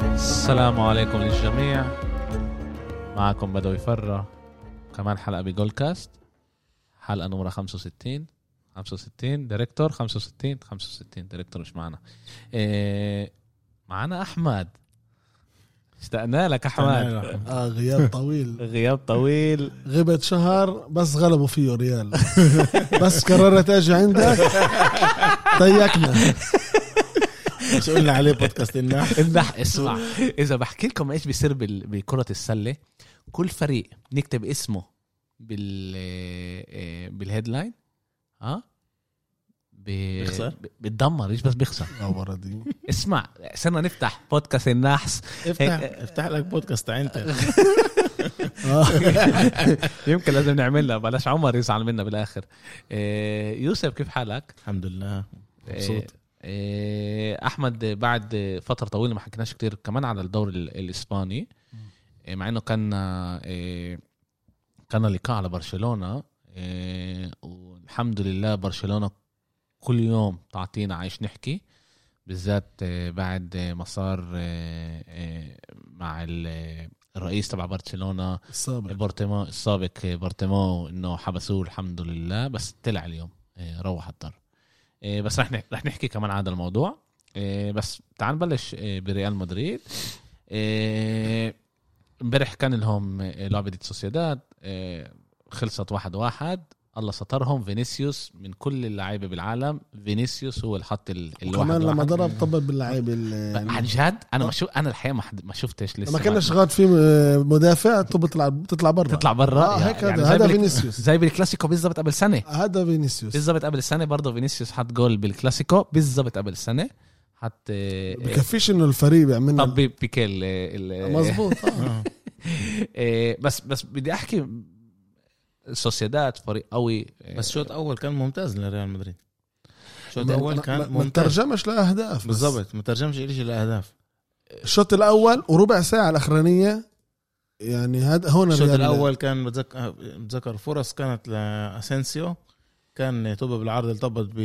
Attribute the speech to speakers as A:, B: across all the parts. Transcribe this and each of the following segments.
A: السلام عليكم للجميع معكم بدو يفرى كمان حلقة بجول كاست حلقة نمرة 65 65 دايركتور 65 65 دايركتور مش معنا إيه معنا أحمد اشتقنا لك أحمد
B: اه غياب طويل
A: غياب طويل
B: غبت شهر بس غلبوا فيه ريال بس قررت اجي عندك ضيقنا
C: مش قلنا عليه بودكاست النح
A: امدح اسمع اذا بحكي لكم ايش بيصير بال- بكره السله كل فريق نكتب اسمه بال آه، بالهيدلاين ها ب...
C: بيخسر؟
A: ب- بتدمر ايش بس بيخسر
B: اه ورا دي
A: اسمع صرنا نفتح بودكاست النحس إيه،
C: افتح افتح لك بودكاست عندك
B: آه.
A: يمكن لازم نعملها بلاش عمر يزعل منا بالاخر آه، يوسف كيف حالك
C: الحمد لله
A: آه،
C: مبسوط
A: آه، احمد بعد فتره طويله ما حكيناش كتير كمان على الدوري ال- الاسباني آه، مع انه كان آه، كان لقاء على برشلونه آه، والحمد لله برشلونه كل يوم تعطينا عايش نحكي بالذات آه، بعد آه، ما صار آه، آه، مع ال- الرئيس تبع برشلونه
B: السابق
A: بارتيمو السابق بارتيمو انه حبسوه الحمد لله بس طلع اليوم إيه، روح الدار إيه، بس رح نح- رح نحكي كمان عن هذا الموضوع إيه، بس تعال نبلش إيه، بريال مدريد إيه، امبارح كان لهم إيه، لعبة دي سوسيداد إيه، خلصت واحد واحد الله سترهم فينيسيوس من كل اللعيبه بالعالم فينيسيوس هو اللي حط ال- الواحد
B: كمان لما
A: واحد.
B: ضرب طبل باللعيبه
A: عن
B: اللي-
A: جد انا ما شو انا الحقيقه ما حد- ما شفتش لسه
B: لما كانش غاد في آه، مدافع تطلع بتطلع برا
A: تطلع برا يعني
B: آه، هيك هذا-
A: زي
B: هذا
A: بالك-
B: فينيسيوس
A: زي إيه. بالكلاسيكو بالضبط قبل سنه
B: هذا فينيسيوس
A: بالضبط قبل سنه برضه فينيسيوس حط جول بالكلاسيكو بالضبط قبل سنه حط آه،
B: بكفيش انه الفريق
A: آه،
B: بيعملنا
A: طب بيكي ال- ال-
B: مزبوط آه.
C: آه.
A: آه، بس بس بدي احكي سوسيداد فريق قوي آه،
C: بس شوط اول كان ممتاز لريال مدريد شوط
B: ما-
C: اول
B: ما- ما-
C: طيب، كان
B: ما
C: ممتاز
B: ترجمش لاهداف بس.
C: بالضبط ما ترجمش شيء لاهداف
B: الشوط الاول وربع ساعه الاخرانيه يعني هذا هون
C: الشوط
B: الريال-
C: الاول كان بتذكر بتذكر فرص كانت لاسينسيو كان توب بالعرض التبط ب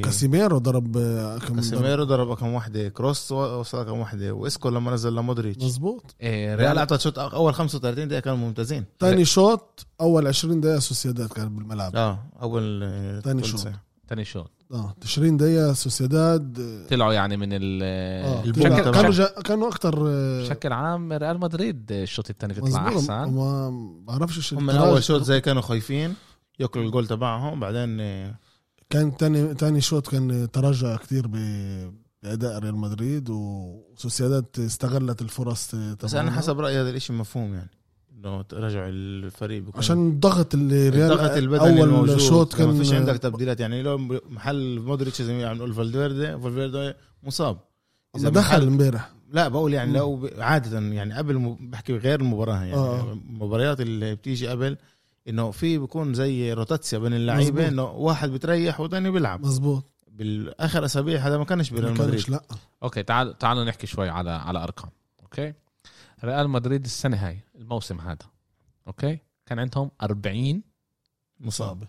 B: كاسيميرو ضرب آه، كم ضرب.
C: كاسيميرو ضرب كم واحده كروس وصل كم واحده واسكو لما نزل لمودريتش
B: مزبوط
A: آه،
C: ريال
A: ريال
C: اعطت شوط اول 35 دقيقه كانوا ممتازين
B: تاني شوط اول 20 دقيقه سوسيداد كان بالملعب
C: اه اول آه،
B: تاني
C: ثلث
B: شوط.
C: ساعة.
A: تاني شوط
B: اه 20 دقيقه سوسيداد
A: طلعوا يعني من ال
B: اه
A: آه،
C: البوم
B: طلع-
C: تبع-
B: كانوا آه، جا- كانوا اكثر
A: بشكل عام ريال مدريد آه، الشوط الثاني بيطلع
B: مظبوط
A: احسن
B: ما بعرفش ايش
C: هم من
B: التراجع.
C: اول شوط زي كانوا خايفين ياكلوا الجول تبعهم بعدين آه،
B: كان تاني تاني شوط كان تراجع كثير ب باداء ريال مدريد وسوسيداد استغلت الفرص
C: بس
B: تبعهم.
C: انا حسب رايي هذا الاشي مفهوم يعني انه رجعوا الفريق بكون
B: عشان الضغط اللي ريال
C: الضغط البدني
B: اول
C: الموجود يعني
B: شوط كان
C: ما فيش عندك تبديلات يعني لو محل مودريتش زي ما عم نقول فالفيردي فالفيردي مصاب
B: ما دخل
C: محل-
B: امبارح
C: لا بقول يعني
B: مم.
C: لو ب- عاده يعني قبل م- بحكي غير المباراه يعني
B: آه.
C: المباريات اللي بتيجي قبل انه في بيكون زي روتاتسيا بين اللعيبه
B: مظبوط.
C: انه واحد بتريح وثاني بيلعب
B: مظبوط
C: بالاخر اسابيع هذا ما كانش
B: ما
C: بريال مدريد
B: كانش لا
A: اوكي تعال تعالوا نحكي شوي على على ارقام اوكي ريال مدريد السنه هاي الموسم هذا اوكي كان عندهم 40
C: مصاب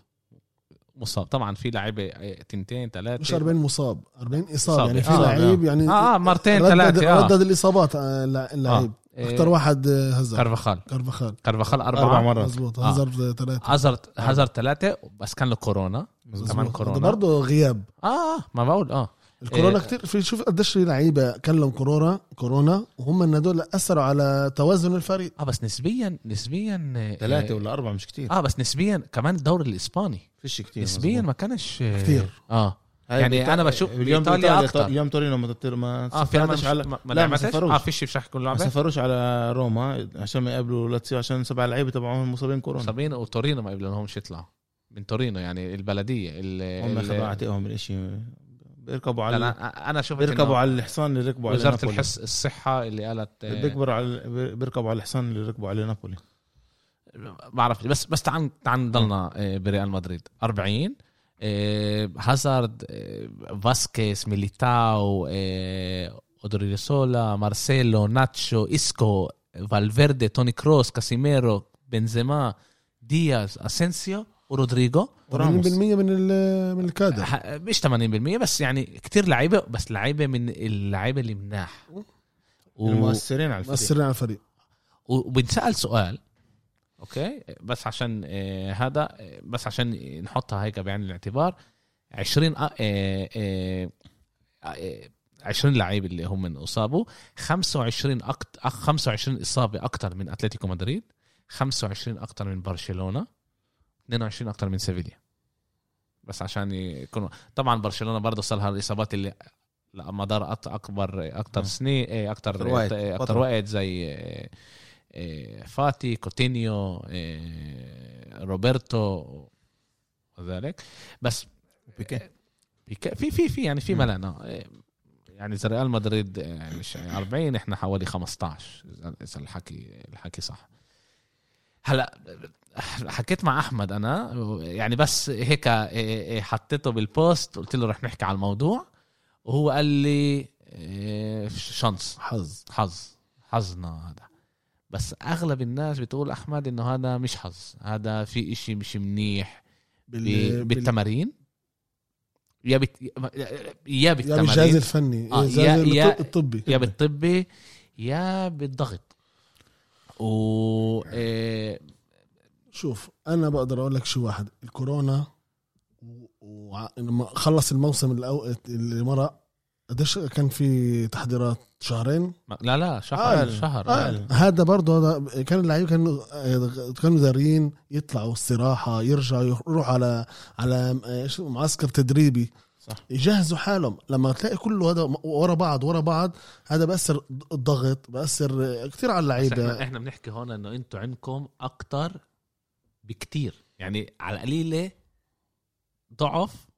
A: مصاب طبعا في لعيبه آه، تنتين ثلاثه
B: مش 40 مصاب 40 اصابه
A: إصابة.
B: يعني في
A: آه.
B: لعيب يعني
A: اه اه مرتين
B: ردد-
A: ثلاثه اه
B: ردد الاصابات آه، اللع- اللعيب اكثر
A: واحد
B: واحد آه، هزر
A: كارفاخال
B: كارفاخال
A: كارفاخال اربعه
C: اربع
A: أربع
C: مرات
B: مزبوط
A: آه.
B: هزر ثلاثة
A: هازارد هازارد ثلاثه بس كان له كورونا
C: مظبوط.
A: كمان
B: مظبوط.
A: كورونا.
B: هذا برضه غياب
A: اه آه، ما بقول اه
B: الكورونا
A: إيه.
B: كتير كثير في شوف قديش في لعيبه كان لهم كورونا كورونا وهم ان هدول اثروا على توازن الفريق
A: اه بس نسبيا نسبيا آه،
C: ثلاثه ولا اربعه مش
B: آه.
C: كتير
A: اه بس نسبيا كمان الدوري الاسباني
C: فيش كتير
A: نسبيا
C: مظبوط.
A: ما كانش آه،
B: كتير.
A: اه
C: هاي
A: يعني
C: بإيطا-
A: أنا بشوف
C: اليوم
A: بإيطاليا
C: بإيطاليا
A: أكتر.
C: اليوم تورينو ما تطير ما
A: اه في ما,
C: سافرتش على-
A: ما, ما
C: لا، ما
A: لعبتش
C: سافروش.
A: اه فيش بشح كل
C: ما
A: لعبه
C: سافروش على روما عشان ما يقابلوا لاتسيو عشان سبع لعيبه تبعهم مصابين كورونا
A: مصابين وتورينو ما قبل لهمش يطلعوا من تورينو يعني البلديه ال- ال-
C: هم اخذوا عتيقهم الاشي بيركبوا
A: لا،
C: على
A: لا، انا شفت
C: بيركبوا
A: إنه
C: على الحصان اللي ركبوا على
A: وزاره
C: نابولي.
A: الحس الصحه اللي قالت آه،
C: بيكبروا على بيركبوا على الحصان اللي ركبوا على نابولي
A: بعرف بس بس تعال تعال نضلنا آه، بريال مدريد 40 آه، هازارد آه، فاسكيز ميليتاو آه، اودريسولا مارسيلو ناتشو اسكو فالفيردي توني كروس كاسيميرو بنزيما دياز اسينسيو ورودريجو
B: 80%
C: وراموس.
B: من ال- من الكادر
A: ح- مش 80% بس يعني كتير لعيبه بس لعيبه من اللعيبه اللي مناح و...
C: المؤثرين على الفريق
B: مأثرين على الفريق
A: وبنسال سؤال اوكي بس عشان آه، هذا آه، بس عشان نحطها هيك بعين الاعتبار 20 آه، آه، آه، آه، 20 لعيب اللي هم من اصابوا 25 أكت... أخ- 25 اصابه اكثر من اتلتيكو مدريد 25 اكثر من برشلونه 22 اكثر من سيفيليا بس عشان يكونوا طبعا برشلونه برضه صار لها الاصابات اللي لا مدار أط- اكبر اكثر
C: مم.
A: سنين اكثر
C: نعم. أكتر وقت.
A: اكثر
C: فترة.
A: وقت آه، زي آه، آه، فاتي كوتينيو آه، روبرتو وذلك بس
C: بيكي.
A: بيك- في في في يعني في
C: مم.
A: ملانة آه، يعني اذا ريال مدريد آه، مش 40 احنا حوالي 15 إذا- اذا الحكي الحكي صح هلا حكيت مع احمد انا يعني بس هيك آه، آه، حطيته بالبوست قلت له رح نحكي على الموضوع وهو قال لي آه، شانس
B: حظ
A: حظ حظنا هذا بس اغلب الناس بتقول احمد انه هذا مش حظ هذا في اشي مش منيح
B: بال...
A: ب-
B: بال...
A: بالتمارين يا بت... يا
B: يا بالجهاز
A: بالتمارين
B: الفني
A: آه،
B: آه
A: يا-
B: الجهاز
A: يا-
B: الط- الطبي
A: يا بالطبي يا بالضغط و إيه،
B: شوف انا بقدر اقول لك شيء واحد الكورونا و- وع- لما خلص الموسم الأو... اللي مرق قديش كان في تحضيرات شهرين
A: ما- لا لا شهر
B: قال.
A: شهر
C: قال.
B: آه، هذا برضه هذا كان اللعيبه كانوا كانوا دارين يطلعوا استراحه يرجعوا يروح على على إيش اسمه، معسكر تدريبي
C: صح.
B: يجهزوا حالهم لما تلاقي كله هذا ورا بعض ورا بعض هذا بأثر الضغط بأثر كثير آه، على
A: بس احنا
B: اللعيبه
A: احنا بنحكي هون انه انتم عندكم اكتر بكتير يعني على القليله ضعف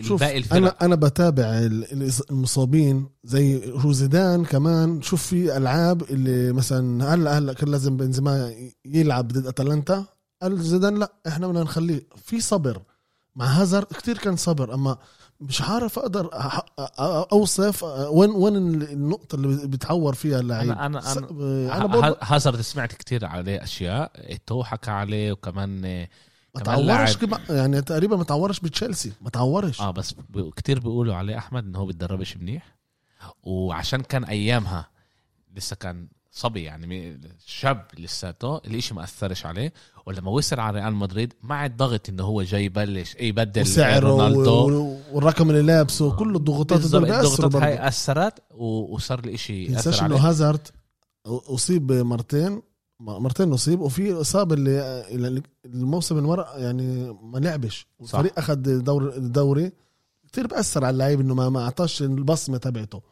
B: شوف
A: الباقي الفرق
B: انا انا بتابع ال- ال- المصابين زي روزيدان كمان شوف في العاب اللي مثلا هلا هلا كان لازم بنزيما يلعب ضد اتلانتا قال زيدان لا احنا بدنا نخليه في صبر مع هازارد كتير كان صبر اما مش عارف اقدر أح- أ- أ- اوصف وين وين النقطه اللي بتعور فيها اللعيب آه،
A: أنا- أنا-
B: ص-
A: أنا-
B: انا
A: ه-
B: برضه
A: هازارد سمعت كتير عليه اشياء تو حكى عليه وكمان آه،
B: ما
A: كمان لاعب.
B: تعورش كمان- يعني تقريبا ما تعورش بتشيلسي ما تعورش
A: اه بس ب- كتير بيقولوا عليه احمد ان هو بيتدربش منيح وعشان كان ايامها لسه كان صبي يعني م- شاب لساته الاشي ما اثرش عليه ولما وصل على ريال مدريد مع الضغط انه هو جاي يبلش إيه، يبدل
B: وسعره
A: رونالدو
B: و- والرقم اللي لابسه كل الضغوطات
A: بالظبط،
B: هدول بيأثروا
A: الضغطات
B: برضه.
A: هاي اثرت و- وصار الاشي
B: تنساش
A: ياثر
B: انه
A: عليه
B: هازارد اصيب مرتين مرتين اصيب وفي اصابه اللي اللي- الموسم اللي مرق يعني ما لعبش والفريق اخذ دور الدوري كثير بأثر على اللعيب انه ما ما اعطاش البصمه تبعته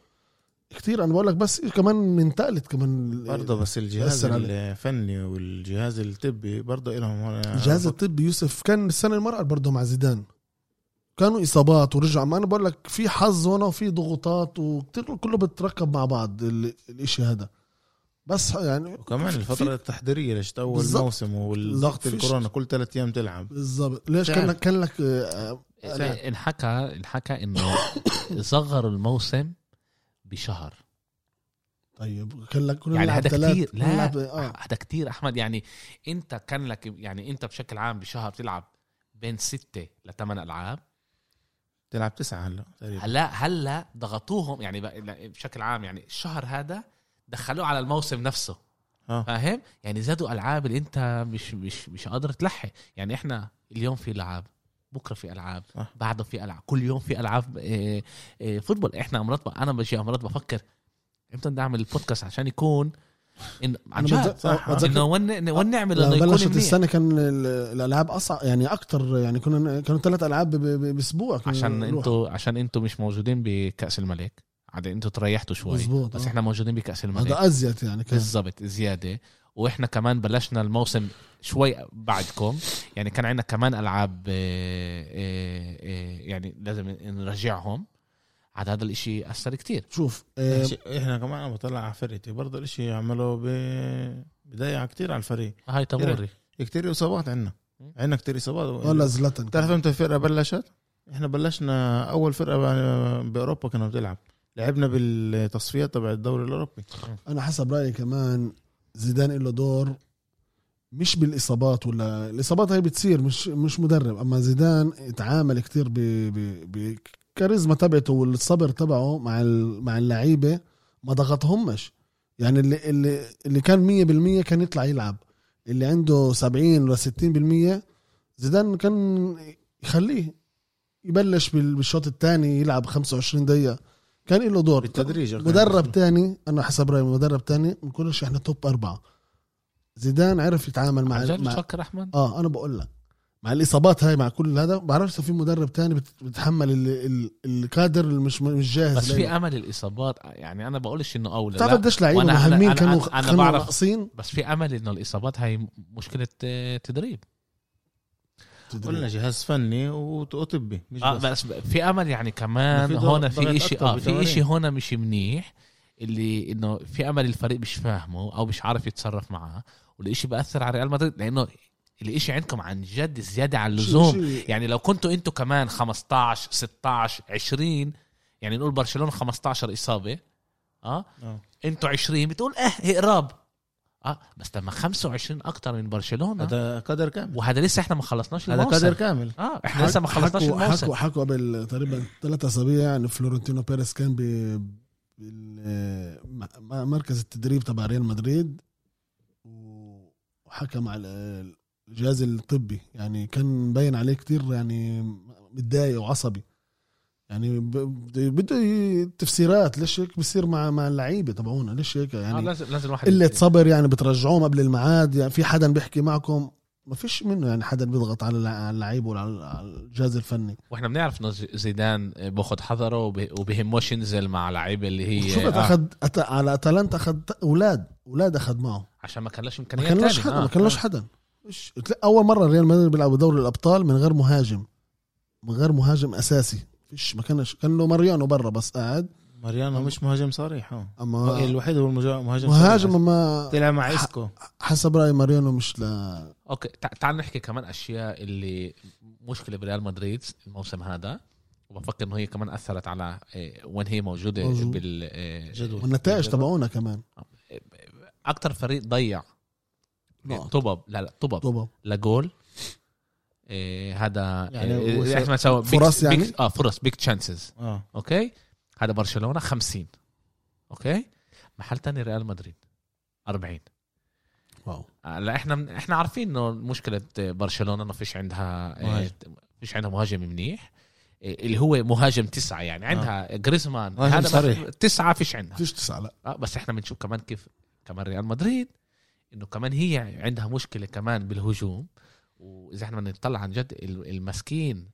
B: كثير انا بقول لك بس كمان منتقلت كمان
C: برضه بس الجهاز
B: بأثر عليه.
C: الفني والجهاز الطبي برضه لهم هون
B: الجهاز
A: آه.
B: الطبي يوسف كان السنه اللي مرقت برضه مع زيدان كانوا اصابات ورجع ما انا بقول لك في حظ هنا وفي ضغوطات وكتير كله بتركب مع بعض ال- الاشي هذا بس يعني
C: وكمان
B: في-
C: الفتره التحضيريه ليش اول
B: بالظبط.
C: موسم
B: بالظبط.
C: والضغط
B: فيش-
C: الكورونا كل ثلاث ايام تلعب
B: بالضبط ليش
C: فعلا.
B: كان لك كان لك آه،
A: آه، انحكى انحكى انه صغروا الموسم بشهر
B: طيب كان لك كنا
A: يعني
B: نلعب
A: هذا
B: تلات-
A: كتير لا
B: نلعب
A: هذا
B: اه
A: آه، كتير احمد يعني انت كان لك يعني انت بشكل عام بشهر بتلعب بين ستة لثمان العاب
C: تلعب تسعه هلا تقريبا
A: هلا هلا ضغطوهم يعني بق- لا، بشكل عام يعني الشهر هذا دخلوه على الموسم نفسه
C: آه.
A: فاهم يعني زادوا العاب اللي انت مش مش مش قادر تلحق يعني احنا اليوم في العاب بكره في العاب
C: صح.
A: بعده في العاب كل يوم في العاب آه، آه، فوتبول احنا مرات ب- انا بجي مرات بفكر امتى بدي اعمل البودكاست عشان يكون إن عن
B: أنا
A: جد
B: بتذ-
C: صح.
B: آه، بتذكر
A: انه ون ون نعمل انه
B: لما
A: يكون
B: بلشت
A: منيح
B: السنه كان ال- الالعاب اصعب يعني اكتر يعني كنا كانوا ثلاث العاب ب- ب- باسبوع كنا
A: عشان
B: نروح.
A: انتوا عشان انتوا مش موجودين بكاس الملك عادي انتوا تريحتوا شوي
B: مزبوط
A: بس نعم.
B: آه.
A: احنا موجودين بكاس الملك
B: هذا ازيد يعني كان
A: بالضبط زياده واحنا كمان بلشنا الموسم شوي بعدكم يعني كان عندنا كمان العاب آه، آه، آه، يعني لازم نرجعهم عاد هذا الاشي اثر كتير
B: شوف آه،
A: يعني
C: إيش- احنا كمان انا بطلع على فرقتي برضه الاشي عملوا ب بداية كتير على الفريق
A: هاي تموري
C: كتير اصابات عندنا عندنا كتير اصابات
B: ولا زلتن
C: بتعرف امتى الفرقه بلشت؟ احنا بلشنا اول فرقه ب- باوروبا كنا بتلعب لعبنا بالتصفيات تبع الدوري الاوروبي
B: انا حسب رايي كمان زيدان له دور مش بالاصابات ولا الاصابات هي بتصير مش مش مدرب اما زيدان اتعامل كتير ب ب بكاريزما تبعته والصبر تبعه مع ال- مع اللعيبه ما ضغطهمش يعني اللي اللي اللي كان 100% كان يطلع يلعب اللي عنده 70 ولا 60% زيدان كان يخليه يبلش بال- بالشوط الثاني يلعب 25 دقيقة كان له دور
C: بالتدريج يعني.
B: مدرب تاني انا حسب رايي مدرب تاني بنقولش احنا توب اربعه زيدان عرف يتعامل مع
A: عن جد
B: مع
A: بتفكر احمد
B: اه انا بقول لك مع الاصابات هاي مع كل هذا بعرفش إذا في مدرب تاني بت- بتحمل ال... ال... الكادر اللي مش مش جاهز
A: بس في
B: لإله.
A: امل الاصابات يعني انا بقولش انه اولى
B: بتعرف
A: لا
B: قديش لعيبه
A: وأنا-
B: مهمين
A: أنا- أنا-
B: كانوا
A: أنا
B: كانوا
A: بعرف.
B: ناقصين
A: بس في امل انه الاصابات هاي مشكله آه، تدريب
C: قلنا جهاز فني وط- وطبي مش
B: آه،
A: اه
C: بس.
A: بس في امل يعني كمان
C: في ضغط-
A: هون
C: ضغط
A: في اشي
C: أكتر
A: اه في
C: بتمارين.
A: اشي هون مش منيح اللي انه في امل الفريق مش فاهمه او مش عارف يتصرف معاه والاشي بأثر على ريال مدريد لانه الاشي عندكم عن جد زياده عن اللزوم
B: شيء-
A: يعني لو كنتوا انتوا كمان 15 16 20 يعني نقول برشلونه 15 اصابه اه
C: آه.
A: انتوا 20 بتقول اه هي قراب اه بس لما 25 اكتر من برشلونه
C: هذا قدر كامل
A: وهذا لسه احنا ما خلصناش
C: هذا
A: الموسم
C: قدر كامل
A: اه احنا لسه ما خلصناش
B: حكوا
A: الموسم
B: حكوا حكوا قبل تقريبا ثلاث اسابيع يعني فلورنتينو بيريز كان ب بال- م- مركز التدريب تبع ريال مدريد و- وحكى مع ال- الجهاز الطبي يعني كان مبين عليه كتير يعني متضايق وعصبي يعني ب- بده بده ي- تفسيرات ليش هيك بصير مع مع اللعيبه تبعونا ليش هيك
A: آه،
B: يعني
A: لازم لازم الواحد
B: قله
A: يت-
B: صبر يعني بترجعوهم قبل الميعاد يعني في حدا بيحكي معكم ما فيش منه يعني حدا بيضغط على الع- على اللعيب ولا على- على الجهاز الفني
A: واحنا بنعرف انه ز- زيدان باخذ حذره وب- وبهموش ينزل مع لعيبه اللي
B: شوف
A: هي
B: أت-
A: آه
B: اخذ أت... على اتلانتا اخذ اولاد اولاد اخذ معه
A: عشان ما كان لاش
B: ما
A: امكانيات
B: كان لهش
A: تاني.
B: حدا
A: آه.
B: ما كان لهش حدا مش... تلاقي اول مره ريال مدريد بيلعب بدوري الابطال من غير مهاجم من غير مهاجم اساسي فيش ما كانش كان له ماريانو برا بس قاعد
C: ماريانو مش مهاجم صريح هو
A: إيه
B: اما
C: الوحيد هو المهاجم مهاجم صريح.
B: آه. مهاجم ما
C: تلعب مع
B: ح-
C: اسكو
B: حسب رايي ماريانو مش ل...
A: اوكي تع- تعال نحكي كمان اشياء اللي مشكله بريال مدريد الموسم هذا وبفكر انه هي كمان اثرت على آه، وين هي موجوده
B: موجود.
A: بال آه،
C: جدول.
B: والنتائج تبعونا كمان
A: اكتر فريق ضيع
B: نقط.
A: طبب لا لا طبب
B: طبعا لجول
A: لجول آه، هذا
C: يعني
A: آه،
C: وصل-
A: احنا سوا big-
B: فرص يعني؟
A: big- اه فرص بيج تشانسز
C: اه
A: اوكي هذا برشلونه 50 اوكي محل تاني ريال مدريد 40
B: واو
A: هلا احنا من احنا عارفين انه مشكله برشلونه انه فيش عندها آه،
C: مهاجم.
A: فيش عندها مهاجم منيح إيه، اللي هو مهاجم تسعه يعني عندها جريزمان
C: آه. مهاجم
A: هذا بس
C: صريح.
A: تسعه فيش عندها
B: فيش تسعه لا
A: آه، بس احنا بنشوف كمان كيف كمان ريال مدريد انه كمان هي عندها مشكله كمان بالهجوم واذا احنا بدنا نطلع عن جد ال- المسكين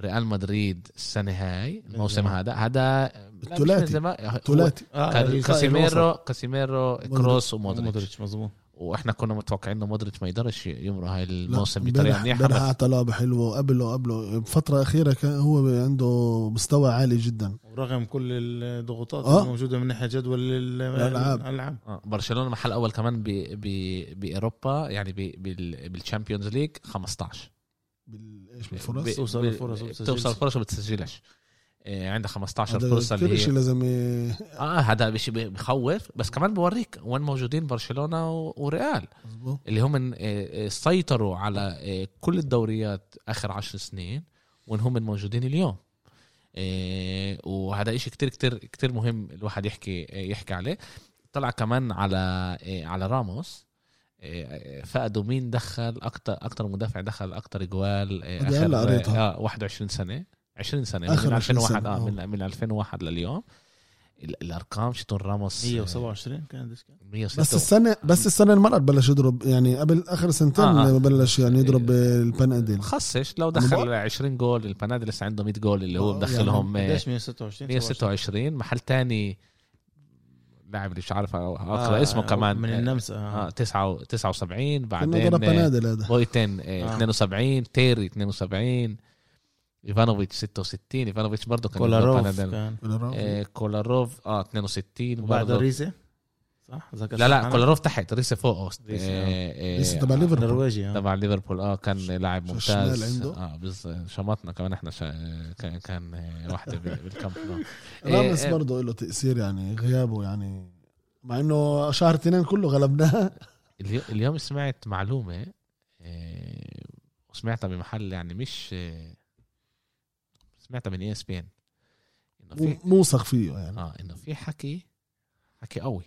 A: ريال مدريد السنه هاي الموسم
C: بنزيما.
A: هذا هذا لا، مش
B: الثلاثي.
A: بنزيما، هو-
B: نعم. ثلاثي
A: كان
C: آه
A: كاسيميرو كاسيميرو كروس ومودريتش
C: مودريتش مظبوط
A: واحنا كنا متوقعين انه مودريتش ما يقدرش يمرق هاي
B: لا،
A: الموسم
B: امبارح-
A: بطريقه منيحه
B: امبارح
A: بس
B: اعطى لعبه حلوه قبله قبله الفتره الاخيره كان هو عنده مستوى عالي جدا
C: ورغم كل الضغوطات
B: آه.
C: الموجوده من ناحيه جدول ال-
B: الألعاب.
C: الالعاب
A: آه، برشلونه محل اول كمان ب ب باوروبا يعني ب بال بالشامبيونز ليج 15
B: بال- ايش بالفرص
A: ب-
C: توصل
A: ب-
C: الفرص وبتسجلش.
A: توصل الفرص وما بتسجلش آه، عندها 15
B: هذا
A: فرصه
B: كل
A: اللي
B: شيء
A: هي
B: لازم ي-
A: اه هذا شيء بخوف بس كمان بوريك وين موجودين برشلونه و- وريال
B: مظبوط.
A: اللي هم من- آه، آه، سيطروا على آه، كل الدوريات اخر عشر سنين وان هم من موجودين اليوم آه، وهذا إشي كتير كتير كتير مهم الواحد يحكي آه، يحكي عليه طلع كمان على آه، على راموس آه، آه، فقدوا مين دخل اكتر اكتر مدافع دخل اكتر جوال آه،
B: هذه هلا
A: اخر
B: قريتها.
A: آه، 21 سنه 20 سنه
B: آخر
A: من
B: 20
A: 2001
B: سنة،
A: اه
B: آه.
A: من من 2001 لليوم ال- الارقام شتون راموس آه،
C: 127 كان ديسك
A: 106
B: بس السنه بس السنه المرأة بلش يضرب يعني قبل اخر سنتين
A: آه، إيه. آه.
B: بلش يعني يضرب البناديل
A: خصش لو
B: المباراة؟
A: دخل 20 جول البنادل لسه عنده 100 جول اللي هو
B: آه،
A: مدخلهم آه،
C: يعني قديش يعني؟ 126
A: 126 محل تاني لاعب اللي مش عارف اقرا
C: آه،
A: اسمه كمان
C: من النمسا
A: آه
C: آه.
A: تسعة- 79
B: كنا ضرب
A: بعدين آه،
B: بناديل هذا
A: بويتن آه،
C: آه.
A: 72 تيري 72 ايفانوفيتش 66 ايفانوفيتش برضه كان عنده
C: كولاروف
A: بنادل.
C: كان
A: آه، كولاروف اه 62
C: وبعد
A: برضه
C: ريزي صح ذكر
A: لا
C: صح
A: لا
C: أنا؟
A: كولاروف تحت ريسي فوقه
C: ريسي، آه.
A: آه، آه،
B: إيه، لسه تبع ليفربول
C: نرويجي آه.
A: تبع ليفربول اه كان لاعب
B: شو
A: ممتاز
B: الشمال عنده؟
A: اه بز... شمطنا كمان احنا شا... كان كان آه، واحده بال- بالكامب نو آه،
B: راموس
A: آه.
B: برضه له تاثير يعني غيابه يعني مع انه شهر اثنين كله غلبناه
A: اليو- اليوم سمعت معلومه آه، وسمعتها بمحل يعني مش آه، سمعتها من اي اس بي ان انه في آه،
B: موثق فيه يعني
A: اه انه في حكي حكي قوي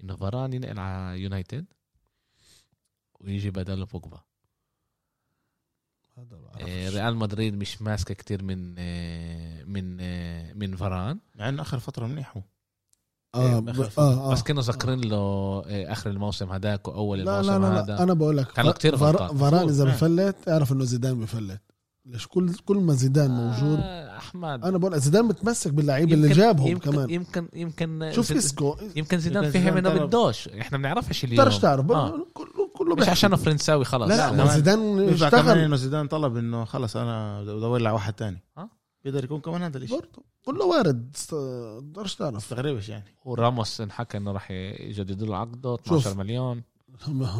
A: انه فران ينقل على يونايتد ويجي بداله بوجبا
B: هذا بعرفش.
A: آه، ريال مدريد مش ماسكه كتير من آه، من آه، من فران
C: مع انه اخر فتره منيح هو
B: اه
A: آه،
B: ب-
A: آخر
B: اه
A: بس
B: اه
A: كانوا ذاكرين له آه، اخر الموسم هداك واول
B: لا لا
A: الموسم
B: لا,
A: هذا
B: لا انا بقول لك
A: كانوا
B: فر-
A: كتير
B: فر-
A: غلطان.
B: فران اذا
C: آه.
B: بفلت اعرف انه زيدان بفلت ليش كل كل ما زيدان موجود
A: آه، احمد
B: انا بقول لك زيدان متمسك باللعيبه
A: يمكن-
B: اللي جابهم
A: يمكن
B: كمان
A: يمكن يمكن
B: شوف
A: زيد-
B: اسكو
A: يمكن زيدان
C: يمكن
A: فهم
C: زيدان
A: انه
C: طلب.
A: بدوش احنا بنعرفش اليوم
B: بتقدرش تعرف
A: آه.
B: كله كله
A: مش
B: بيحكي.
A: عشانه فرنساوي خلاص
B: لا لا
C: لا،
B: ما
C: كمان-
B: زيدان
C: بينفع كمان
B: إيه، اشتغل
C: انه زيدان طلب انه خلص انا بدي ادور لي على واحد تاني
A: آه.
C: بيقدر يكون كمان هذا الشيء
B: برضه كله وارد است- بتقدرش تعرف
C: تغريبش يعني
A: وراموس انحكى انه راح يجددوا له عقده
B: شوف.
A: 12 مليون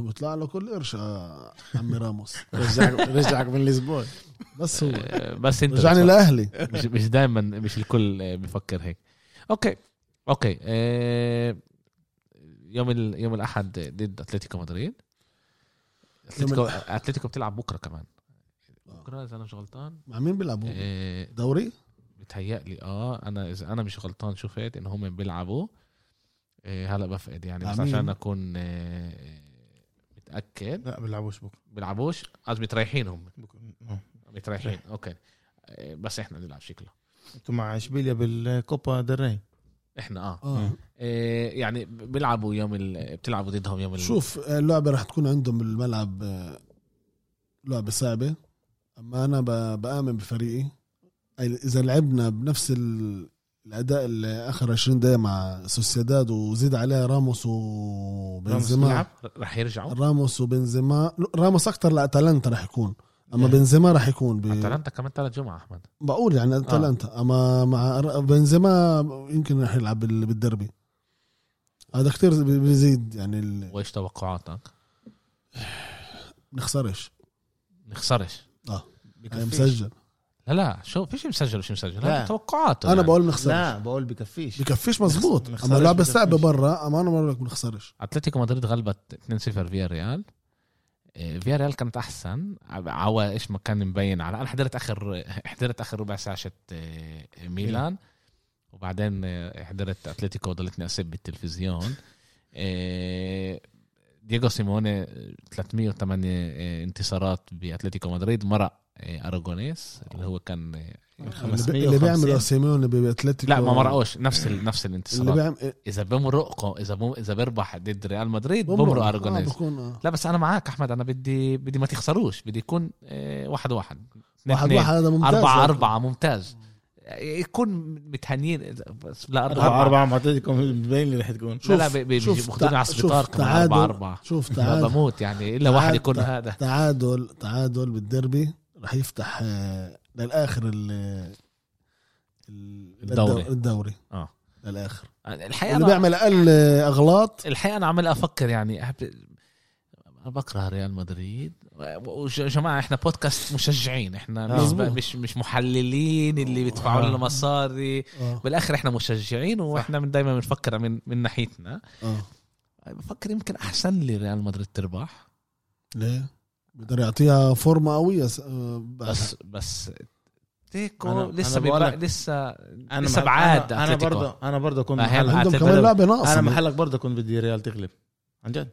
B: بيطلع له كل قرش آه، عمي راموس
C: رجعك رجعك من لشبون
B: بس هو
A: آه، بس انت
B: رجعني لاهلي
A: مش مش دائما مش الكل آه، بفكر هيك اوكي اوكي آه، يوم ال... يوم الاحد ضد اتلتيكو مدريد اتلتيكو اتلتيكو بتلعب بكره كمان بكره اذا انا مش غلطان
B: مع مين بيلعبوا
A: آه،
B: دوري
A: بتهيألي اه انا اذا انا مش غلطان شفت ان هم بيلعبوا آه، هلا بفقد يعني بس
B: مين؟
A: عشان اكون آه، آه، متاكد
C: لا بيلعبوش بكره
A: بيلعبوش قصدي متريحين هم
C: بكره آه.
A: متريحين اوكي آه، بس احنا بنلعب شكله
C: انتوا مع اشبيليا بالكوبا دري
A: احنا اه
B: اه
A: إيه، يعني بيلعبوا يوم ال... بتلعبوا ضدهم يوم ال...
B: شوف آه، اللعبة رح تكون عندهم بالملعب آه، لعبة صعبة أما أنا ب- بآمن بفريقي أي- إذا لعبنا بنفس ال- الأداء اللي آخر 20 دقيقة مع سوسيداد وزيد عليها راموس
C: راموس
B: وبنزيما
C: بيلعب؟
A: رح يرجعوا
B: راموس وبنزيما لا، راموس أكتر لأتلانتا رح يكون أما
C: إيه.
B: بنزيما رح يكون ب...
A: اتلانتا كمان ثلاث جمعة احمد
B: بقول يعني أتلانتا أما مع ر- بنزيما يمكن رح يلعب بال- بالدربي هذا كتير بي- بيزيد يعني ال-
A: وايش توقعاتك؟
B: نخسرش
A: نخسرش
B: يعني مسجل
A: لا لا شو فيش مسجل وش مسجل
C: لا.
A: هذا توقعاته
B: انا
A: يعني.
B: بقول بنخسرش
C: لا بقول بكفيش
B: بكفيش مزبوط
C: بنخسرش
B: اما اللعبه
C: بكفيش.
B: صعبه برا اما انا بقول لك بنخسرش
A: اتلتيكو مدريد غلبت 2-0 فيا ريال إيه، فيا ريال كانت احسن ع- عوا ايش ما كان مبين على انا حضرت اخر حضرت اخر ربع ساعه شت إيه، ميلان وبعدين إيه، حضرت اتلتيكو ضلتني اسب بالتلفزيون إيه، دييغو سيموني 308 إيه، انتصارات باتلتيكو مدريد مرق إيه، اراغونيس اللي هو كان إيه،
B: اللي بي- اللي
C: 550.
B: بيعمله سيميوني باتلتيكو
A: لا ما مرقوش نفس ال... نفس
B: اللي
A: الانتصارات
B: بيعمل
A: اذا بمرقه اذا بم... اذا بربح ضد ريال مدريد بمرق
B: آه
A: اراغونيس
B: بكون آه.
A: لا بس انا معاك احمد انا بدي بدي ما تخسروش بدي يكون آه، واحد واحد اتنين
B: واحد
A: اتنين،
B: واحد هذا ممتاز
A: أربعة أربعة ممتاز يكون متهنيين بس لا
C: أربعة
A: أربعة أربعة
C: أربعة معطيتكم بين اللي رح تكون
A: لا لا
B: شوف-
A: بي- بي-
B: شوف
A: بيجي- بياخدوني
B: تع-
A: على
B: شوف
A: السبيطار كمان
B: تعادل.
A: أربعة أربعة
B: شوف
A: أنا
B: تعادل
A: بموت يعني إلا واحد
B: تعادل.
A: يكون هذا
B: تعادل تعادل بالديربي رح يفتح آه، للاخر ال- ال-
A: الدوري.
B: الدوري
A: آه.
B: للاخر
A: الحقيقة
B: اللي
A: أنا
B: بيعمل اقل آه، اغلاط
A: الحقيقة أنا عمال أفكر يعني أحب- أنا بكره ريال مدريد وجماعة احنا بودكاست مشجعين احنا مش,
B: مظبوط.
A: مش مش محللين اللي بيدفعوا لنا مصاري
B: آه.
A: بالاخر احنا مشجعين واحنا من دايما بنفكر من من ناحيتنا
B: اه
A: بفكر يمكن احسن لي ريال مدريد تربح
B: ليه؟ بيقدر يعطيها فورمه قويه س- آه، بعد.
A: بس بس تيكو
C: أنا-
A: لسه
C: أنا بقول
A: بيبقى-
C: لك-
A: لسه
C: انا
A: لسه
C: مع-
A: بعاد
C: انا, أنا
A: أتلتيكو.
C: برضه انا برضه كنت
A: أهل
C: محلك.
B: عندهم
A: أعتقد-
B: كمان لعبه ناقصه
C: انا محلك برضه كنت بدي ريال تغلب عن جد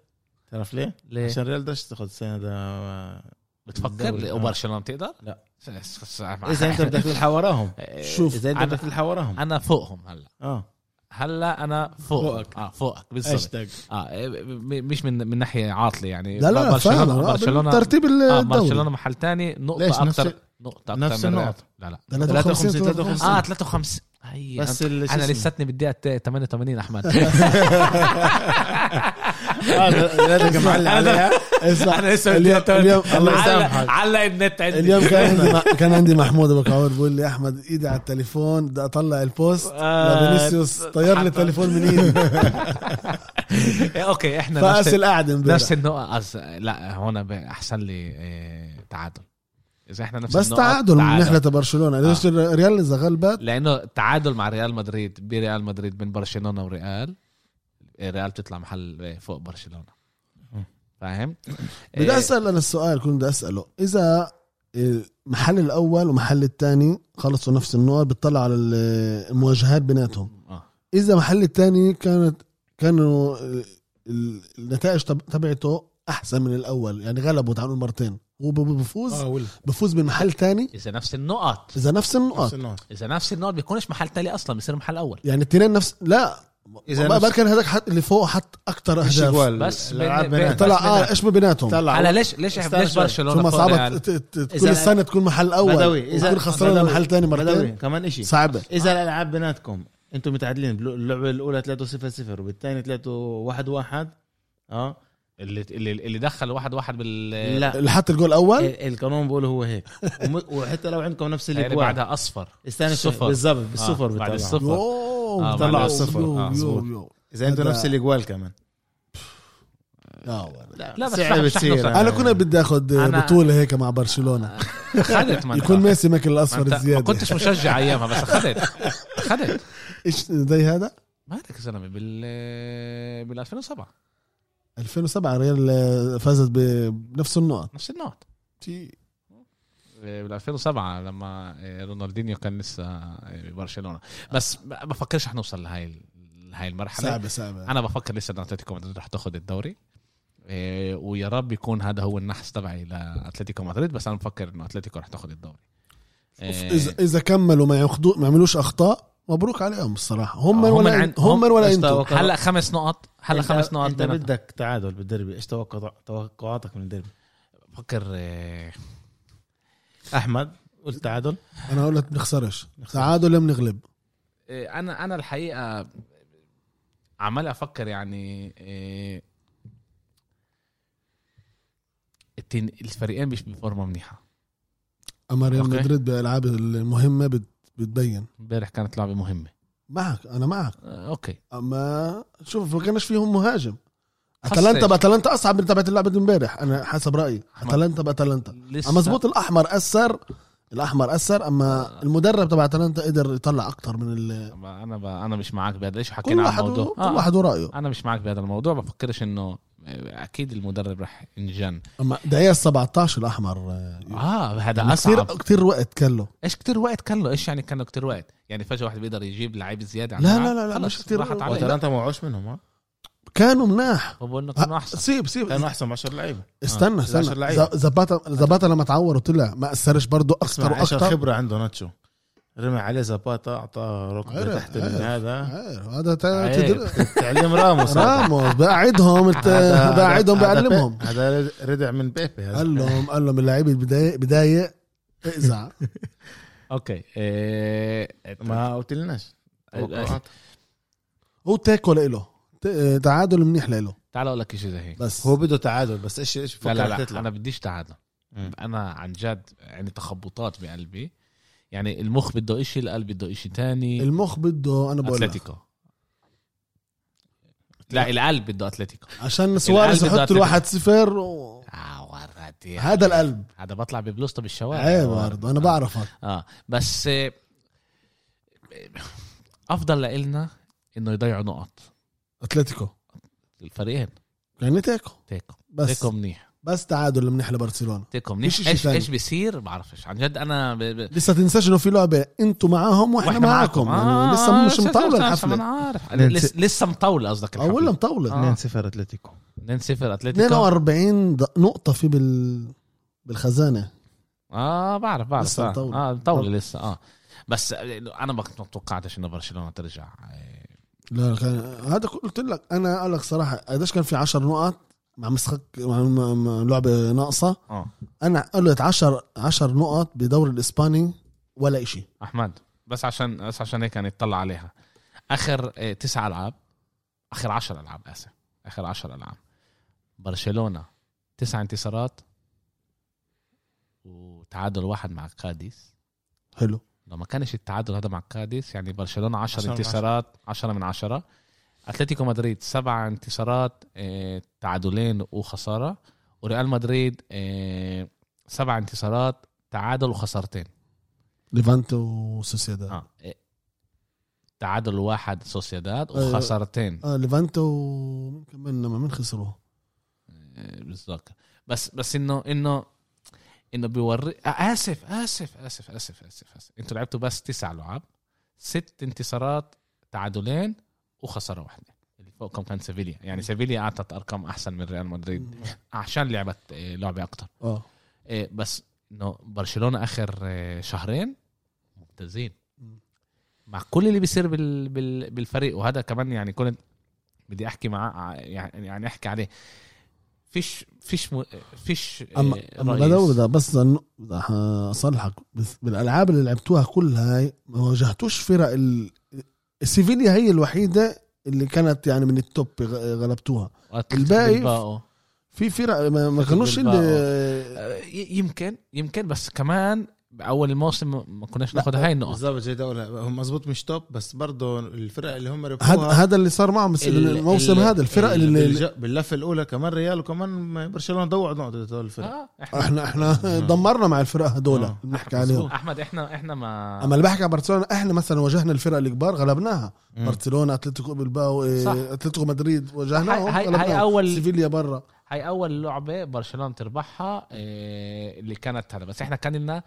C: تعرف ليه؟
A: ليه
C: عشان ريال بدهاش تاخذ السنه ده
A: إيه. بتفكر
C: بالدوري.
A: لي
C: آه.
A: وبرشلونه بتقدر؟
C: لا.
A: س- س- إيه، س- مع-
C: اذا انت آه. بدك تلحق وراهم
B: شوف،
C: اذا انت
A: أنا-
C: بدك تلحق وراهم
A: انا فوقهم هلا
C: اه
A: هلا انا فوقك
C: فوقك.
A: اه فوقك بالضبط
C: هاشتاج
A: اه إيه، م- مش من من ناحيه عاطله يعني
B: لا لا فاهم
A: برشلونه
B: آه،
A: برشلونه
B: ترتيب
A: اه
B: الدوري
A: برشلونه محل تاني نقطه
C: ليش؟ نفس-
A: اكثر نقطه اكثر
C: نفس
A: من ريال.
C: النقط.
A: لا لا
B: 53
C: 53
A: اه 53 هي
C: بس ال- شو
A: انا
C: اسمه؟
A: أيوة. لساتني بالدقيقه 88 احمد انا
C: آه، لا تلقى معلق عليها
B: اسمع
A: لسه
B: اليوم-
A: بالدقيقه
B: اليوم-
A: 88
B: الله
A: علق-
C: يسامحك.
A: علق النت عندي
B: اليوم كان عندي مع- كان عندي محمود ابو كعور بيقول لي احمد ايدي على التليفون بدي اطلع البوست
A: آه،
B: لفينيسيوس طير لي
A: حتى-
B: التليفون من ايدي
A: اوكي احنا
B: فاس
A: نفس
B: القعده
A: نفس
B: امبارح
A: النقط أز- لا هون ب- احسن لي آه، تعادل اذا احنا نفس
B: بس
A: النقط،
B: تعادل من ناحيه برشلونه ليش
A: آه.
B: الريال اذا غلبت
A: لانه التعادل مع ريال مدريد بريال مدريد بين برشلونه وريال ريال بتطلع محل آه، فوق برشلونه فاهم؟
B: بدي
A: آه،
B: اسال انا السؤال كنت بدي اساله اذا المحل الاول ومحل الثاني خلصوا نفس النقط بتطلع على المواجهات بيناتهم
A: آه.
B: اذا محل الثاني كانت كانوا ال- النتائج تب- تبعته احسن من الاول يعني غلبه تعالوا مرتين هو ب- بفوز
C: اه ولا
B: بفوز بمحل تاني
A: اذا نفس النقط
B: اذا نفس
C: نفس
B: النقط
C: النقط
A: اذا نفس النقط بيكونش محل تالي اصلا بيصير محل اول
B: يعني التنين نفس لا
C: إذا
B: ما
C: نفس-
B: كان هذاك حط اللي فوقه حط اكثر
C: مش
B: اهداف
C: جوال
A: بس
C: الألعاب
A: بين-
C: بينات.
A: بين-
B: طلع
A: بس بدنا-
B: اه ايش ما بيناتهم
C: طلع.
A: على ليش ليش
C: استنى
A: ليش
C: شوي.
A: برشلونه
B: ثم
A: فوق
B: صعبة
A: ريال؟
B: ت- ت- ت-
A: إذا-
B: كل سنة تكون محل أول
C: بدوي
B: وتكون خسران
C: بدوي.
B: محل تاني
C: بدوي.
B: مرتين
C: كمان اشي
B: صعبة
C: اذا الالعاب بيناتكم انتم متعادلين بلو- اللعبه الاولى 3 0 0 وبالثانيه 3 1 1 اه
A: اللي اللي اللي دخل واحد واحد بال
C: لا
B: اللي حط الجول الأول
C: ال- القانون بقول هو هيك وم- وحتى لو عندكم نفس
A: اللي
C: الاجوال
A: يعني بعدها اصفر
C: استنى شوي.
A: الصفر.
C: بالضبط بالصفر
A: آه، بعد
C: بتطلعوا.
A: الصفر.
B: يوه،
A: آه،
B: طلعوا
A: بعد
C: الصفر.
B: يوه،
A: آه،
B: يوه،
A: مظبوط.
B: يوه.
C: اذا انتم
B: هذا-
C: نفس الاجوال كمان
B: آه، والله.
A: لا، بس
C: صعب
A: شحنوا-
C: بتصير.
A: شحنوا.
B: أنا كنا بدي آخذ
A: أنا-
B: بطولة هيك مع برشلونة
A: خدت ما أنت-
B: يكون ميسي ماكل
A: ما
B: الأصفر
A: أنت- ما
B: الزيادة
A: كنتش مشجع ايامها بس اخذت اخذت
B: إيش زي هذا
A: مالك يا زلمه بال بال 2007
B: 2007 ريال آه، فازت بنفس النقط
A: نفس النقط بال 2007 لما آه، رونالدينيو كان لسه ببرشلونه بس ما بفكرش حنوصل لهي لهي المرحله
B: صعبة صعبة
A: انا بفكر لسه ان اتلتيكو مدريد رح تاخذ الدوري إيه، ويا رب يكون هذا هو النحس تبعي لاتلتيكو مدريد بس انا بفكر انه اتلتيكو رح تاخذ الدوري إيه،
B: إذا إذا كملوا ما ياخدوا ما يعملوش أخطاء مبروك عليهم الصراحة هم
A: آه، هم من
B: ولا
A: عند-
B: إن- هم
A: هم-
B: ولا
C: بس
B: أنتم
C: توقع-
A: هلا خمس نقط هلا
C: أنت-
A: خمس نقط
C: انت
A: بيننا.
C: بدك تعادل بالدربي ايش توقع توقعاتك من الدربي
A: بفكر إيه،
C: احمد قلت تعادل
B: أنا قلت بنخسرش تعادل لم نغلب
A: إيه، انا انا الحقيقه عمال افكر يعني إيه، التن- الفريقين مش بفورمه منيحه
B: اما ريال
A: أوكي.
B: مدريد بالالعاب المهمه بت- بتبين
A: امبارح كانت لعبه مهمه
B: معك انا معك
A: آه، اوكي
B: اما شوف ما كانش فيهم مهاجم
A: خصش.
B: اتلانتا باتلانتا اصعب من تبعت اللعبه امبارح انا حسب رايي
A: أحمد.
B: اتلانتا باتلانتا
A: لسه
B: اما مزبوط الاحمر اثر الاحمر اثر اما
C: آه.
B: المدرب تبع اتلانتا قدر يطلع اكتر من ال...
A: انا ب... انا مش معاك بهذا ليش
B: كل
A: حكينا عن
B: واحد
A: الموضوع آه،
B: و...
C: آه.
B: كل واحد ورايه
A: انا مش معك بهذا الموضوع بفكرش انه اكيد المدرب راح ينجن
B: اما دقيقه 17 الاحمر
A: اه هذا
B: آه. كثير
A: اصعب
B: كثير وقت كان له
A: ايش كتير وقت كان له ايش يعني كان له كتير وقت يعني فجاه واحد بيقدر يجيب لعيب زياده عن
B: لا-
A: الملعب؟
B: لا- لا- لا،
A: خلص،
B: مش كتير
A: راحت
B: وقت. آه،
A: عليه
B: لا.
C: اتلانتا ما وقعوش منهم آه؟ ها
B: كانوا مناح
A: هو بقول لك انه احسن
B: سيب سيب
C: كانوا احسن ب 10 لعيبه
B: استنى
C: آه. العشر
B: استنى
C: لعيبة.
B: ز- زباتا زباتا لما تعور وطلع ما اثرش برضه
C: اسمع
B: اكثر
C: ايش
B: واكثر
C: الخبره عنده ناتشو رمى عليه زباطا اعطاه ركبه
B: عرف-
C: تحت
B: عرف.
C: هذا
B: عارف، آه، هذا تا-
C: عيب.
B: تدر-
C: تعليم راموس هذا.
B: راموس بقعدهم الت-
C: هذا- هذا-
B: بقعدهم
C: هذا بي-
B: بيعلمهم
C: هذا ردع من بيبي هذا
B: قال لهم قال لهم اللعيبه بدايق بدايق اقزع
A: اوكي إيه...
C: ما قلتلناش توقعات.
B: هو تاكو لإله ت- تعادل منيح لإله
A: تعال اقول لك شيء زي هيك
B: بس
C: هو بده تعادل بس ايش ايش
A: لا لا
C: فكرت
A: لا
C: تطلع؟
A: انا بديش تعادل
C: مم.
A: انا عن جد يعني تخبطات بقلبي يعني المخ بده إشي القلب بده إشي تاني
B: المخ بده انا بقول لك
A: اتلتيكو لا القلب بده اتلتيكو
B: عشان سواريز
A: القلب
B: يحط
A: بده
B: الواحد صفر و-
A: اه وردي
B: هذا القلب
A: هذا بطلع ببلوزته بالشوارع
B: عيب أيوة، برضه انا
A: آه.
B: بعرفك
A: اه بس آه، افضل لإلنا انه يضيعوا نقط
B: اتلتيكو
A: الفريقين
B: يعني تاكو
A: تيكو
B: بس
A: تيكو منيح
B: بس تعادل منيح لبرشلونه
A: تيكو منيح
B: فيش إشي
A: ايش
B: تاني.
A: ايش بيصير بعرفش عن جد انا ب... ب...
B: لسه تنساش انه في لعبه انتوا معاهم واحنا, معاكم
A: آه،
B: يعني لسه مش مطوله
A: انا
B: الحفله
A: عارف
C: ننسى.
A: لس- لسه مطوله قصدك
B: او ولا
A: الحفله
B: مطوله
A: آه.
C: 2-0 اتلتيكو
A: 2 0 اتلتيكو
B: 42 د- نقطة في بال بالخزانة
A: اه بعرف بعرف
B: لسه
A: لسه
B: مطولة.
A: اه مطوله لسه اه بس انا ما كنت ما توقعتش انه برشلونه ترجع
B: لا كان هذا كل- قلت لك انا اقول لك صراحة قديش كان في 10 نقط مع مسخك مع مع- مع لعبة ناقصة
A: اه
B: انا قلت 10 10 نقط بدوري الاسباني ولا اشي
A: احمد بس عشان بس عشان هيك نطلع عليها اخر آه، تسع العاب اخر عشر العاب اسف اخر عشر العاب برشلونه تسع انتصارات وتعادل واحد مع كاديس
B: حلو
A: لو ما كانش التعادل هذا مع كاديس يعني برشلونه
C: عشرة
A: عشر
C: من
A: انتصارات عشرة من عشرة اتلتيكو مدريد سبع انتصارات آه، تعادلين وخساره وريال مدريد آه، سبع انتصارات تعادل وخسارتين
B: ليفانتو وسوسيداد آه.
A: اه إيه. تعادل واحد سوسيداد
B: أيوة.
A: وخسارتين
B: اه ليفانتو ومين كمان لما مين خسروه
A: آه، بالذات بس بس انه انه انه بيوري آه، اسف اسف اسف اسف اسف, آسف. انتوا لعبتوا بس تسع لعب ست انتصارات تعادلين وخساره واحده فوقهم كان سيفيليا يعني سيفيليا اعطت ارقام احسن من ريال مدريد عشان لعبت آه، لعبه اكتر
B: اه
A: آه، بس انه برشلونه اخر آه، شهرين ممتازين
B: مم.
A: مع كل اللي بيصير بال... بال... بالفريق وهذا كمان يعني كنت بدي احكي مع يعني يعني احكي عليه فيش فيش م... فيش آه،
B: اما اما
A: رئيس.
B: بدور ده بس لأنه- بدي اصلحك بس بالالعاب اللي لعبتوها كلها هاي ما واجهتوش فرق ال... سيفيليا هي الوحيده اللي كانت يعني من التوب غ- غلبتوها
A: وأتلتيك
B: الباقي
A: بالباو.
B: في فرق ما, ما كانوش اللي
A: آه، ي- يمكن يمكن بس كمان باول الموسم ما كناش ناخذ هاي النقط
C: بالظبط زي ده ولا- هم مظبوط مش توب بس برضه الفرق اللي هم
B: هذا
C: ربحوها
B: هذا اللي صار معهم بس
A: ال-
B: الموسم
A: ال-
B: هذا الفرق
A: ال-
B: اللي, اللي
C: بالج- باللفه الاولى كمان ريال وكمان برشلونه ضوعت نقطه هدول الفرق
A: آه، إحنا-
B: احنا احنا دمرنا مع الفرق هدول
C: آه.
B: اللي بنحكي
A: مظبوط. آه.
B: عليهم
A: احمد احنا احنا ما
B: اما اللي بحكي عن برشلونه احنا مثلا واجهنا الفرق الكبار غلبناها
C: مم.
B: برشلونه اتلتيكو بالباو إيه،
A: صح.
B: اتلتيكو مدريد واجهناهم
A: هاي- هاي- هاي
B: غلبناهم.
A: أول-
B: سيفيليا برا
A: هاي اول لعبه برشلونه تربحها إيه، اللي كانت هذا بس احنا كان لنا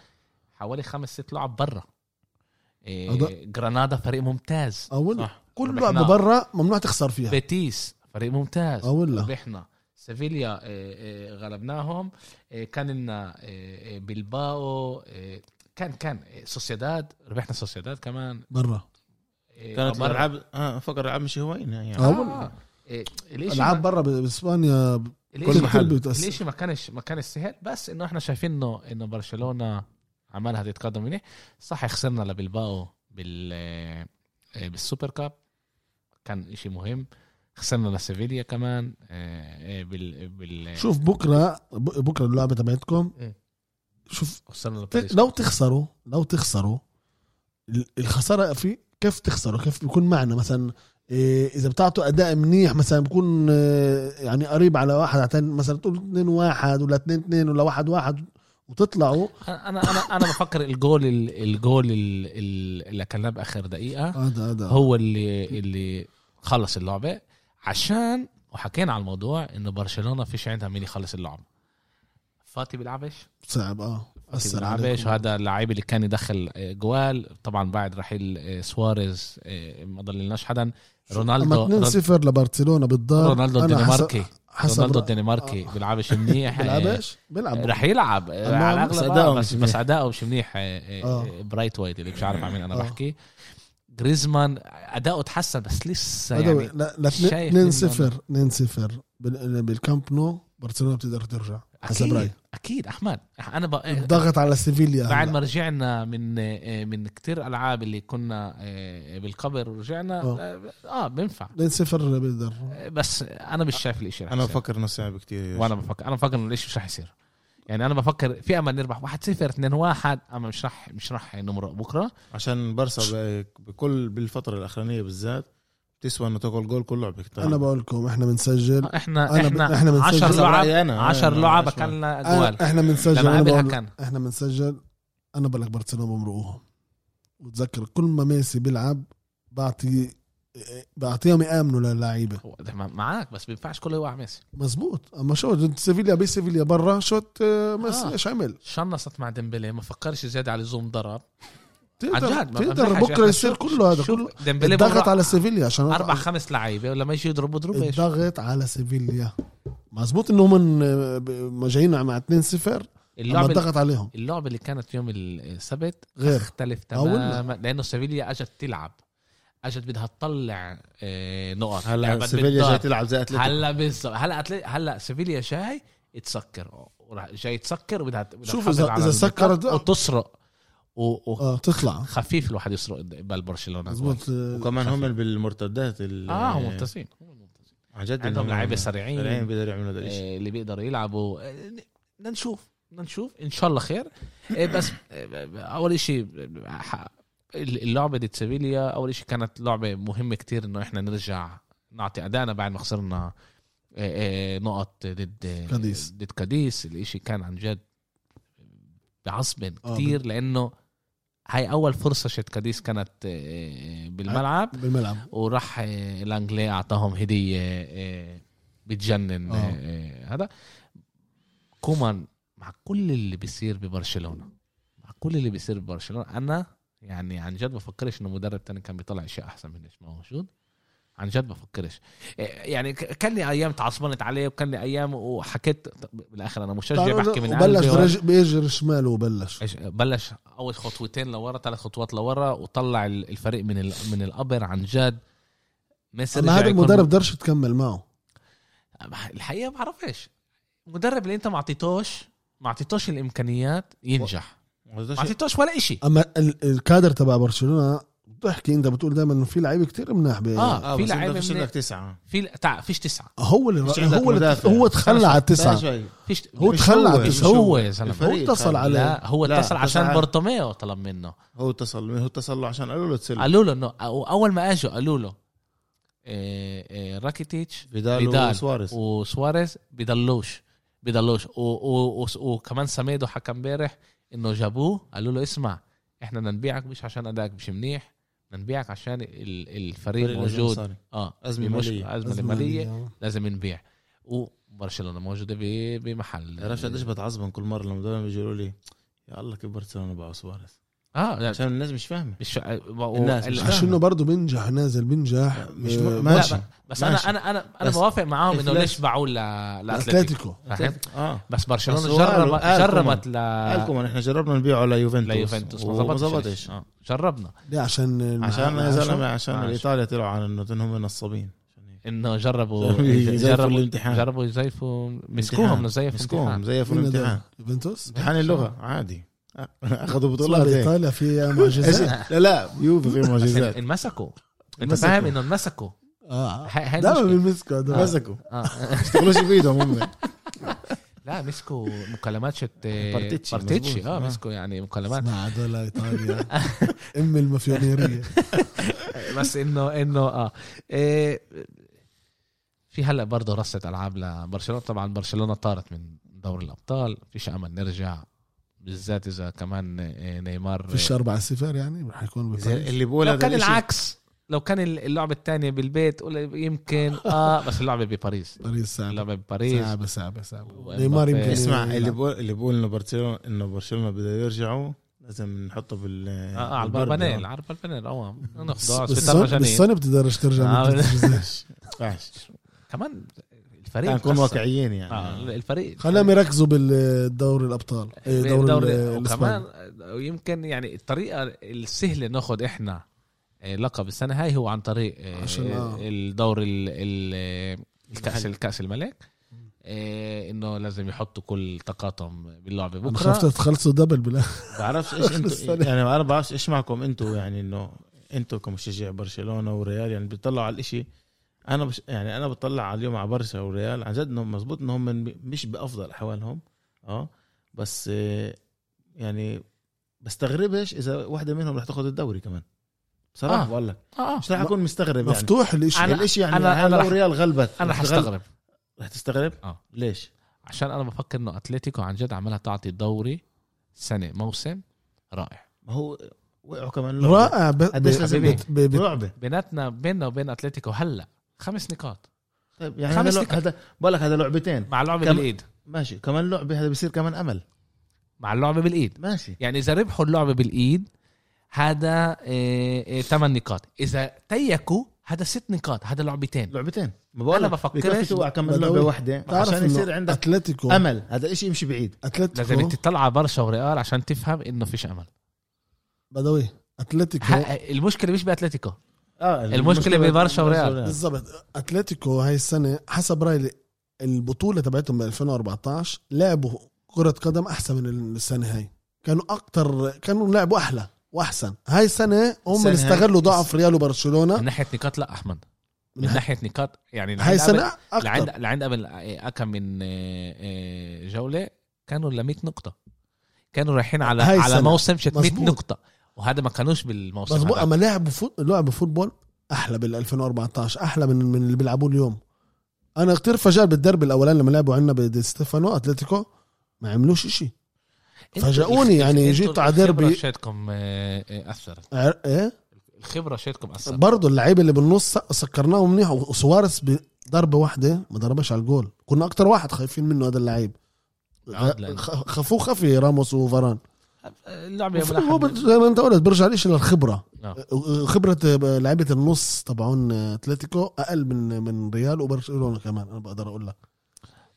A: حوالي خمس ست لعب برا إيه،
B: هذا-
A: جرانادا فريق ممتاز
B: اول
C: صح.
B: كل
A: ربحناها.
B: لعبه برا ممنوع تخسر فيها
A: بيتيس فريق ممتاز
B: اه والله.
A: ربحنا سيفيليا إيه، إيه، غلبناهم إيه، كان لنا إيه، إيه، بلباو إيه، كان كان إيه، سوسيداد ربحنا سوسيداد كمان
B: برا
A: إيه،
C: كانت
A: برا.
C: الالعاب اه فكر الالعاب مش هواين يعني
B: آه.
A: اه إيه، الإشي
B: العاب
A: ما-
B: برا ب- باسبانيا ب-
A: الإشي-
C: محل.
B: بتأثر.
A: الاشي ما كانش ما كانش سهل بس انه احنا شايفين انه انه برشلونه عمالها تتقدم منيح صح خسرنا لبلباو بال آه، بالسوبر كاب كان اشي مهم خسرنا لسيفيليا كمان آه، آه، بال بال
B: شوف بكره ب- بكره اللعبه تبعتكم
A: مم.
B: شوف
A: خسرنا
B: ت-
A: لباريس
B: لو تخسروا لو تخسروا ال- الخساره في كيف تخسروا كيف بيكون معنا مثلا إيه، اذا بتعطوا اداء منيح مثلا بكون آه، يعني قريب على واحد عتان مثلا تقول 2 1 ولا 2 2 ولا 1 1 وتطلعوا
A: انا انا انا انا بفكر الجول ال- الجول ال- ال- اللي كان باخر دقيقه
B: هذا هذا
A: هو اللي اللي خلص اللعبه عشان وحكينا على الموضوع انه برشلونه فيش عندها مين يخلص اللعبه فاتي بيلعبش
B: صعب اه
A: فاتي
B: اثر
A: بيلعبش
B: عليكم.
A: وهذا اللعيب اللي كان يدخل آه، جوال طبعا بعد رحيل آه، سواريز آه، ما ضللناش حدا
B: اما
A: رونالدو
B: 2 0 لبرشلونه بالدار
A: رونالدو
B: أنا حسب-
A: الدنماركي
B: حسب
A: رونالدو
B: رأ-
A: الدنماركي
B: آه.
A: بيلعبش منيح آه،
B: بيلعبش بيلعب
A: رح يلعب آه، على
C: بس
A: الاغلب آه،
C: أداؤه
A: بس
C: مش
A: بس
C: منيح.
A: اداؤه مش منيح آه، آه،
B: آه.
A: برايت وايد اللي مش عارف عن مين انا
B: آه.
A: بحكي جريزمان اداؤه تحسن بس لسه
B: هذا
A: يعني
B: لا لا
A: شايف
B: 2
A: إنه-
B: 0 2 0 بالكامب نو برشلونه بتقدر ترجع حسب
A: اكيد
B: رايي
A: اكيد احمد انا ب...
B: ضغط على سيفيليا
A: أيوة. بعد
B: هلأ.
A: ما رجعنا من آه، من كتير العاب اللي كنا آه، بالقبر ورجعنا اه, آه بينفع
B: 2 0 بيقدر
A: آه، بس انا مش شايف الاشي رح
C: انا
A: يصير.
C: بفكر انه صعب كثير يا
A: وانا بفكر انا بفكر انه الاشي مش رح يصير يعني انا بفكر في امل نربح 1-0 2-1 اما مش رح مش رح نمرق بكره
C: عشان برسا ب- بكل بالفتره الاخرانيه بالذات بتسوى انه تاكل جول كل لعبه
A: طيب.
C: كتير.
B: انا بقول لكم احنا بنسجل
A: احنا
B: أنا
A: احنا,
B: ب- إحنا بنسجل.
A: 10
C: حسب
A: لعب
C: رأيي أنا. آه،
A: 10
C: أنا
A: لعب
C: عشان-
A: اكلنا
B: أنا
A: اجوال
B: احنا بنسجل
A: آه، لما
B: أنا
A: قابلها
B: بقول-
A: كان.
B: احنا بنسجل انا بقول لك برشلونه بمرقوهم وتذكر كل ما ميسي بيلعب بعطي بعطيهم يامنوا للعيبه
A: هو ده مع- معاك بس بينفعش كله يوقع ميسي
B: مزبوط اما شوت سيفيليا بي سيفيليا برا شوت آه، ميسي
A: آه.
B: ايش عمل
A: شنصت مع ديمبلي ما فكرش زياده على زوم ضرب
B: تقدر
A: عن جد، ما
B: تقدر
A: بنفعش.
B: بكره
A: إحنا
B: يصير
A: شوف-
B: كله هذا
A: شوف
B: كله
A: ديمبلي
B: الضغط
A: بمرق
B: على سيفيليا عشان
A: اربع خمس لعيبه ولما يجي يضربوا ضربه إيش؟
B: الضغط على سيفيليا مزبوط انهم من- ما جايين مع 2 0 لما
A: اللعبه
B: الضغط عليهم
A: اللعبه اللي كانت يوم السبت
B: غير
A: تختلف
B: والله.
A: تماما لانه سيفيليا اجت تلعب اجت بدها تطلع آه، نقط لعبت
C: هلا سيفيليا
A: بالدار.
C: جاي تلعب زي اتلتيكو
A: هلا بالظبط هلا أتلي- هلا سيفيليا جاي تسكر وراح- جاي تسكر وبدها بدها
B: شوف
A: تحافظ
B: إذا-
A: على
B: إذا
A: النقاط
B: سكرت-
A: وتسرق و- و-
B: اه تطلع
A: خفيف الواحد يسرق قبال برشلونه
B: مزبوط
C: وكمان هم بالمرتدات ال-
A: اه هم ممتازين هم ممتازين.
C: عن
B: آه.
C: جد
A: عندهم
C: إنهم
A: لعيبه سريعين
C: سريعين بيقدروا يعملوا هذا الشيء
A: آه، اللي بيقدروا يلعبوا آه، بدنا نشوف بدنا نشوف ان شاء الله خير آه، بس آه، اول شيء اللعبه دي سيفيليا اول شيء كانت لعبه مهمه كتير انه احنا نرجع نعطي ادائنا بعد ما خسرنا آه، آه، نقط ضد
B: كاديس.
A: ضد كاديس الاشي كان عن جد بعصب
B: آه،
A: كتير لانه هاي اول فرصه شت كاديس كانت آه، آه، بالملعب
B: بالملعب
A: وراح آه، لانجلي اعطاهم هديه آه، بتجنن
B: آه.
A: آه، هذا كومان مع كل اللي بيصير ببرشلونه مع كل اللي بيصير ببرشلونه انا يعني عن جد بفكرش انه مدرب تاني كان بيطلع اشياء احسن من ايش موجود عن جد بفكرش إيه، يعني ك- كان لي ايام تعصبنت عليه وكان لي ايام وحكيت طب بالاخر انا مشجع بحكي من إيه،
B: طيب، وبلش
A: قلبي
B: درج بيجر شماله وبلش
A: إيش- بلش اول خطوتين لورا ثلاث خطوات لورا وطلع ال- الفريق من ال- من القبر عن جد ميسي
B: اما
A: رجع
B: هذا
A: يكون-
B: المدرب درش تكمل معه
A: الحقيقه بعرفش مدرب اللي انت ما اعطيتوش ما اعطيتوش الامكانيات ينجح ما اعطيتوش ولا إشي
B: اما ال- الكادر تبع برشلونه بتحكي انت بتقول دائما انه في لعيبه كتير مناح ب-
A: آه. في
C: في لعيبه
A: لعيبة
C: مش
A: من-
C: عندك تسعه
A: في تع... فيش تسعه
B: هو اللي
C: مش عندك
B: هو اللي
C: مدافع.
B: هو تخلى على التسعه
C: لا شيء.
A: فيش
B: هو
C: مش
B: تخلى
C: هو،
B: على
A: مش
B: التسعه
A: هو يا زلمه
B: هو
C: الفريق
B: اتصل
C: خلى-
B: عليه
A: لا هو
C: لا،
A: اتصل عشان
C: اتصل-
A: بورتوميو طلب منه
C: هو اتصل هو اتصل له عشان قالوا له تسلم
A: قالوا له انه أو- اول ما اجوا قالوا له إيه إيه راكيتيتش
C: فيدال
A: فيدال.
C: وسواريز
A: وسواريز بضلوش بضلوش و... و... و... وكمان سميدو حكى امبارح انه جابوه قالوا له اسمع احنا بدنا نبيعك مش عشان ادائك مش منيح بدنا نبيعك عشان ال... الفريق موجود اه
C: أزمة
A: بمش-
C: مالية.
A: ازمه ماليه لازم نبيع وبرشلونه موجوده ب... بمحل
C: عرفت قديش بتعصبن كل مره لما دايما بيجوا يقولوا لي يا الله كبرت انا باعوا سواريز
A: اه لا،
C: عشان الناس مش فاهمه
A: مش و-
C: الناس مش
A: ال- آه،
B: عشان انه برضه بينجح نازل بينجح
C: مش
B: آه،
C: م-
A: لا،
C: ماشي.
A: ب- بس
C: ماشي.
A: انا انا انا انا
C: بس
A: بوافق معاهم انه
C: إفلاس.
A: ليش باعوا ل- لاتلتيكو
B: اتلتيكو
A: فاهم؟
C: اه
A: بس
C: بس
A: برشلونه
C: هو
A: جربت
C: قالوا- قال
A: جربت
C: قال
A: ل
C: لكم احنا جربنا نبيعه ليوفنتوس
A: ليوفنتوس
C: وما
A: آه. ما
C: ظبطش
A: ظبطش آه، جربنا
B: ليه عشان
C: عشان يا زلمه عشان
A: عشان.
C: الايطاليا طلعوا على انه انهم منصبين عشان هيك.
A: انه جربوا
C: جربوا يزيفوا
A: جربوا
C: الامتحان.
A: جربوا يزيفوا مسكوهم نزيف
C: مسكوهم
A: مسكوهم
C: زي في الامتحان
B: يوفنتوس
C: امتحان اللغه عادي أ- اخذوا بطولات هيك
B: ايطاليا في معجزات
C: إيش- لا لا يوفي في معجزات
A: انمسكوا انت
C: انمسكوا.
A: فاهم انه انمسكوا
B: اه
A: هاي- هاي
B: دائما
A: المشكلة.
B: بيمسكوا هدول. بس
C: مسكوا
A: آه.
C: اشتغلوش بايدهم هم
A: لا مسكوا مكالمات شت آه،
C: بارتيتشي،
A: بارتيتشي
C: مزبوط.
A: اه
C: آه.
A: مسكوا يعني مكالمات
B: مع هدول ايطاليا ام المافيونيريه
A: بس انه انه اه إيه، في هلا برضه رصة العاب لبرشلونه طبعا برشلونه طارت من دوري الابطال فيش امل نرجع بالذات اذا كمان إيه، نيمار
B: فيش 4 0 يعني رح يكون بباريس.
C: طيب. اللي بقول
A: لو
C: هذا
A: كان
C: الاشي-
A: العكس لو كان اللعبه الثانيه بالبيت قول يمكن اه بس اللعبه بباريس
B: باريس صعبة
A: اللعبه بباريس
B: صعبة صعبة صعبة
A: وإمبابي.
B: نيمار يمكن
C: اسمع
A: إيه،
B: يلعب.
C: اللي بقول اللي بقول انه برشلونه انه برشلونه بده يرجعوا لازم نحطه بال
A: آه، آه على
C: بالبرد.
A: البربانيل على البربانيل اه
B: يعني بس-
A: ناخذ
B: بس السنة- بس السنة بتقدرش ترجع
A: آه.
B: من تحت الجزاء.
C: ينفعش.
A: كمان الفريق
C: نكون
A: مكسر.
C: واقعيين
A: آه،
C: يعني
A: الفريق آه،
B: خليهم يركزوا بالدوري الابطال إيه، دوري
A: دوري
B: ال-
A: وكمان
B: الاسباني
A: يمكن يعني الطريقه السهله ناخد احنا آه، لقب السنه هاي هو عن طريق آه،
B: عشان، آه.
A: الدور ال- ال- الكاس
C: المحلي.
A: الكاس الملك آه، انه لازم يحطوا كل طاقاتهم باللعبه
B: أنا
A: بكره
B: خفت تخلصوا دبل بالاخر
C: بعرفش ايش انتوا
B: السنة.
C: يعني انا بعرفش ايش معكم انتوا يعني انه انتوا كمشجع برشلونه وريال يعني بتطلعوا على الاشي انا بش يعني انا بطلع على اليوم على برشا وريال عن جد انهم مزبوط انهم من مش بافضل احوالهم اه بس آه، يعني بستغربش اذا واحده منهم رح تاخذ الدوري كمان
A: آه.
C: بصراحه آه. بقول لك
A: اه
C: مش رح اكون مستغرب يعني
B: مفتوح الاشي
A: أنا-
C: الاشي يعني
A: أنا-
C: أنا
A: أنا
C: لو
A: رح-
C: ريال غلبت
A: انا
C: رح تغلب-
A: حستغرب
C: رح تستغرب؟
A: آه.
C: ليش؟
A: عشان انا بفكر انه اتلتيكو عن جد عمالها تعطي الدوري سنه موسم رائع
C: ما هو وقعوا كمان لعبة.
B: رائع ب-
C: قديش
B: ب-
C: لازم
B: ب- ب- ب-
C: لعبه
A: بيناتنا بيننا وبين اتلتيكو هلا خمس نقاط
C: طيب يعني
A: خمس
C: هذا لع-
A: دقايق.
C: هذا بقول لك هذا لعبتين
A: مع اللعبه
C: كم-
A: بالايد
C: ماشي كمان لعبه هذا بصير كمان امل
A: مع اللعبه بالايد
C: ماشي
A: يعني اذا ربحوا اللعبه بالايد هذا إيه، إيه، ثمان نقاط اذا تيكوا هذا ست نقاط هذا لعبتين
C: لعبتين ما بقول
A: أنا
C: لك،
A: بفكرش.
C: بكفي توقع كمان
B: بدوي.
C: لعبه واحده
B: تعرف
C: عشان
B: إنه
C: يصير عندك
B: اتلتيكو
C: امل هذا الاشي يمشي بعيد
A: لازم
B: اتلتيكو
A: انت تطلع على برشا وريال عشان تفهم انه فيش امل
B: بدوي اتلتيكو
A: ح- المشكله مش باتلتيكو
C: اه
B: آه،
A: المشكلة ببرشا وريال.
B: بالضبط اتلتيكو هاي السنه حسب رايي البطوله تبعتهم ب 2014 لعبوا كره قدم احسن من السنه هاي كانوا اكثر كانوا لعبوا احلى واحسن هاي السنه هم
C: السنة
B: اللي
C: هاي-
B: استغلوا ضعف ريال وبرشلونه
A: من ناحيه نقاط لا احمد من
B: من
A: ناحيه نقاط يعني
B: هاي
A: لعند قبل-
B: السنه
A: لعند
B: اكثر
A: لعند قبل إيه، كم من إيه، إيه، جوله كانوا ل 100 نقطه كانوا رايحين على
B: هاي
A: على
B: السنة.
A: موسم شت 100
B: مظبوط.
A: نقطه وهذا ما كانوش بالموسم
B: بس بقى
A: هذا.
B: اما لعبوا فوت... لعبوا فوتبول احلى بال 2014 احلى من من اللي بيلعبوه اليوم انا كثير فجأت بالدرب الاولاني لما لعبوا عندنا بدي ستيفانو اتلتيكو ما عملوش إشي
A: انتوا-
B: فاجئوني، يعني
A: انتوا
B: جيتوا على
A: الخبرة
B: ديربي.
A: شاتكم إيه، إيه، اثرت
B: عر- ايه
A: الخبره شاتكم اثرت
B: برضه اللعيبه اللي بالنص سكرناه منيح وسوارس بضربه واحده ما ضربش على الجول كنا اكتر واحد خايفين منه هذا اللعيب
A: عاد لعيب.
B: خ- خفوه خفي راموس وفاران
A: اللعبه
B: المفروض هو بت- زي ما انت قلت برجع ليش للخبره
A: آه.
B: خبره لعيبه آه، النص تبعون اتلتيكو اقل من من ريال وبرشلونه كمان انا بقدر اقول لك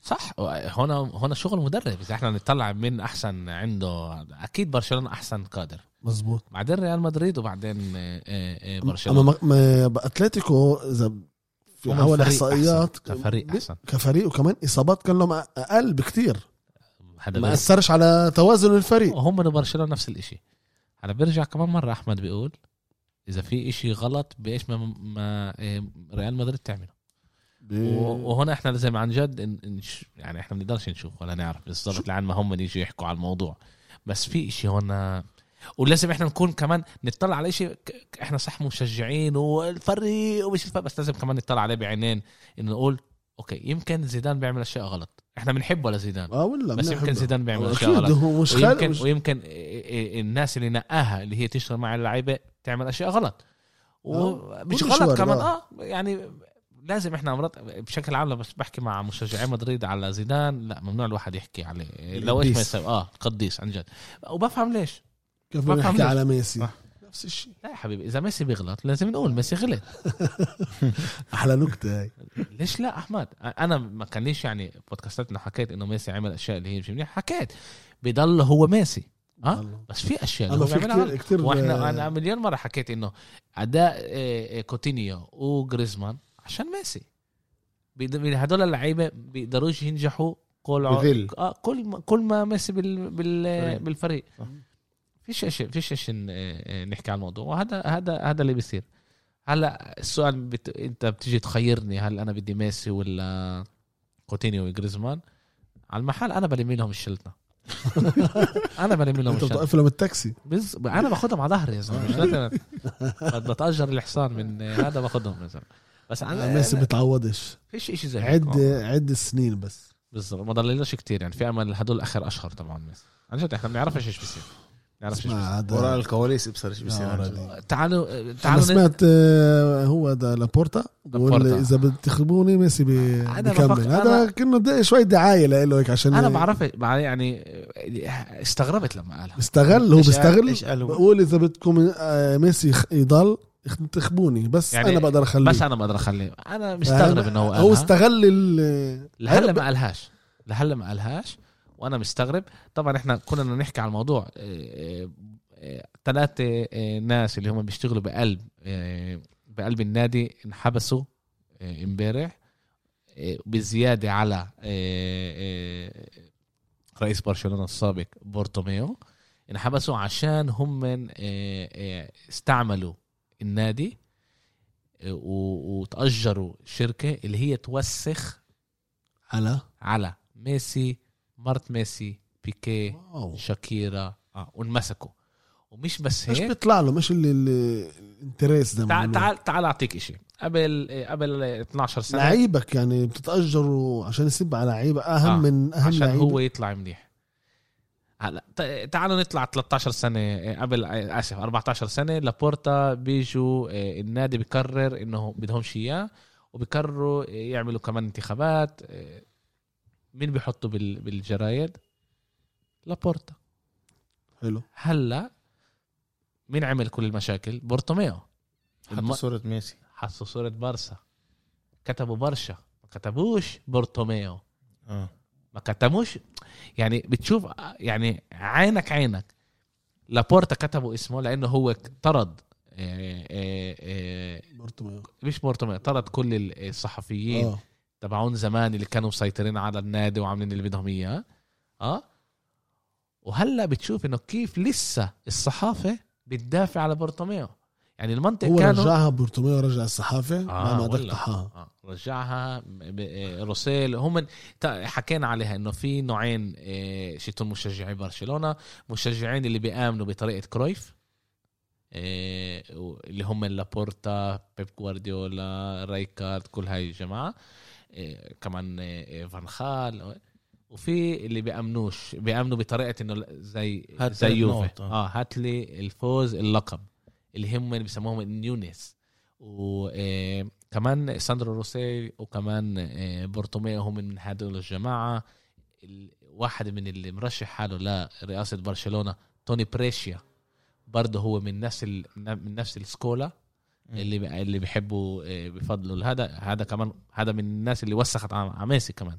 A: صح هنا هنا شغل مدرب اذا احنا نطلع مين احسن عنده اكيد برشلونه احسن قادر
B: مزبوط
A: بعدين ريال مدريد وبعدين آه، آه، آه، برشلونه
B: اما ما- ما- اتلتيكو اذا أمم- في
A: هم
B: حول
A: الفريق
B: احصائيات
A: أحسن. كفريق احسن
B: كفريق وكمان اصابات كان لهم اقل بكتير
A: هذا
B: ما
A: بيرجع.
B: اثرش على توازن الفريق
A: هم وبرشلونه نفس الاشي انا برجع كمان مره احمد بيقول اذا في اشي غلط بايش ما, ما آه، ريال مدريد تعمله
B: إيه.
A: و- وهنا احنا لازم عن جد ن- نش... يعني احنا بنقدرش نشوف ولا نعرف بالضبط لعن ما هم يجوا يحكوا على الموضوع بس في اشي هنا ولازم احنا نكون كمان نطلع على اشي ك- ك- احنا صح مشجعين والفريق ومش الفريق بس لازم كمان نطلع عليه بعينين انه نقول اوكي يمكن زيدان بيعمل اشياء غلط احنا بنحبه لزيدان
B: اه ولا
A: بس يمكن
B: بنحبه.
A: زيدان يعني بيعمل اشياء
B: اكيد
A: غلط
B: هو مش
A: ويمكن
B: خالق
A: ويمكن إيه إيه الناس اللي نقاها اللي هي تشتغل مع اللعيبه تعمل اشياء غلط ومش
B: كل
A: غلط
B: مشوار،
A: كمان
B: آه.
A: اه يعني لازم احنا مرات بشكل عام لما بحكي مع مشجعي مدريد على زيدان لا ممنوع الواحد يحكي عليه لو ايش ما
B: القديس.
A: يسوي اه قديس عن جد وبفهم ليش
B: كيف
A: ما
B: بنحكي
A: بفهمش.
B: على ميسي
C: آه.
B: نفس الشيء
A: لا يا حبيبي اذا ميسي بيغلط لازم نقول ميسي غلط
B: احلى نكته هاي
A: ليش لا احمد انا ما كانليش يعني بودكاستاتنا حكيت انه ميسي عمل اشياء اللي هي مش منيحه حكيت بضل هو ميسي اه
B: والله.
A: بس في اشياء اللي
B: اما
A: هو
B: في آه،
A: بيعملها غلط.
B: كثير كثير
C: آه،
A: واحنا انا مليون مره حكيت انه اداء آه، آه، كوتينيو وجريزمان عشان ميسي بيد- بي- هدول اللعيبه بيقدروش ينجحوا كل ع-
C: بذل.
A: آه، كل ما كل ما ميسي بال... بال...
C: فريق.
A: بالفريق
C: صح.
A: فيش شيء فيش شيء آه، نحكي عن الموضوع وهذا هذا هذا اللي بيصير هلا السؤال بت... انت بتيجي تخيرني هل انا بدي ميسي ولا كوتينيو وجريزمان على المحل انا بلم لهم الشلتنا انا بلم لهم
B: انت
A: الشلتنا
B: بتوقف لهم التاكسي
A: بز... انا باخدهم على ظهري يا زلمه مش لازم بد- بتاجر الحصان من هذا باخدهم يا زلمه بس انا
B: ميسي بتعوضش
A: فيش شيء زي هيك.
B: آه، عد
A: آه.
B: عد سنين بس
A: بالظبط ما ضللناش كتير يعني في امل هدول اخر اشهر طبعا ميسي عن جد احنا ما بنعرفش ايش بيصير ما بنعرفش ايش
B: اسمع
A: بيصير
B: عاد-
C: وراء الكواليس ابصر ايش
B: آه،
C: بيصير
B: وراء
C: عن جد.
B: ال-
A: تعالوا
B: انا
A: تعالوا
B: سمعت آه، هو ده لابورتا بقول
A: لابورتا.
B: اذا بتخربوني ميسي بي-
A: أنا
B: بيكمل
A: بفكر-
B: هذا كأنه ده شوي دعايه له هيك عشان
A: انا بعرف يعني استغربت لما قالها
B: استغل هو
C: إيش قال-
B: بيستغل
C: ايش قال هو؟
B: بقول اذا بدكم آه، ميسي يخ- يضل يخ- تخبوني بس
A: يعني
B: يعني انا بقدر اخليه
A: بس انا ما اقدر اخليه انا مستغرب انه هو
B: هو
A: قالها
B: استغل ال
A: لهلا ما قالهاش لهلا ما قالهاش وانا مستغرب طبعا احنا كنا بدنا نحكي على الموضوع آه، ثلاثه آه، ناس اللي هم بيشتغلوا بقلب آه، بقلب النادي انحبسوا آه، امبارح آه، بزياده على آه، آه، رئيس برشلونه السابق بورتوميو انحبسوا عشان هم آه، آه، استعملوا النادي آه، و- وتأجروا شركة اللي هي توسخ
B: على
A: على ميسي مارت ميسي بيكي
B: واو
A: شاكيرا آه وانمسكوا ومش بس
B: ايش
A: هيك
B: بيطلع له مش اللي اللي- الانتريس ده
A: تعال
B: تعال
A: تعال تعال اعطيك شيء قبل آه، قبل آه، 12 سنه
B: لعيبك يعني بتتاجروا عشان يسب على لعيبه اهم
A: آه،
B: آه. من اهم
A: عشان
B: لعيبه
A: هو يطلع منيح هلا تع- تعالوا نطلع 13 سنه آه، قبل آه، اسف 14 سنه لابورتا بيجوا آه، النادي بكرر انه بدهمش اياه وبكرروا آه، يعملوا كمان انتخابات آه، مين بيحطوا بال- بالجرايد لابورتا
B: حلو
A: هلا مين عمل كل المشاكل؟ بورتوميو
C: حطوا صوره ميسي
A: حطوا صورة بارسا كتبوا برشا ما كتبوش بورتوميو
C: اه
A: ما كتبوش يعني بتشوف يعني عينك عينك لابورتا كتبوا اسمه لانه هو طرد آه، آه، آه،
B: بورتو
A: مش بورتوميو طرد كل الصحفيين
B: اه
A: تبعون زمان اللي كانوا مسيطرين على النادي وعاملين اللي بدهم اياه اه وهلا بتشوف انه كيف لسه الصحافه بتدافع على بورتوميو يعني المنطق
B: هو
A: كانوا
B: رجعها بورتوميو رجع الصحافه
A: آه،
B: آه ما قدر
A: ولا.
B: طحاها
A: آه رجعها ب- ب- روسيل هم من- تا- حكينا عليها انه في نوعين آه، شتون مشجعي برشلونه مشجعين اللي بيآمنوا بطريقه كرويف آه، و- اللي هم لابورتا بيب جوارديولا رايكارد كل هاي الجماعه آه، كمان آه، آه، فان خال وفي اللي بيأمنوش بيأمنوا بطريقه انه ل- زي
C: هات
A: زي
C: ثلاث
A: يوفي
C: نقط، آه.
A: اه هات لي الفوز اللقب اللي هم اللي بيسموهم النيونيس وكمان ساندرو روسي وكمان آه، بورتوميو هم من هدول الجماعه ال- واحد من اللي مرشح حاله لرئاسه برشلونه توني بريشيا برضه هو من نفس ال... من نفس السكولا اللي اللي بيحبوا إيه، بيفضلوا هذا هذا كمان هذا من الناس اللي وسخت على على ميسي كمان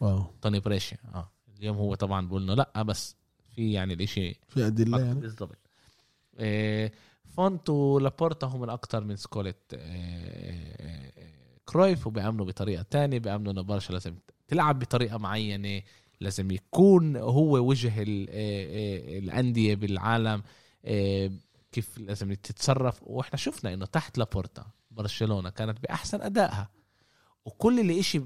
B: واو
A: توني بريشيا اه اليوم هو طبعا بقول له لا بس في يعني الاشي
B: في ادله يعني
A: بالضبط إيه، فونت ولابورتا هم الاكثر من سكولة إيه، كرويف وبيعملوا بطريقه تانية بيعملوا انه برشا لازم تلعب بطريقه معينه لازم يكون هو وجه ال- إيه، إيه، الانديه بالعالم إيه، كيف لازم تتصرف واحنا شفنا انه تحت لابورتا برشلونه كانت باحسن ادائها وكل اللي إشي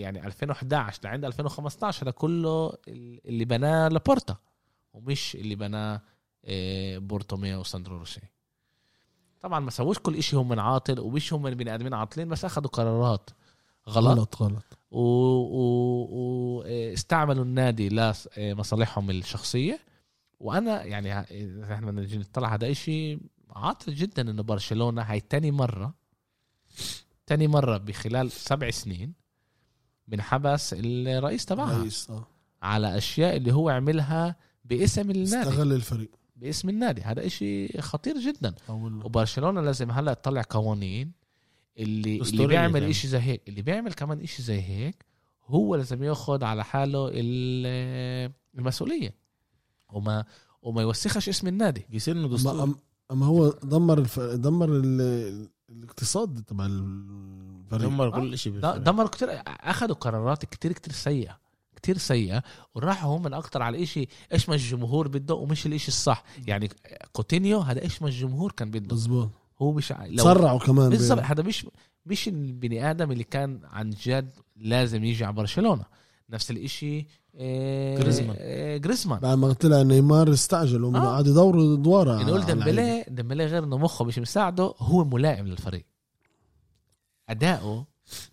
A: يعني 2011 لعند 2015 هذا كله اللي بناه لابورتا ومش اللي بناه إيه، بورتوميو وساندرو روسي طبعا ما سووش كل إشي هم من عاطل ومش هم من بني ادمين عاطلين بس اخذوا قرارات غلط
B: غلط غلط
A: واستعملوا النادي لمصالحهم الشخصيه وانا يعني ه- إذا احنا بدنا نجي نطلع هذا إشي عاطل جدا انه برشلونه هاي تاني مره تاني مره بخلال سبع سنين بنحبس الرئيس تبعها
B: رئيس اه
A: على اشياء اللي هو عملها باسم النادي
B: استغل الفريق
A: باسم النادي هذا إشي خطير جدا
B: اول
A: وبرشلونه لازم هلا تطلع قوانين اللي اللي
C: أسطورية
A: بيعمل
C: تعمل.
A: إشي زي هيك اللي بيعمل كمان إشي زي هيك هو لازم ياخد على حاله ال- المسؤوليه وما وما يوسخش اسم النادي
C: يصير انه
B: اما
C: دستور
B: أم- اما هو دمر الف... دمر ال... الاقتصاد تبع الفريق
C: دمر كل شيء
A: لا، دمروا كتير اخذوا قرارات كتير كتير سيئه كتير سيئه وراحوا هم اكتر على الاشي ايش ما الجمهور بده ومش الاشي الصح يعني كوتينيو هذا ايش ما الجمهور كان بده
B: مظبوط
A: هو مش ع- لو-
B: تسرعوا كمان ب-
A: بالظبط هذا مش مش البني ادم اللي كان عن جد لازم يجي على برشلونه نفس الاشي آه،
C: جريزمان.
A: آه، جريزمان
B: بعد ما طلع نيمار استعجل وما
A: آه.
B: قعد يدوروا دواره
A: يعني قول
B: على- على اللعيبة.
A: ديمبلي ديمبلي غير انه مخه مش مساعده هو ملائم للفريق اداؤه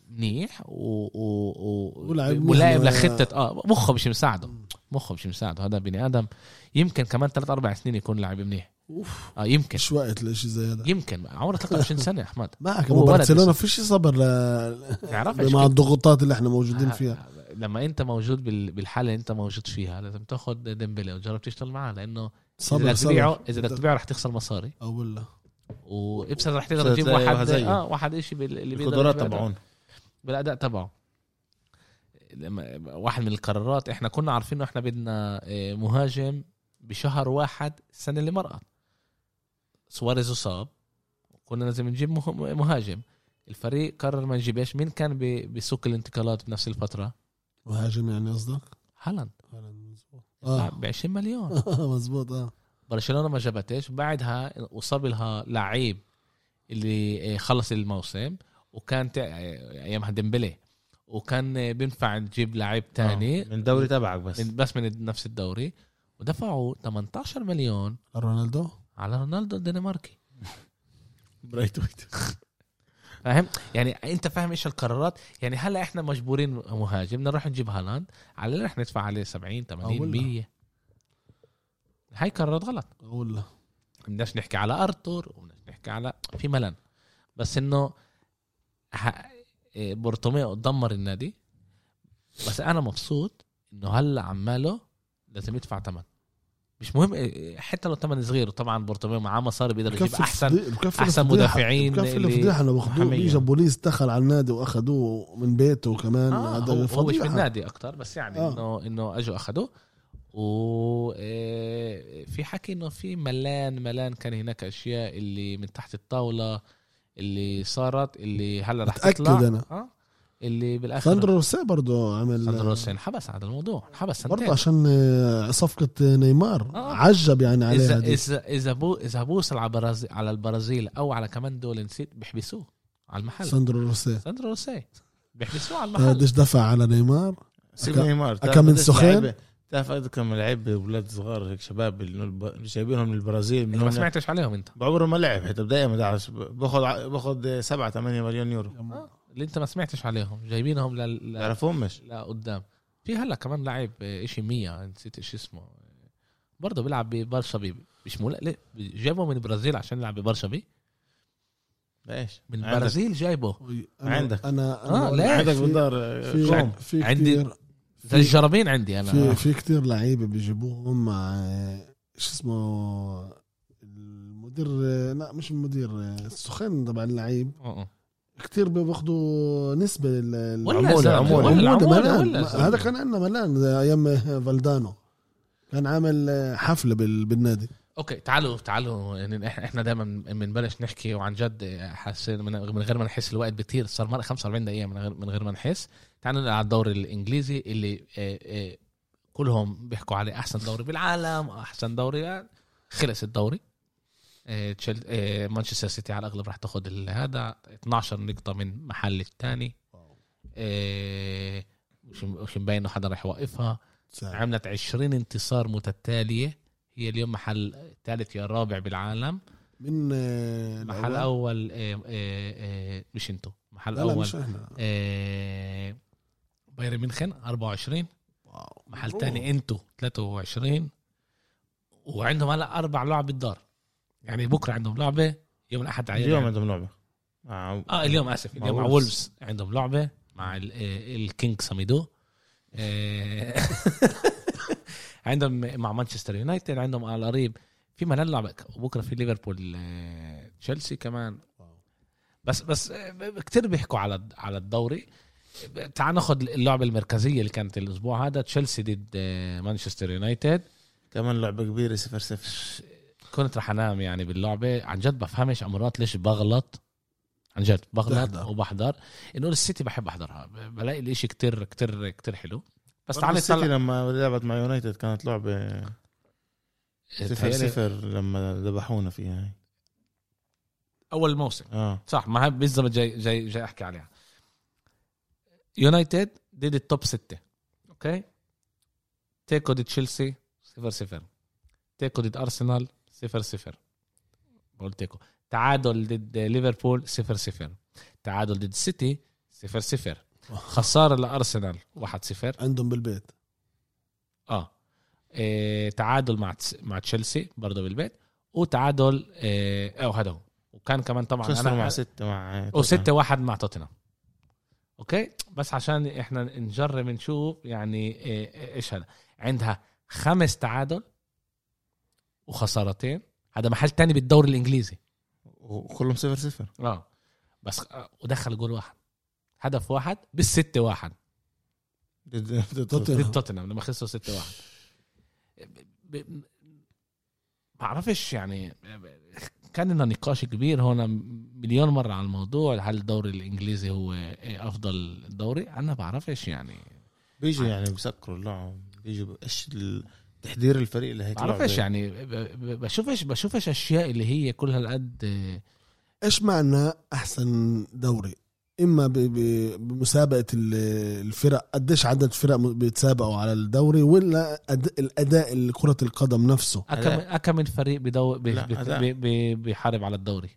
A: منيح و, و... و...
B: ولاعب منيح.
A: ملائم
B: ما-
A: لخطه اه مخه مش مساعده مخه مش مساعده هذا بني ادم يمكن كمان ثلاث اربع سنين يكون لاعب منيح
B: اوف
A: اه يمكن
B: مش وقت لشيء زي هذا
A: يمكن عمره 23 سنه يا احمد
B: معك
A: هو
B: أما
A: ولد
B: برشلونه
A: لسه.
B: فيش صبر ل...
A: بتعرفش
B: مع الضغوطات اللي احنا موجودين فيها
A: آه، لما انت موجود بال- بالحاله اللي انت موجود فيها لازم تاخد ديمبلي وجرب تشتغل معاه لانه اذا
B: صبر
A: بدك تبيعه
B: صبر
A: اذا بدك تبيعه رح تخسر مصاري
B: اقول له
A: وابسط رح تقدر
C: صار
A: تجيب
C: زي واحد
A: واحد
C: زيه.
A: اه واحد شيء اللي بيقدر
C: القدرات
A: بالأداء-
C: تبعون
A: بالاداء تبعه لما واحد من القرارات احنا كنا عارفين انه احنا بدنا آه، مهاجم بشهر واحد السنه اللي مرقت سواريز اصاب كنا لازم نجيب مه- مهاجم الفريق قرر ما نجيبش مين كان ب- بسوق الانتقالات بنفس الفتره
B: مهاجم يعني قصدك؟
A: هالاند
B: اه
A: ب 20 مليون
B: مزبوط اه
A: برشلونه ما جابتش بعدها اصاب لها لعيب اللي آه، خلص الموسم وكان تع- آه، ايامها ديمبلي وكان آه، بينفع تجيب لعيب
C: تاني
A: تاني
C: آه. من دوري تبعك بس
A: يعني من بس من نفس الدوري ودفعوا 18 مليون
B: رونالدو
A: على رونالدو الدنماركي
C: برايت ويت
A: فاهم يعني انت فاهم ايش القرارات يعني هلا احنا مجبورين مهاجم بدنا نروح نجيب هالاند على اللي رح ندفع عليه 70 80
B: أقول لك.
A: 100 هاي قرارات غلط
B: اقول له
A: بدناش نحكي على ارتور وبدناش نحكي على في ملل بس انه ه... إيه، بورتوميو دمر النادي بس انا مبسوط انه هلا عماله لازم يدفع ثمن مش مهم إيه، حتى لو ثمن صغير وطبعا بورتوميو معاه مصاري بيقدر يجيب
B: بكفي
A: احسن
B: الفضي- بكفي
A: احسن
B: الفضيحة-
A: مدافعين
B: بكفي
A: اللي-
B: الفضيحه لو اخذوه
C: محامية.
B: اجى بوليس دخل على النادي واخذوه من بيته كمان
A: آه هو-
B: هذا
A: هو مش
B: فضيحه
A: بالنادي اكتر بس يعني
B: آه.
A: انه انه اجوا اخذوه و إيه، في حكي انه في ملان ملان كان هناك اشياء اللي من تحت الطاوله اللي صارت اللي هلا رح
B: متأكد
A: تطلع
B: أنا.
A: آه اللي بالاخر
B: ساندرو روسيه برضه عمل
A: ساندرو روسي انحبس على الموضوع انحبس
B: برضه
A: سنتين
B: عشان آه، صفقه آه، نيمار
A: آه.
B: عجب يعني عليها
A: اذا
B: دي.
A: اذا اذا بو اذا بوصل على البرازيل على البرازيل او على كمان دول نسيت بيحبسوه على المحل
B: ساندرو روسيه
A: ساندرو روسي بيحبسوه على المحل
B: قديش دفع على نيمار
C: سيب
B: أكا-
C: نيمار
B: أكا
C: تعرف
B: من
C: قديش
B: سخان؟
C: لعيبة- تعرف قد كم لعيبه اولاد صغار هيك شباب اللي الب- جايبينهم من البرازيل من
A: أنت ما
C: هون-
A: سمعتش عليهم انت
C: بعمره ما لعب حتى بدايه ما دعس باخذ ع- باخذ 7 8 مليون يورو
A: آه، اللي انت ما سمعتش عليهم جايبينهم لل... لل...
C: تعرفهم مش
A: لقدام في هلا كمان لاعب آه، اشي مية نسيت ايش اسمه آه، برضه بيلعب ببار شبيب مش مول... ليه؟ جابه من البرازيل عشان يلعب ببار شبيب
C: ليش
A: من
C: عندك-
A: البرازيل جايبه
B: أنا-
C: عندك.
B: انا
A: آه،
B: أنا
A: لا،
C: عندك
B: في-
C: بالدار
B: في
C: كوم
B: في
A: عندي-
B: كتير
A: زي الجرابين عندي انا
B: في في كثير لعيبه بيجيبوهم مع آه، شو اسمه المدير آه، لا مش المدير آه، السخان تبع اللعيب
A: آه، آه.
B: كتير بياخذوا نسبه لل
A: ولا
D: العمولة،
A: زلمة،
D: العمولة.
A: ولا
B: عمودة
A: العمولة،
B: ملان
A: ولا
B: ما-
A: زلمة.
B: هذا كان عندنا ملان زي ايام فالدانو كان عامل حفله بال- بالنادي
A: اوكي تعالوا تعالوا يعني إح- احنا دايما بنبلش نحكي وعن جد حسينا من من غير ما نحس الوقت بيطير صار مرة 45 دقيقه من غير من غير ما نحس تعالوا نلعب على الدوري الانجليزي اللي آه، آه، كلهم بيحكوا عليه احسن دوري بالعالم احسن دوري خلص الدوري آه، تشيل- آه، مانشستر سيتي على الاغلب راح تاخد ال- هذا 12 نقطه من محل الثاني مش مش مبين إنه حدا راح يوقفها
B: ساعة.
A: عملت 20 انتصار متتاليه هي اليوم محل ثالث يا رابع بالعالم
B: من آه،
A: محل
B: الأول.
A: اول آه، آه، آه، مش انتو محل
B: لا لا
A: اول
B: مش احنا
A: آه، بايرن ميونخن 24
B: واو.
A: محل ثاني انتو 23 وعندهم هلا اربع لعب بالدار يعني بكره عندهم لعبه يوم الاحد عيان
C: اليوم عندهم لعبه مع
A: اه اليوم اسف
C: مع
A: اليوم مع
C: وولفز.
A: وولفز عندهم لعبه مع ال- آه، الكينج ساميدو آه، عندهم مع مانشستر يونايتد عندهم على القريب في ملل لعبه وبكره في ليفربول آه، تشيلسي كمان بس بس كثير بيحكوا على على الدوري تعال ناخذ اللعبه المركزيه اللي كانت الاسبوع هذا تشيلسي ضد آه، مانشستر يونايتد
C: كمان لعبه كبيره صفر صفر
A: كنت رح انام يعني باللعبه عن جد بفهمش امرات ليش بغلط عن جد بغلط
B: تحضر.
A: وبحضر انه السيتي بحب احضرها ب- بلاقي الاشي كتير كتير كتير حلو بس
C: بس
A: تعال
C: تعال
A: نطلع
C: لما لعبت مع يونايتد كانت لعبه صفر
A: تهيألي
C: صفر لما ذبحونا فيها هاي
A: اول موسم
C: اه
A: صح ما هي بالضبط جاي جاي جاي احكي عليها يونايتد ضد التوب ستة اوكي تيكو ضد تشيلسي 0 0 تيكو ضد ارسنال 0 0 بقول تيكو تعادل ضد ليفربول 0 0 تعادل ضد السيتي 0 0 خساره لارسنال 1 0
B: عندهم بالبيت
A: اه إيه، تعادل مع تس- مع تشيلسي برضه بالبيت وتعادل إيه، او هذا هو وكان كمان طبعا
C: خسروا مع ستة مع
A: وستة واحد مع توتنهام اوكي بس عشان احنا نجرب نشوف يعني إيه- إيه- ايش هذا عندها خمس تعادل وخسارتين هذا محل تاني بالدوري الانجليزي
C: وكلهم صفر صفر
A: اه بس آه، ودخل جول واحد هدف واحد بالستة واحد
C: ضد- ضد
B: توتنهام.
A: ضد توتنهام لما خسروا ستة واحد ب- ب- بعرفش يعني كان لنا نقاش كبير هون مليون مرة على الموضوع هل الدوري الإنجليزي هو أفضل دوري أنا بعرفش يعني
C: بيجوا يعني بيسكروا اللعب بيجوا ب- ايش ال- تحضير الفريق لهيك
A: بعرفش
C: لعبة.
A: يعني ب- ب- بشوفش بشوفش أشياء اللي هي كل هالقد
B: ايش معنى احسن دوري اما ب- ب- بمسابقه ال- الفرق قديش عدد فرق م- بيتسابقوا على الدوري ولا أد- الاداء اللي كره القدم نفسه
A: أكم
C: أداء.
A: أكم الفريق بدو ب-
C: لا،
A: بت-
C: أداء.
A: ب- ب- بيحارب على الدوري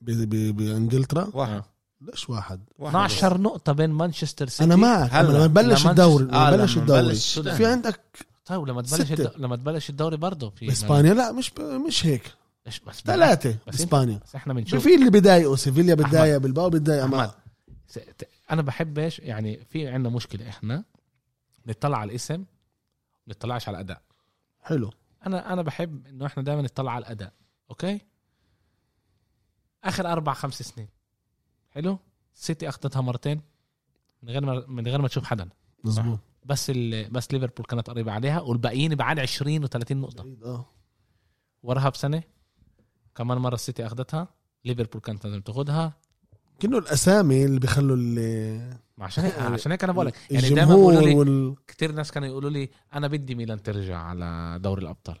B: ب- ب- بانجلترا
C: واحد
A: آه.
B: ليش واحد
C: واحد
A: 12 نقطة بين مانشستر سيتي
B: انا معك أما
C: هلا.
B: لما بلش
A: لما-
B: الدوري
C: آه،
B: لما بلش
C: لما
B: الدوري
C: نبلش-
A: الدوري.
B: في عندك
A: طيب لما تبلش
B: ستة.
A: الد- لما تبلش الدوري برضه في
B: اسبانيا لا مش ب- مش هيك
A: إيش بس
B: ثلاثه
A: بس
B: اسبانيا
A: بس احنا بنشوف
B: في إيه اللي بيضايقوا سيفيليا
A: أحمد.
B: بتضايق بالباو بتضايق
A: أحمد.
B: أما
A: س- ت- انا بحبش يعني في عندنا مشكله احنا نطلع على الاسم ما نطلعش على الاداء
B: حلو
A: انا انا بحب انه احنا دائما نطلع على الاداء اوكي اخر اربع خمس سنين حلو سيتي اخذتها مرتين من غير ما من غير ما تشوف حدا آه،
B: مظبوط
A: بس ال... بس ليفربول كانت قريبه عليها والباقيين بعد 20 و30 نقطه
B: بعيد، آه.
A: وراها بسنه كمان مره السيتي اخذتها ليفربول كانت لازم تاخذها
B: كأنه الاسامي اللي بيخلوا ال-
A: عشان هيك عشان هيك انا بقول لك يعني دائما بيقولوا
B: الجمهور
A: لي
B: وال
A: كتير ناس كانوا يقولوا لي انا بدي ميلان ترجع على دوري الابطال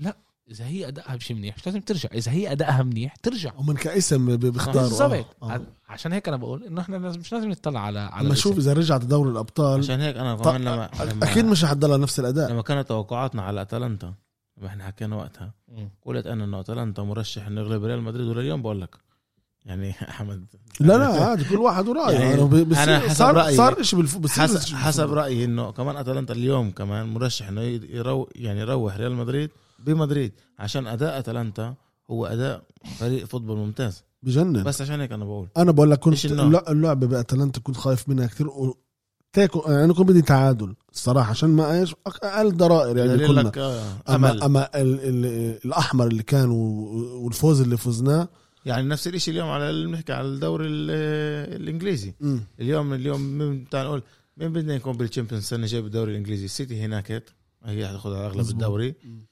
A: لا اذا هي ادائها مش منيح مش لازم ترجع اذا هي ادائها منيح ترجع
B: ومن كاسم ب- بيختاروا
A: بالضبط
B: آه. آه.
A: ع- عشان هيك انا بقول انه احنا لازم مش لازم نطلع على على
B: اما شوف
A: الاسم.
B: اذا رجعت دوري الابطال
C: عشان هيك انا
B: طب-
C: كمان لما, لما
B: اكيد طيب، مش حضلها نفس الاداء
C: لما كانت توقعاتنا على اتلانتا لما احنا حكينا وقتها
A: مم.
C: قلت انا انه اتلانتا مرشح انه يغلب ريال مدريد ولليوم بقول لك يعني احمد
B: لا لا عادي كل واحد ورايه
C: يعني
B: يعني
C: أنا حسب
B: صار
C: رأيي.
B: صار شيء بالف... بصير
C: حسب
B: شيء
C: حسب
B: بالفوتبول.
C: رايي انه كمان اتلانتا اليوم كمان مرشح انه يرو يعني يروح ريال مدريد بمدريد عشان اداء اتلانتا هو اداء فريق فوتبول ممتاز
B: بجنن بس
C: بس عشان هيك انا بقول
B: انا بقول لك
C: إيش
B: كنت
C: النوع؟
B: اللع- اللعبه باتلانتا كنت خايف منها كثير تاكو انا كنت بدي تعادل الصراحه عشان ما ايش اقل ضرائر يعني
C: دليل
B: كنا
C: لك آه، امل
B: اما اما ال ال الاحمر اللي كان و- والفوز اللي فزناه
C: يعني نفس الشيء اليوم على اللي بنحكي على الدوري ال- الانجليزي
B: مم.
C: اليوم اليوم مين تعال نقول مين بدنا يكون بالتشامبيونز السنه الجايه بالدوري الانجليزي السيتي هناك هيك. هي حتاخذ على اغلب
B: مظبوط.
C: الدوري
B: مم.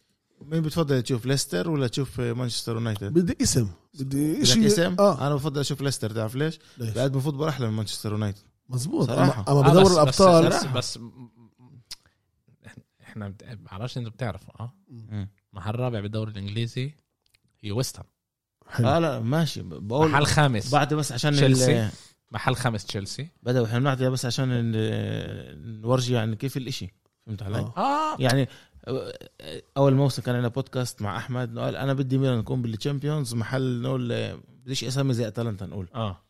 C: مين بتفضل تشوف ليستر ولا تشوف مانشستر يونايتد؟
B: بدي اسم بدي
C: بدك
B: شيء
C: اسم؟
B: اه
C: انا بفضل اشوف ليستر تعرف ليش؟
B: ليش؟
C: بقدم فوتبول احلى من مانشستر يونايتد
B: مزبوط
C: صراحة.
B: اما أما
A: آه،
B: بدور
A: بس- بس-
B: الابطال
A: بس بس إحنا- احنا بت- بعرفش انت بتعرف اه محل رابع بالدوري الانجليزي هي ويست هام
B: حلو.
C: اه لا ماشي بقول
A: محل خامس
C: بعد بس عشان
A: تشيلسي.
C: ال-
A: محل خامس تشيلسي
C: بدأوا احنا بنعطيها بس عشان ال- نورجي يعني كيف الاشي فهمت علي؟
B: آه.
A: اه
C: يعني اول موسم كان عندنا بودكاست مع احمد إنه قال انا بدي ميلان نكون بالتشامبيونز محل نقول آه، بديش اسامي زي اتلانتا نقول
A: اه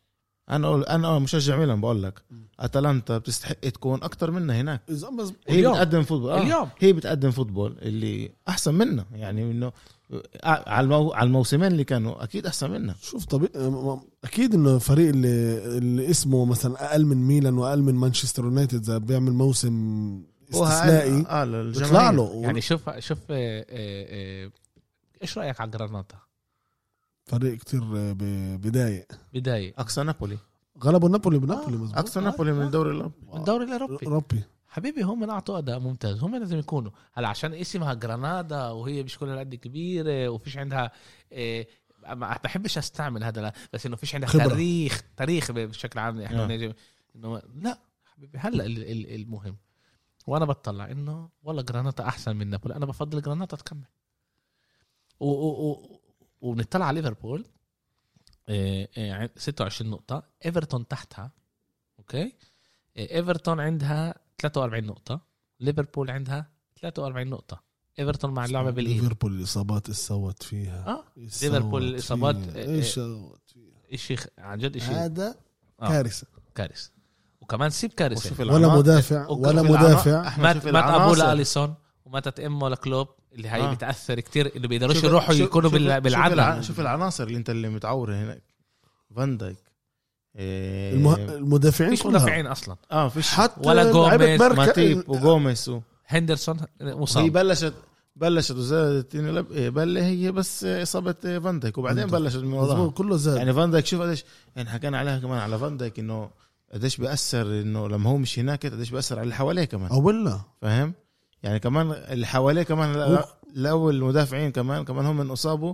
C: انا اقول انا مشجع ميلان بقول لك
B: مم.
C: اتلانتا بتستحق تكون اكثر منا هناك
B: إذا مز-
C: هي
A: اليوم.
C: بتقدم فوتبول آه.
A: اليوم.
C: هي بتقدم فوتبول اللي احسن منا يعني انه آه، على المو... على الموسمين اللي كانوا اكيد احسن منا
B: شوف طبيعي م- م- اكيد انه فريق اللي, اللي اسمه مثلا اقل من ميلان واقل من مانشستر يونايتد اذا بيعمل موسم استثنائي
C: اه للجماهير.
B: بيطلع له
A: يعني شوف شوف آه، آه، آه، ايش رايك على جراناتا
B: فريق كتير ب- بدايق
A: بدايه
C: اقصى نابولي
B: غلبوا نابولي بنابولي مزبوط
C: اقصى نابولي
B: آه.
C: من الدوري الاوروبي
A: الدوري الاوروبي
B: اوروبي
A: حبيبي هم اعطوا اداء ممتاز هم لازم يكونوا هلا عشان اسمها جرانادا وهي مش كلها قد كبيره وفيش عندها إيه ما بحبش استعمل هذا لا بس انه فيش عندها
B: خبرة.
A: تاريخ تاريخ بشكل عام احنا
C: آه.
A: بنجي- انه لا حبيبي هلا ال- ال- المهم وانا بطلع انه والله جراناتا احسن من نابولي انا بفضل جراناتا تكمل و و و ونطلع على ليفربول إيه، إيه، عن- 26 نقطة ايفرتون تحتها اوكي إيه، ايفرتون عندها 43 نقطة ليفربول عندها 43 نقطة ايفرتون مع اللعبة بالايد
B: ليفربول الاصابات اللي سوت فيها
A: اه
B: إيش
A: ليفربول
B: سوت
A: الإصابات،
B: فيها؟
A: آه،
B: ايش سوت فيها؟
A: شيء عن جد شيء
B: هذا
A: آه.
B: كارثه
A: كارثة وكمان سيب كارثة
C: وشوف
B: ولا
C: العناصر.
B: مدافع
A: وكل
B: ولا
A: في آه،
B: مدافع
C: أحمد،
A: مات
C: شوف
A: مات ابوه
C: العناصر.
A: لاليسون وماتت امه لكلوب اللي هي
C: آه.
A: بتاثر كتير انه بيقدروش
C: شوف-
A: يروحوا
C: شوف-
A: يكونوا
C: شوف-
A: بال-
C: شوف
A: بالعدل
C: الع- شوف العناصر اللي انت اللي متعوره هناك فان دايك إيه،
B: المه... المدافعين
A: مفيش
B: كلها.
A: مدافعين اصلا
C: اه فيش
B: حتى
A: ولا
B: لعيبة
A: جوميز،
B: مركز-
C: ماتيب وجوميس و-
A: هندرسون
C: هي
A: مصاب
C: بلشت بلشت وزادت إنه لب- إيه، بل هي بس اصابه إيه، فان دايك وبعدين
B: فان دايك.
C: بلشت من وراها
B: مظبوط كله زاد
C: يعني فان دايك شوف قديش يعني حكينا عليها كمان على فان دايك انه قديش بأثر انه لما هو مش هناك قديش بأثر على اللي حواليه كمان
B: او ولا
C: فاهم؟ يعني كمان اللي حواليه كمان لا-
B: هو-
C: لو المدافعين كمان كمان هم من اصابوا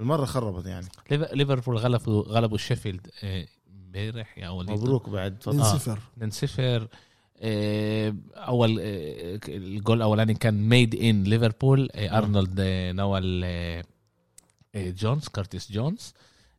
C: المره خربت يعني
A: ليف- ليفربول غلبوا غلبوا شيفيلد آه، امبارح يا اول
C: مبروك بعد تفضل.
A: آه.
B: 2-0
A: 2 0 اول آه، الجول الاولاني كان ميد ان ليفربول آه، ارنولد آه، نوى آه، آه، جونز كارتيس جونز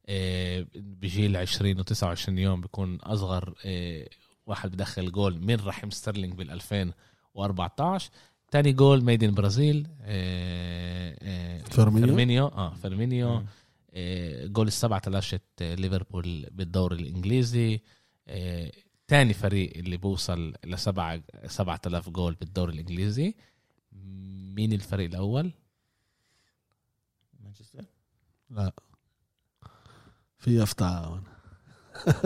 A: آه، بجيل 20 و29 يوم بيكون اصغر آه، واحد بدخل جول من رحم ستيرلينج بال 2014 تاني جول ميد ان برازيل آه، آه،
B: فيرمينيو.
A: فيرمينيو اه فيرمينيو
C: مم.
A: آه، جول السبعة تلاشة آه، ليفربول بالدوري الإنجليزي آه، تاني فريق اللي بوصل لسبعة سبعة آلاف جول بالدوري الإنجليزي مين الفريق الأول؟
C: مانشستر
B: لا في افتعه هون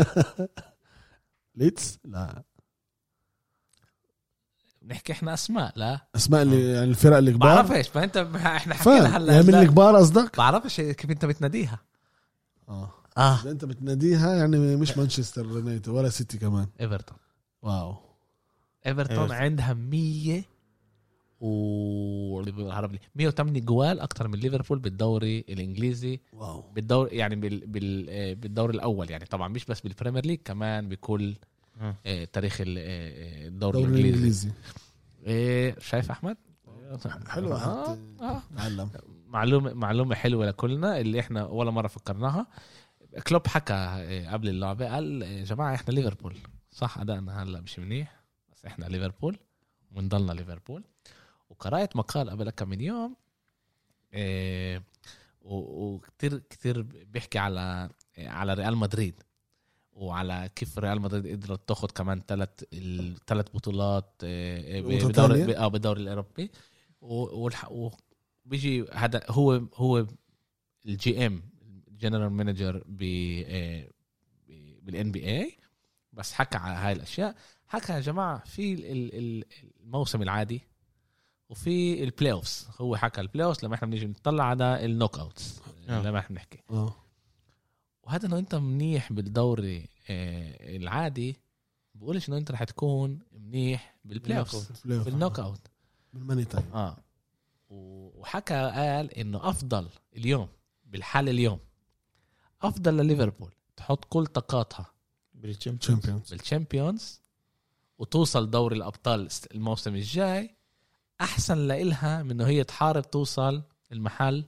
B: ليتس لا
A: نحكي احنا أسماء لا
B: اسماء اللي يعني الفرق الكبار
A: بعرفش ما أنت ما احنا آه. حكينا
B: فاهم يعني
A: هلا
B: من
A: لا،
B: الكبار قصدك؟
A: بعرفش كيف أنت بتناديها
B: اه
A: اه
B: اذا انت بتناديها يعني مش مانشستر يونايتد ولا سيتي كمان
A: إيفرتون
B: واو
A: إيفرتون
C: إيفرتون.
A: عندها 100 و هرب لي 108 جوال أكتر من ليفربول بالدوري الإنجليزي
B: واو
A: بالدور يعني بال بال آه، بالدور الاول يعني طبعا مش بس بالبريمير ليج كمان بكل
C: آه.
A: آه، تاريخ ال- آه، آه، الدوري
B: الدوري
A: الانجليزي
B: الانجليزي
A: آه، شايف احمد
B: حلو
A: آه، آه.
B: تعلم
A: معلومه معلومه حلوه لكلنا اللي احنا ولا مره فكرناها كلوب حكى آه، قبل اللعبه قال آه، يا جماعه احنا ليفربول صح ادائنا هلا مش منيح بس احنا ليفربول ونضلنا ليفربول وقرأت مقال قبل كم من يوم آه، و- وكتير كتير بيحكي على على ريال مدريد وعلى كيف ريال مدريد قدرت تاخد كمان ثلاث ثلاث بطولات آه، ب-
B: بطولة
A: بدوري
B: تانية؟
A: ب- آه، بالدوري الاوروبي و- والح- وبيجي هذا هو هو الجي ام جنرال مانجر ب آه، ب- بالان إيه، بي اي بس حكى على هاي الاشياء حكى يا جماعه في ال- ال- ال- الموسم العادي وفي البلاي اوفز هو حكى البلاي اوفز لما احنا بنيجي نطلع على النوك اوتس
C: آه.
A: لما احنا بنحكي
B: اه
A: وهذا انه انت منيح بالدوري آه، العادي بقولش انه انت رح تكون منيح بالبلاي اوفز
B: بلاي أوف.
A: بالنوك اوت
B: بالماني تايم
A: اه و- وحكى قال انه افضل اليوم بالحال اليوم افضل لليفربول تحط كل طاقاتها
C: بالتشامبيونز
B: تشامبيونز
A: بالتشامبيونز وتوصل دوري الابطال است- الموسم الجاي احسن لإلها من انه هي تحارب توصل المحل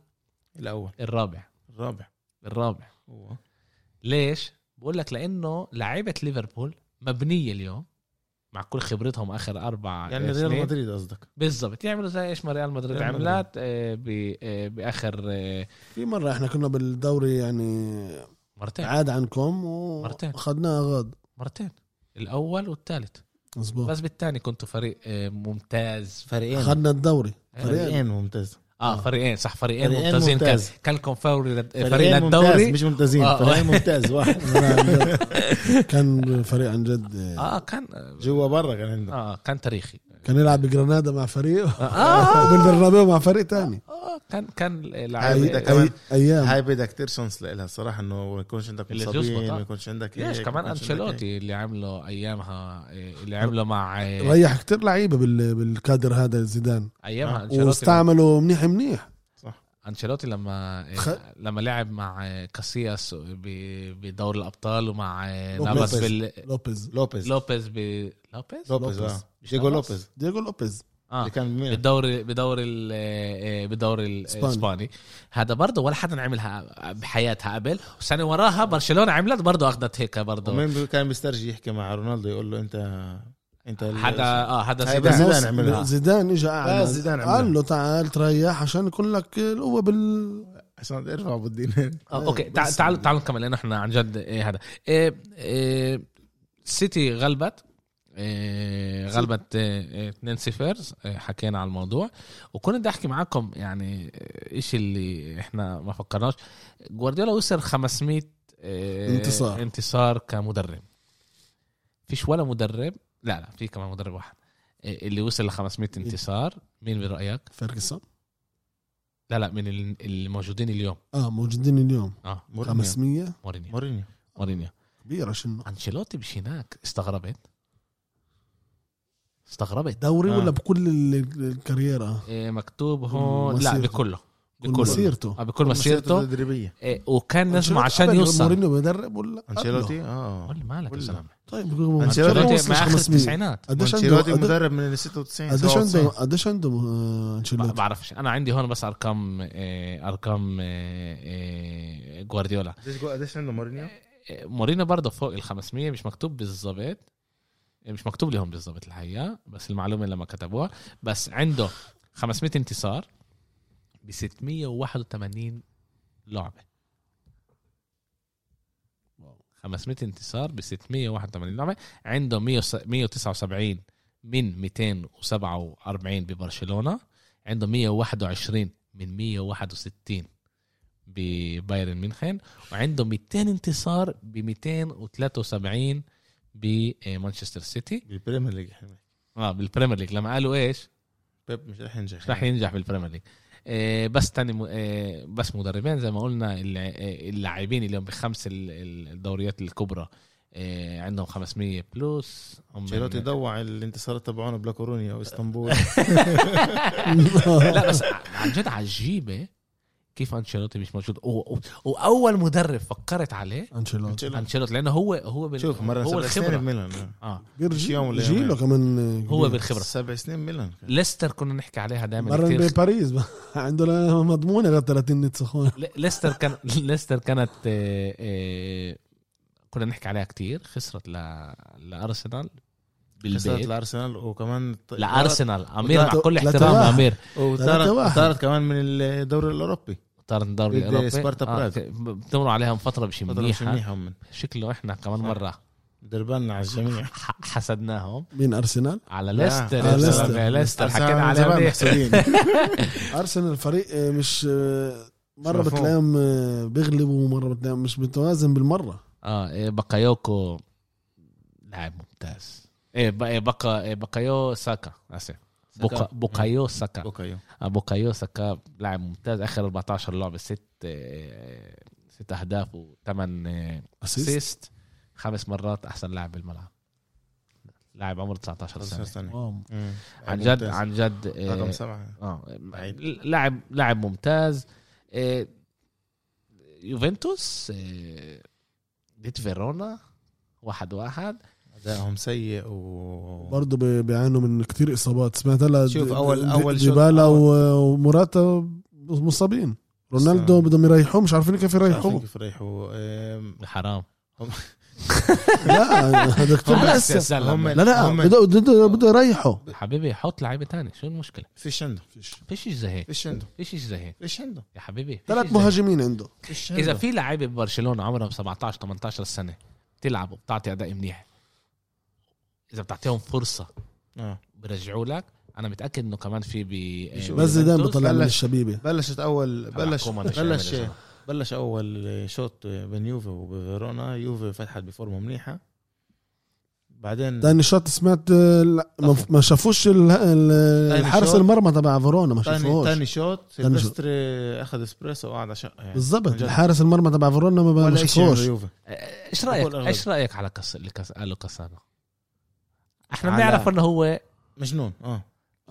C: الاول
A: الرابع
C: الرابع
A: الرابع
C: هو
A: ليش بقول لك لانه لعيبه ليفربول مبنيه اليوم مع كل خبرتهم اخر اربع
C: يعني ريال
A: سنين
C: مدريد قصدك
A: بالضبط يعملوا زي ايش ما ريال مدريد
C: ريال مدريد.
A: عملت آه، ب- آه، باخر آه،
B: في مره احنا كنا بالدوري يعني
A: مرتين
B: عاد عنكم
A: إيه. مرتين.
B: واخذناها غاد
A: مرتين الاول والثالث
B: مزبوط
A: بس يعني. بالثاني كنتوا فريق آه، ممتاز
C: فريقين
B: اخذنا الدوري
A: إيه.
B: فريقين
C: فريقين ممتاز
A: اه فريقين صح فريقين
C: آه. فريقين
A: ممتازين كان
C: ممتاز.
A: كان لكم فوري فريق
C: فريقين ممتاز
A: للدوري
C: مش ممتازين
A: آه.
C: فريقين ممتاز واحد
B: كان فريق عن جد آه.
A: اه كان
C: جوا برا كان عندنا
A: اه كان تاريخي
B: كان يلعب بجرانادا مع فريق
A: آه.
B: وبالبرنابيو مع فريق تاني
A: اه كان كان لعيبه
C: عايزة
B: أي-
C: كمان.
B: ايام
C: هاي بدها كتير شانس لها الصراحه انه ما يكونش عندك
A: اللي
C: مصابين
A: تزبط، آه.
C: ما يكونش عندك
A: ليش
C: هيك،
A: كمان
C: ما يكونش عندك هيك.
A: انشيلوتي اللي عمله ايامها إيه، اللي عمله مع إيه،
B: ريح كتير لعيبه بال- بالكادر هذا زيدان
A: ايامها انشيلوتي
B: واستعملوا منيح منيح
A: انشيلوتي لما إيه،
B: خ-
A: لما لعب مع إيه، كاسياس ب- بدور الابطال ومع إيه،
B: لوبيز.
A: نافاس بال
B: لوبيز
C: لوبيز
A: لوبيز ب لوبيز
C: لوبيز
B: لوبيز.
C: اه ديجو
A: نافاس.
C: لوبيز
B: دييغو لوبيز
A: اه
C: اللي كان مين؟
A: بالدوري بدوري ال- إيه، بدوري ال-
B: إسباني.
A: الاسباني هذا برضه ولا حدا عملها بحياتها قبل والسنه وراها برشلونه عملت برضه اخذت هيك برضه
C: ومين بي- كان بيسترجي يحكي مع رونالدو يقول له انت انت ال-
A: هذا اه هذا
C: هاي
A: زيدان.
C: إيه، بس زيدان عملها.
B: زيدان اجى قعد
C: بس زيدان عملها.
B: قال له تعال تريح عشان يكون لك القوه بال
C: عشان ارفع بالدين
A: آه، اوكي
B: إيه، بس-
A: تعال تعال تعال نكمل لانه احنا عن جد إيه هذا إيه إيه سيتي غلبت إيه غلبت إيه، إيه، 2-0 إيه، حكينا على الموضوع وكنت بدي احكي معاكم يعني ايش اللي احنا ما فكرناش جوارديولا وصل 500 إيه،
B: انتصار.
A: انتصار كمدرب فيش ولا مدرب لا لا في كمان مدرب واحد إيه، اللي وصل ل 500 انتصار مين برايك
B: فيرجسون
A: لا لا من ال- الموجودين اليوم
B: اه موجودين اليوم
A: اه
B: 500
A: مورينيو
C: مورينيو
A: مورينيو
B: كبيره شنو
A: انشيلوتي مش هناك استغربت استغربت
B: دوري
C: آه.
B: ولا بكل ال- الكارير اه
A: إيه مكتوب هون لا
B: مسيرته.
A: بكله
B: كل
A: بكله
B: مسيرته
A: آه، بكل مسيرته
C: التدريبيه
A: إيه وكان نجم
B: أنشيلوتي
A: عشان
B: قبل
A: يوصل
B: مورينيو مدرب ولا قبله؟
C: انشيلوتي اه
A: قول مالك يا
C: ولا.
A: زلمه
B: طيب
C: أنشيلوتي
B: ما
A: انشيلوتي
B: وصلش
A: مع اخر
B: 500
A: التسعينات
B: قديش عنده
C: انشيلوتي
B: قد-
C: مدرب من ال 96
B: قديش
C: 97.
B: عنده قديش عنده آه،
A: ما
B: انشيلوتي
A: بعرفش انا عندي هون بس ارقام إيه ارقام إيه إيه جوارديولا
C: قديش قديش عنده مورينيو؟
A: إيه مورينيو برضه فوق ال 500 مش مكتوب بالضبط إيه، مش مكتوب لهم بالضبط الحقيقه بس المعلومه لما كتبوها بس عنده 500 انتصار ب 681 لعبه 500 انتصار ب 681 لعبه عنده 100 179 من 247 ببرشلونه عنده 121 من 161 ببايرن ميونخن وعنده 200 انتصار ب 273 بمانشستر سيتي
C: بالبريمير ليج إحنا بنحكي.
A: اه بالبريمير ليج لما قالوا ايش
C: بيب مش رح ينجح
A: مش رح ينجح بالبريمير ليج آه، بس تاني م- آه، بس مدربين زي ما قلنا الع- آه، اللاعبين اللي هم بخمس ال- ال- الدوريات الكبرى آه، عندهم 500 بلس هم
C: انشيلوتي ضوع الانتصارات تبعونه بلاكورونيا واسطنبول
A: لا بس ع- عن جد عجيبه كيف انشيلوتي مش موجود و- و- واول مدرب فكرت عليه
B: انشيلوتي
C: أنشيلوتي.
A: انشيلوتي لانه هو هو بال-
C: شوف مرة
A: هو
C: سبع سنين
A: الخبره
C: بميلان
A: اه
B: بيرجي
C: مش يوم ولا
B: جيله
C: يومين.
B: كمان آه،
A: هو
B: كبير.
A: بالخبره
C: سبع سنين ميلان
A: ليستر كنا نحكي عليها دائما
B: مرن
A: كثير
B: بباريس عنده لا مضمونه غير 30 نتصخون
A: ل- ليستر كان ليستر كانت آه، آه، كنا نحكي عليها كثير خسرت ل... لارسنال
C: خسرت
A: بالبيت
C: لارسنال وكمان
A: لارسنال امير مع
C: وطلعت-
A: كل احترام
B: لتلاعب.
A: امير
B: ثلاثة
C: وطارت
B: واحد.
C: وطارت كمان من الدوري الاوروبي
A: طار الدوري
C: ضد
A: الاوروبي
C: سبارتا
A: آه،
C: براغ.
A: ك- بتمر عليهم فتره مش
C: فترة مش
A: منيحه
C: منيحة هم
A: شكله احنا كمان
C: صح.
A: مره
C: دربنا على الجميع
A: ح- حسدناهم
B: مين ارسنال؟
A: على
C: لا،
A: ليستر
B: على
A: يا
B: ليستر.
A: زلمة، ليستر حكينا
C: أرسنال من زمان
A: عليها
C: محسودين
B: ارسنال فريق آه، مش آه، مره
C: مفهوم.
B: بتلاقيهم آه، بيغلبوا ومره بتلاقيهم مش متوازن بالمره
A: اه إيه، باكايوكو لاعب ممتاز ايه ب- إيه، بقى إيه، بقايو ساكا اسف بقا- بقايو ساكا
C: بوكايو
A: ابو كايوسا كاب لاعب ممتاز اخر 14 لعبه ست آه، ست اهداف وثمان
B: اسيست
A: اسيست خمس مرات احسن لاعب بالملعب لاعب عمره 19
C: 19
A: سنه,
C: سنة.
A: واو.
C: مم.
A: عن جد
C: ممتاز.
A: عن جد آه،
C: رقم سبعه
A: اه
C: بعيد.
A: لاعب لاعب ممتاز آه، يوفنتوس آه، ديت فيرونا واحد واحد
C: ادائهم سيء و
B: برضه بي- بيعانوا من كتير اصابات سمعت هلا
C: شوف
B: د-
C: أول-
B: د-
C: أول شوط-
B: ديبالا
C: أول.
B: و- ومراتا مصابين رونالدو
C: بس-
B: بدهم يريحوه مش عارفين كيف
C: عارفين
B: يريحوه
C: كيف يريحوا آم،
A: حرام
B: لا هذا كتير
A: هم
B: مأسف.
A: هم
B: لا لا
C: هم-
B: بده بده بده يريحه
A: حبيبي حط لعيبه تاني شو المشكله
C: فيش عنده
A: فيش إشي زي هيك
C: فيش عنده
A: فيش إشي زي هيك
C: فيش عنده
A: يا حبيبي
B: ثلاث
A: فيش زي-
B: مهاجمين عنده
C: فيش عنده
A: اذا في لعيبه ببرشلونه عمرها 17 18 سنه بتلعب وبتعطي اداء منيح اذا بتعطيهم فرصه
C: آه.
A: برجعوا لك انا متاكد انه كمان في ب آه،
C: بيشوف.
B: بس زيدان
A: بيوفنتوس.
B: بطلع من
C: بلش-
B: الشبيبه
C: بلشت اول
A: طبعاً
C: بلش
A: كومان مش عامل
C: بلش
A: إشي.
C: بلش اول شوط بين يوفي وفيرونا يوفي فتحت بفورمه منيحه بعدين
B: تاني شوط سمعت آه، لا، ما- ما شافوش ال- ال-
C: تاني
B: الحارس
C: شوط.
B: المرمى تبع فيرونا ما
C: تاني
B: شافوش
C: تاني شوط
B: تاني شوط.
C: سيلفستري اخذ اسبريسو وقعد على شقه يعني
B: بالضبط
C: عن جد.
B: الحارس المرمى تبع فيرونا ما- ما
C: ولا شيء عمل
B: شافوش
C: يوفي
A: ايش رايك
C: بقول أغلب.
A: ايش رايك على كاس آه، اللي كاس قالوا كاسانو احنا
C: على-
A: بنعرف انه هو
C: مجنون اه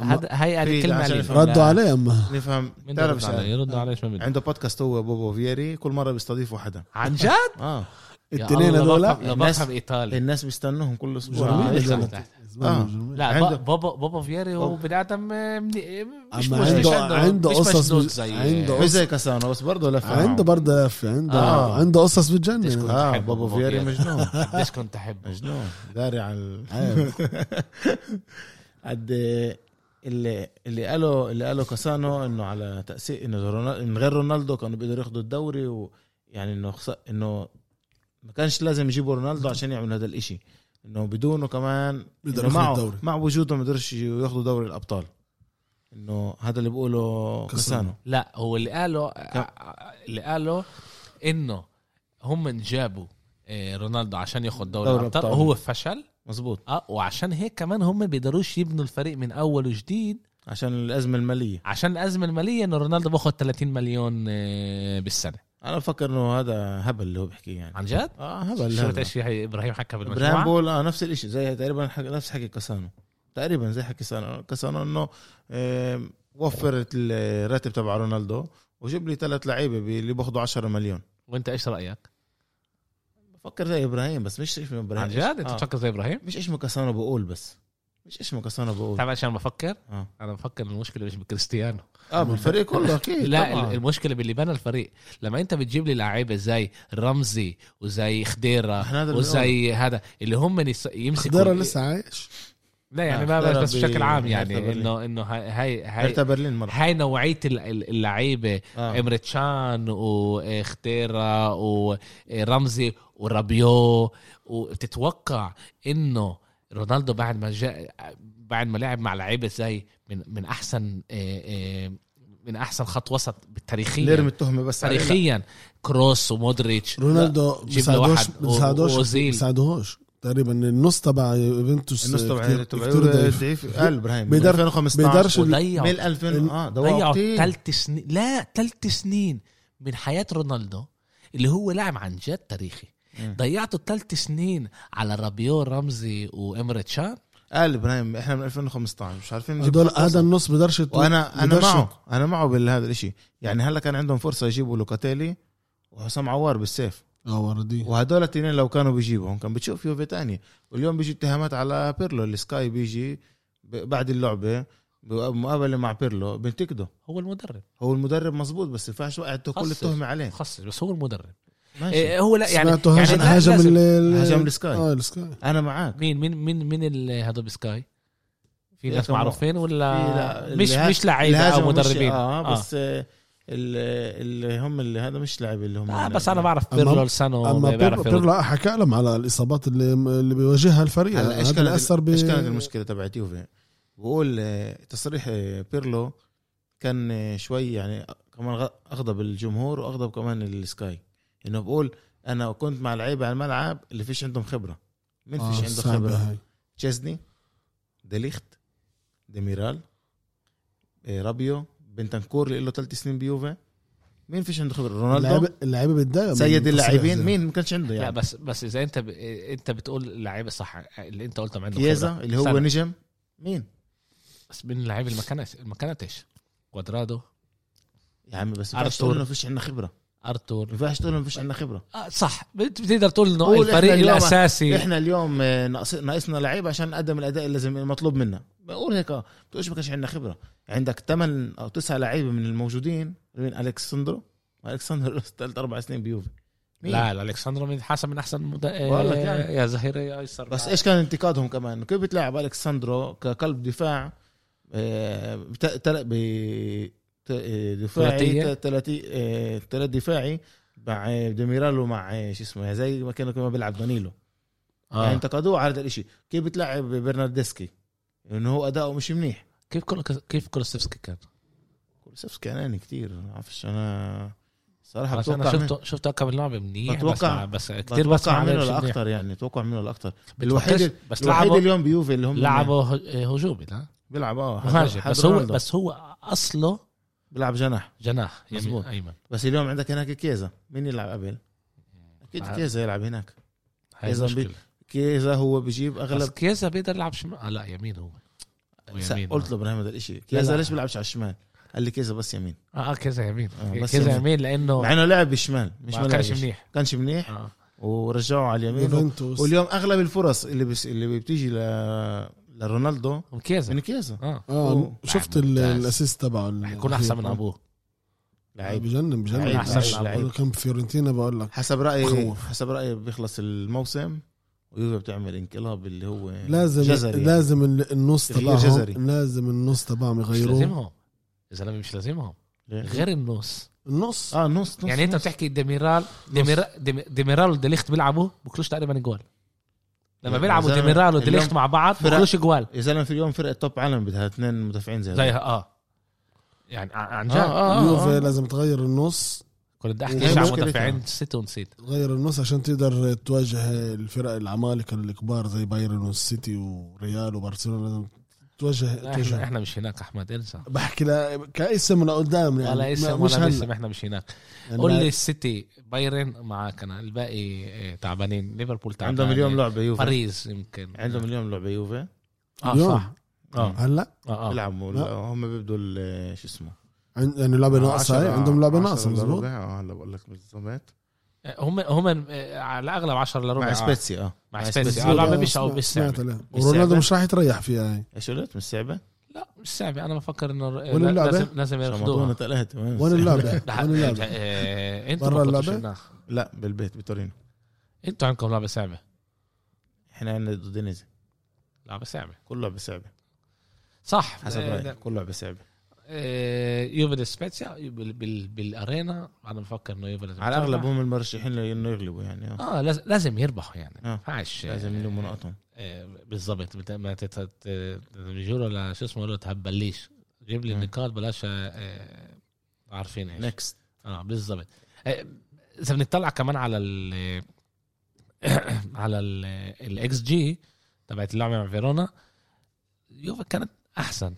A: هذا هاي يعني
C: في
A: قال كلمه
C: عشان
A: عليه
C: يفهم.
B: ردوا عليه اما
C: نفهم
A: مين
C: تعرف
A: بيرد
C: شغلة.
A: عليه يردوا عليه ايش ما بده
C: عنده بودكاست هو بوبو فيري كل مره بيستضيفوا حدا
A: عن جد
C: اه
A: يا
B: التنين
A: الله،
B: هذول
A: لا بفهم- لا
C: الناس-
A: بفهم ايطالي
C: الناس بيستنوهم كل اسبوع
A: جميل.
C: آه،
A: يطلع
B: جميل.
A: تحت.
B: زمان
C: آه.
B: جميل.
A: لا
C: عنده-
A: ب- بابا بابا فيري هو
C: بابا-
A: بني ادم آه، مني- مش
B: أما
A: مش- مش
B: عنده- عنده
A: مش
B: قصص
A: مجنون
B: بج-
A: زي-
B: عنده
C: مش زي كاسانو بس برضه لف
B: عنده برضه يف عنده
C: آه.
B: عنده قصص بتجنن
A: تشكر.
C: اه
A: بحبه
C: بابا
A: بابا
C: فيري
A: فيري.
C: مجنون
A: قديش كنت احبه
C: مجنون داري على ال-
B: عارف.
C: قد اللي اللي قالوا اللي قالوا كاسانو انه على تاثير انه رونا- من غير رونالدو كانوا بيقدروا ياخذوا الدوري ويعني انه خس- انه ما كانش لازم يجيبوا رونالدو عشان يعملوا هذا الاشي انه بدونه كمان
B: بيقدروا
C: إنه
B: ياخذوا
C: معه
B: الدوري.
C: مع وجوده ما قدرش ياخذوا دوري الابطال انه هذا اللي بيقوله
B: كاسانو.
C: كاسانو
A: لا هو اللي قاله اللي قاله انه هم جابوا آه، رونالدو عشان ياخد دوري
C: دوري
A: الابطال
C: الأبطال.
A: وهو فشل
C: مزبوط
A: اه وعشان هيك كمان هم بيقدروش يبنوا الفريق من اول وجديد
C: عشان الازمه الماليه
A: عشان الازمه الماليه انه رونالدو باخد 30 مليون آه، بالسنه
C: انا بفكر انه هذا هبل اللي هو بيحكيه يعني
A: عن جد؟
C: اه هبل
A: شفت
C: هذا.
A: ايش هي- ابراهيم حكى
C: ابراهيم
A: بالمجموعه
C: بول اه نفس الشيء زي تقريبا حك... نفس حكي كاسانو تقريبا زي حكي كاسانو كاسانو انه آم، وفرت الراتب تبع رونالدو وجيب لي ثلاث لعيبه ب- اللي باخذوا 10 مليون
A: وانت ايش رايك؟
C: بفكر زي ابراهيم بس مش اسمه ابراهيم
A: عن جد؟ انت
C: آه.
A: بتفكر زي ابراهيم؟
C: مش اسمه كاسانو بقول بس مش اسمه كاسانو بقول
A: تعرف ايش انا بفكر؟
C: آه.
A: انا بفكر إن المشكله مش بكريستيانو
C: اه بالفريق كله اكيد
A: لا
C: طبعاً.
A: طبعا. المشكله باللي بنى الفريق لما انت بتجيب لي لعيبه زي رمزي وزي خديره
C: إحنا هذا اللي
A: وزي هذا اللي هم نس- يمسكوا
B: خضيره لسه عايش
A: لا يعني
C: آه،
A: ما بس,
C: خضيرة
A: بس
C: ب-
A: بشكل عام
C: هرتا
A: يعني
C: برلين.
A: انه انه هاي هاي هاي,
C: هرتا برلين مره
A: هاي نوعيه ال- ال- اللعيبه
C: آه.
A: امرتشان آه، وخديره ورمزي ورابيو وبتتوقع انه رونالدو بعد ما جاء بعد ما لعب مع لعيبه زي من من احسن آه، آه، من احسن خط وسط بالتاريخيا
C: نرمي التهمه بس عليه. لا.
A: تاريخيا كروس ومودريتش
B: رونالدو
A: جيب له
B: بيساعدوش
A: واحد. و-
B: بيساعدوش
A: وأوزيل.
B: بيساعدوش تقريبا النص تبع يوفنتوس
C: النص تبع
B: كتير-
C: تبع آه،
B: كتير ضعيف.
C: ضعيف قال ابراهيم
B: بيقدر-
C: 2015
B: بيقدرش ال-
A: وضيعوا
C: من 2000 اه ده
A: ضيعوا
C: وقتين.
A: ثلاث سنين لا ثلاث سنين من حياه رونالدو اللي هو لاعب عن جد تاريخي
C: مم.
A: ضيعته ثلاث سنين على رابيو رمزي وامري تشان
C: قال ابراهيم احنا من 2015 مش عارفين نجيب
B: هدول
C: خط وسط.
B: هذا النص بقدرش
C: وانا انا
B: بقدرش-
C: معه انا معه بهذا الشيء يعني هلا كان عندهم فرصه يجيبوا لوكاتيلي وحسام عوار بالسيف
B: اه وردي
C: وهدول التنين لو كانوا بيجيبوهم كان بتشوف يوفي تانية واليوم بيجي اتهامات على بيرلو السكاي بيجي ب- بعد اللعبه بمقابله مع بيرلو بنتقده
A: هو المدرب
C: هو المدرب مزبوط بس ينفعش وقعته كل
A: خصص.
C: التهمه عليه
A: خصص بس هو المدرب
C: ماشي
A: إيه هو لا يعني
B: سمعته هاجم
A: لا-
B: هاجم
A: لازم-
B: ال- ال-
C: هاجم السكاي.
B: اه السكاي
C: انا معك
A: مين مين مين مين ال- هدول بسكاي في
C: في
A: ناس
C: كم-
A: معروفين
C: في
A: ولا
C: لا-
A: آه، مش
C: اللي ها-
A: مش لعيبه
C: الهاجم
A: او
C: مش-
A: مدربين
C: اه بس آه. اللي, اللي هم اللي هذا مش لاعب اللي هم
A: آه بس انا بعرف
B: أما-
A: بيرلو لسانو
B: اما بير-
A: بيعرف يرد.
B: بيرلو حكى لهم على الاصابات اللي اللي بيواجهها الفريق
C: هلا
B: هذا
C: ايش كانت
B: اللي اثر ب
C: ايش كانت المشكله تبعت يوفي؟ بقول آه، تصريح آه، بيرلو كان آه، شوي يعني كمان غ- اغضب الجمهور واغضب كمان السكاي انه بقول انا كنت مع لعيبه على الملعب اللي فيش عندهم خبره مين فيش عنده
B: آه، صعبة
C: خبره
B: هاي.
C: تشيزني ديليخت ديميرال إيه، رابيو بنتنكور اللي له ثلاث سنين بيوفا مين فيش عنده خبره رونالدو
B: اللعيبة- اللعيبه بتضايق من
C: سيد
B: تصريح
C: اللاعبين
B: زي ده.
C: مين ما كانش عنده
A: لا
C: يعني
A: بس بس اذا انت ب... انت بتقول اللعيبه صح اللي انت قلتهم عنده
C: كيزا
A: خبرة.
C: اللي هو
A: استنى.
C: نجم مين
A: بس من اللعيبه اللي ما كانت ما كانتش كوادرادو
C: يا عم بس ما
A: أرتور.
C: ينفعش تقول انه ما فيش عندنا خبره
A: ارتور
C: ما ينفعش تقول انه ما فيش عندنا خبره
A: آه صح بت- بتقدر تقول انه
C: قول
A: الفريق
C: إحنا اليوم-
A: الاساسي
C: احنا اليوم آه، ناقص- ناقصنا لعيب عشان نقدم الاداء اللازم المطلوب منا بقول هيك اه بتقولش ما كانش عندنا خبره عندك 8 او 9 لعيبه من الموجودين من الكسندرو الكسندرو ثلاث اربع سنين بيوفي مين؟
A: لا لا الكساندرو من حسب من احسن مد... آه،
C: والله يعني.
A: يا ظهير ايسر
C: بس ايش كان انتقادهم كمان كيف بتلعب الكسندرو كقلب دفاع آه، بت- تل- ب ت- آه،
A: ثلاثية.
C: دفاعي ثلاثي آه، ثلاث دفاعي مع آه، ديميرال ومع آه، شو اسمه زي ما كانوا كمان بيلعب دانيلو
A: آه.
C: يعني انتقدوه على هذا الشيء كيف بتلعب برناردسكي انه هو اداؤه مش منيح
A: كيف كل... كيف كولوسيفسكي كان؟
C: كولوسيفسكي اناني كتير ما بعرفش انا صراحه
A: بس
C: بتوقع
A: انا
C: منه-
A: شفته شفته كم لعبه منيح بس,
C: بتوقع-
A: مع- بس كثير بس
C: بتوقع
A: مع
C: منه
A: لعبش منيح.
C: الاكثر يعني بتوقع منه الاكثر
A: بتوقعش-
C: الوحيد
A: بس
C: الوحيد
A: لعبوا
C: اليوم بيوفي اللي هم يعني
A: لعبوا ه- هجومي لا
C: بيلعب اه حد-
A: مهاجم
C: حد
A: بس هو
C: رونالدو.
A: بس هو اصله
C: بيلعب جناح
A: جناح يمين
C: مظبوط.
A: ايمن
C: بس اليوم عندك هناك كيزا مين يلعب قبل؟ اكيد
A: آه.
C: كيزا يلعب هناك
A: هاي
C: إذا
A: المشكله
C: كيزا هو بجيب
A: بس
C: اغلب
A: كيزا بيقدر يلعب شمال آه لا يمين هو هو
C: س-
A: يمين،
C: قلت
A: آه.
C: له ابراهيم هذا الشيء
A: لا، لا.
C: كيزا ليش بيلعبش على الشمال؟ قال لي كيزا بس يمين
A: اه آه، كيزا يمين
C: آه، بس
A: كيزا
C: يمين.
A: يمين لانه
C: مع انه لعب بالشمال مش
A: ما
C: ما
A: كانش
C: لعبش.
A: منيح
C: كانش منيح
A: آه.
C: ورجعوا على اليمين
B: يوفنتوس
C: واليوم اغلب الفرص اللي بس اللي بتيجي ل... لرونالدو
A: وكيزا
C: من كيزا
A: اه
B: اه شفت ال-
A: ممتاز.
B: الاسيست تبعه
A: رح يكون احسن من ابوه
B: لعيب
C: لعيب
B: بجنن بجنن
C: لعيب،
A: أحسن
B: أحسن
C: لعيب.
B: كان فيورنتينا بقول لك
C: حسب رايي
B: بخوف.
C: حسب رايي بيخلص الموسم ويوفي بتعمل انقلاب اللي هو
B: لازم
C: جزري يعني.
B: لازم ال- النص
C: تغيير
B: تبعهم
C: جزري.
B: لازم النص تبعهم
A: مش
B: يغيروه
A: لازمهم يا زلمه مش لازمهم غير النص
B: النص
C: اه نص نص
A: يعني انت
C: نص.
A: بتحكي ديميرال ديميرا- ديمي- ديميرال وديليخت بيلعبوا بكلوش تقريبا جوال لما
C: يا
A: بيلعبوا
C: زلمة،
A: ديميرال وديليخت
C: اليوم
A: مع بعض
C: فرق-
A: بكلوش جوال
C: يا زلمه في اليوم فرقه توب عالم بدها اثنين مدافعين زي هذول.
A: زيها اه يعني ع- عن جد
C: آه، آه، آه.
B: اليوفي لازم تغير النص
A: كنت بدي احكي
B: وهي
A: شيء عن
C: مشكلتها.
A: مدافعين ستة ونسيت
B: تغير النص عشان تقدر تواجه الفرق العمالقه الكبار زي بايرن والسيتي وريال وبرشلونه لازم تواجه
A: احنا,
B: تواجه
A: احنا مش هناك احمد انسى
B: بحكي لا كاسم لقدام يعني
A: ولا اسم
B: مش
A: ولا
B: هلا.
A: اسم احنا مش هناك
B: يعني
A: قول لي السيتي بايرن معك انا الباقي آه، تعبانين ليفربول تعبان
C: عندهم اليوم لعبه يوفي
A: باريس يمكن
C: عندهم اليوم لعبه يوفي
A: اه
B: اليوم.
A: صح
C: آه.
A: اه
B: هلا
A: اه اه
C: بيلعبوا
B: لا.
C: هم بيبدوا ال- شو اسمه
B: عن- يعني
A: آه،
B: لعبه ناقصه هاي
C: عشرة-
B: عندهم لعبه
C: عشرة
B: ناقصه
C: لربع.
B: مزبوط
C: اه هلا بقول لك بالضبط
A: هم هم آه، على الاغلب 10 لربع
C: مع
A: آه.
C: سبيتسي اه
A: مع
C: مع
A: سبيتسي
C: سبيتسي.
A: اه لعبه
B: آه،
A: مش او
B: سمعت-
A: مش
B: سمعت
A: صعبه
B: عليها
C: مش
B: ورونالدو
C: صعبة.
B: مش راح يتريح فيها هاي
C: ايش قلت مش صعبه؟
A: لا مش صعبه انا بفكر انه آه،
B: وين
A: لا-
B: اللعبة؟
A: لازم لازم
C: شمطونا
A: ياخذوها
C: ثلاثه
B: وين
A: لا،
B: اللعبه؟ وين
A: آه،
B: اللعبه؟
A: آه، انتوا
B: برا
A: ما كنتوش
B: اللعبة؟
A: هناك.
C: لا بالبيت بتورينو
A: انتوا عندكم لعبه صعبه
C: احنا عندنا ضد دينيزي
A: لعبه صعبه
C: كل لعبه صعبه
A: صح
C: حسب
A: آه،
C: رايي كل لعبه صعبه
A: آه، يوفي دي سبيتسيا بال- بال- بالارينا انا بفكر انه يوفي لازم
C: على الاغلب
A: تربح.
C: هم المرشحين لانه يغلبوا يعني آه.
A: اه لاز- لازم يربحوا يعني ما
C: آه،
A: ينفعش آه،
C: لازم يلموا نقطهم
A: آه، بالضبط بت- ما تت- ت- بيجوا له شو اسمه له تهبليش جيب لي
C: مم.
A: النقاط بلاش آه، آه، عارفين ايش
C: نكست
A: اه بالضبط آه، اذا بنطلع كمان على ال على الاكس جي تبعت اللعبه مع فيرونا يوفا كانت احسن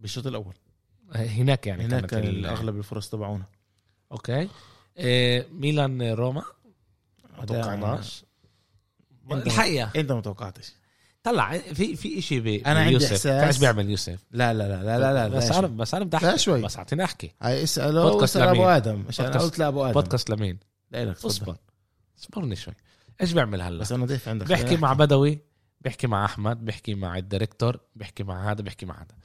C: بالشوط الاول
A: آه، هناك يعني
C: هناك
A: كانت ال-
C: كان اغلب الفرص تبعونا
A: اوكي آه، ميلان آه، روما ما
C: أداء-
A: توقعناش
C: أنت-
A: الحقيقه
C: انت ما توقعتش
A: طلع في في شيء بي
C: أنا عندي
A: يوسف
C: إحساس-
A: تعرف بيعمل يوسف
C: لا لا لا لا لا لا
A: بس
C: لا
A: انا بس انا بدي
C: لا
A: احكي
C: شوي.
A: بس اعطيني احكي
C: هاي اساله
A: بودكاست
C: واسال ابو
A: لمين؟
C: ادم عشان
A: بودكاست-
C: أنا قلت لابو ادم
A: بودكاست لمين
C: لا لك
A: اصبر
C: تفضل
A: اصبرني شوي ايش بيعمل هلا
C: بس انا ضيف عندك
A: بيحكي مع بدوي بيحكي مع احمد بيحكي مع الديريكتور بيحكي مع هذا بيحكي مع هذا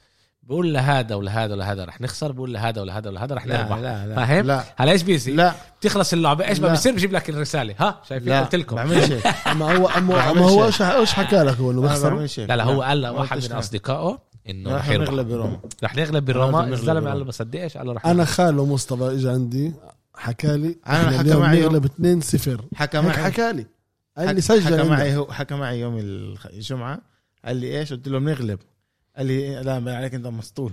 A: بقول لهذا ولهذا ولهذا رح نخسر بقول لهذا ولهذا ولهذا رح
C: لا
A: نربح
C: لا لا
A: فاهم؟
C: لا
A: هلا ايش بيصير
C: لا
A: بتخلص اللعبه ايش ما
C: لا.
A: بيصير بجيب لك الرساله ها شايفين
C: لا
A: قلت لكم
C: بعملش هيك
B: اما هو اما
C: بعملش
B: أما هو
C: هيك.
B: ايش ايش حكى لك هو انه
C: أنا
B: بيخسروا؟
C: بعملش هيك.
A: لا لا هو قال
C: ما
A: واحد
C: قلتش
A: من
C: لا.
A: اصدقائه انه
C: رح
A: رح يربح
C: نغلب بروما
A: رح نغلب
C: رح
A: بروما
C: نغلب
A: الزلمه
C: بروما.
A: قال له بصدقش قال له رح
B: انا
A: نغلب.
B: خاله مصطفى اجى عندي حكى لي
C: أنا
B: إحنا
C: حكى
B: اليوم
C: معي يوم-
B: نغلب 2-0
C: حكى
B: هيك
C: معي
B: حكى لي قال
C: حكى-
B: لي سجل
C: حكى
B: عندك.
C: معي هو حكى معي يوم الخ- الجمعه قال لي ايش قلت له بنغلب قال لي إيه، لا ما عليك انت مسطول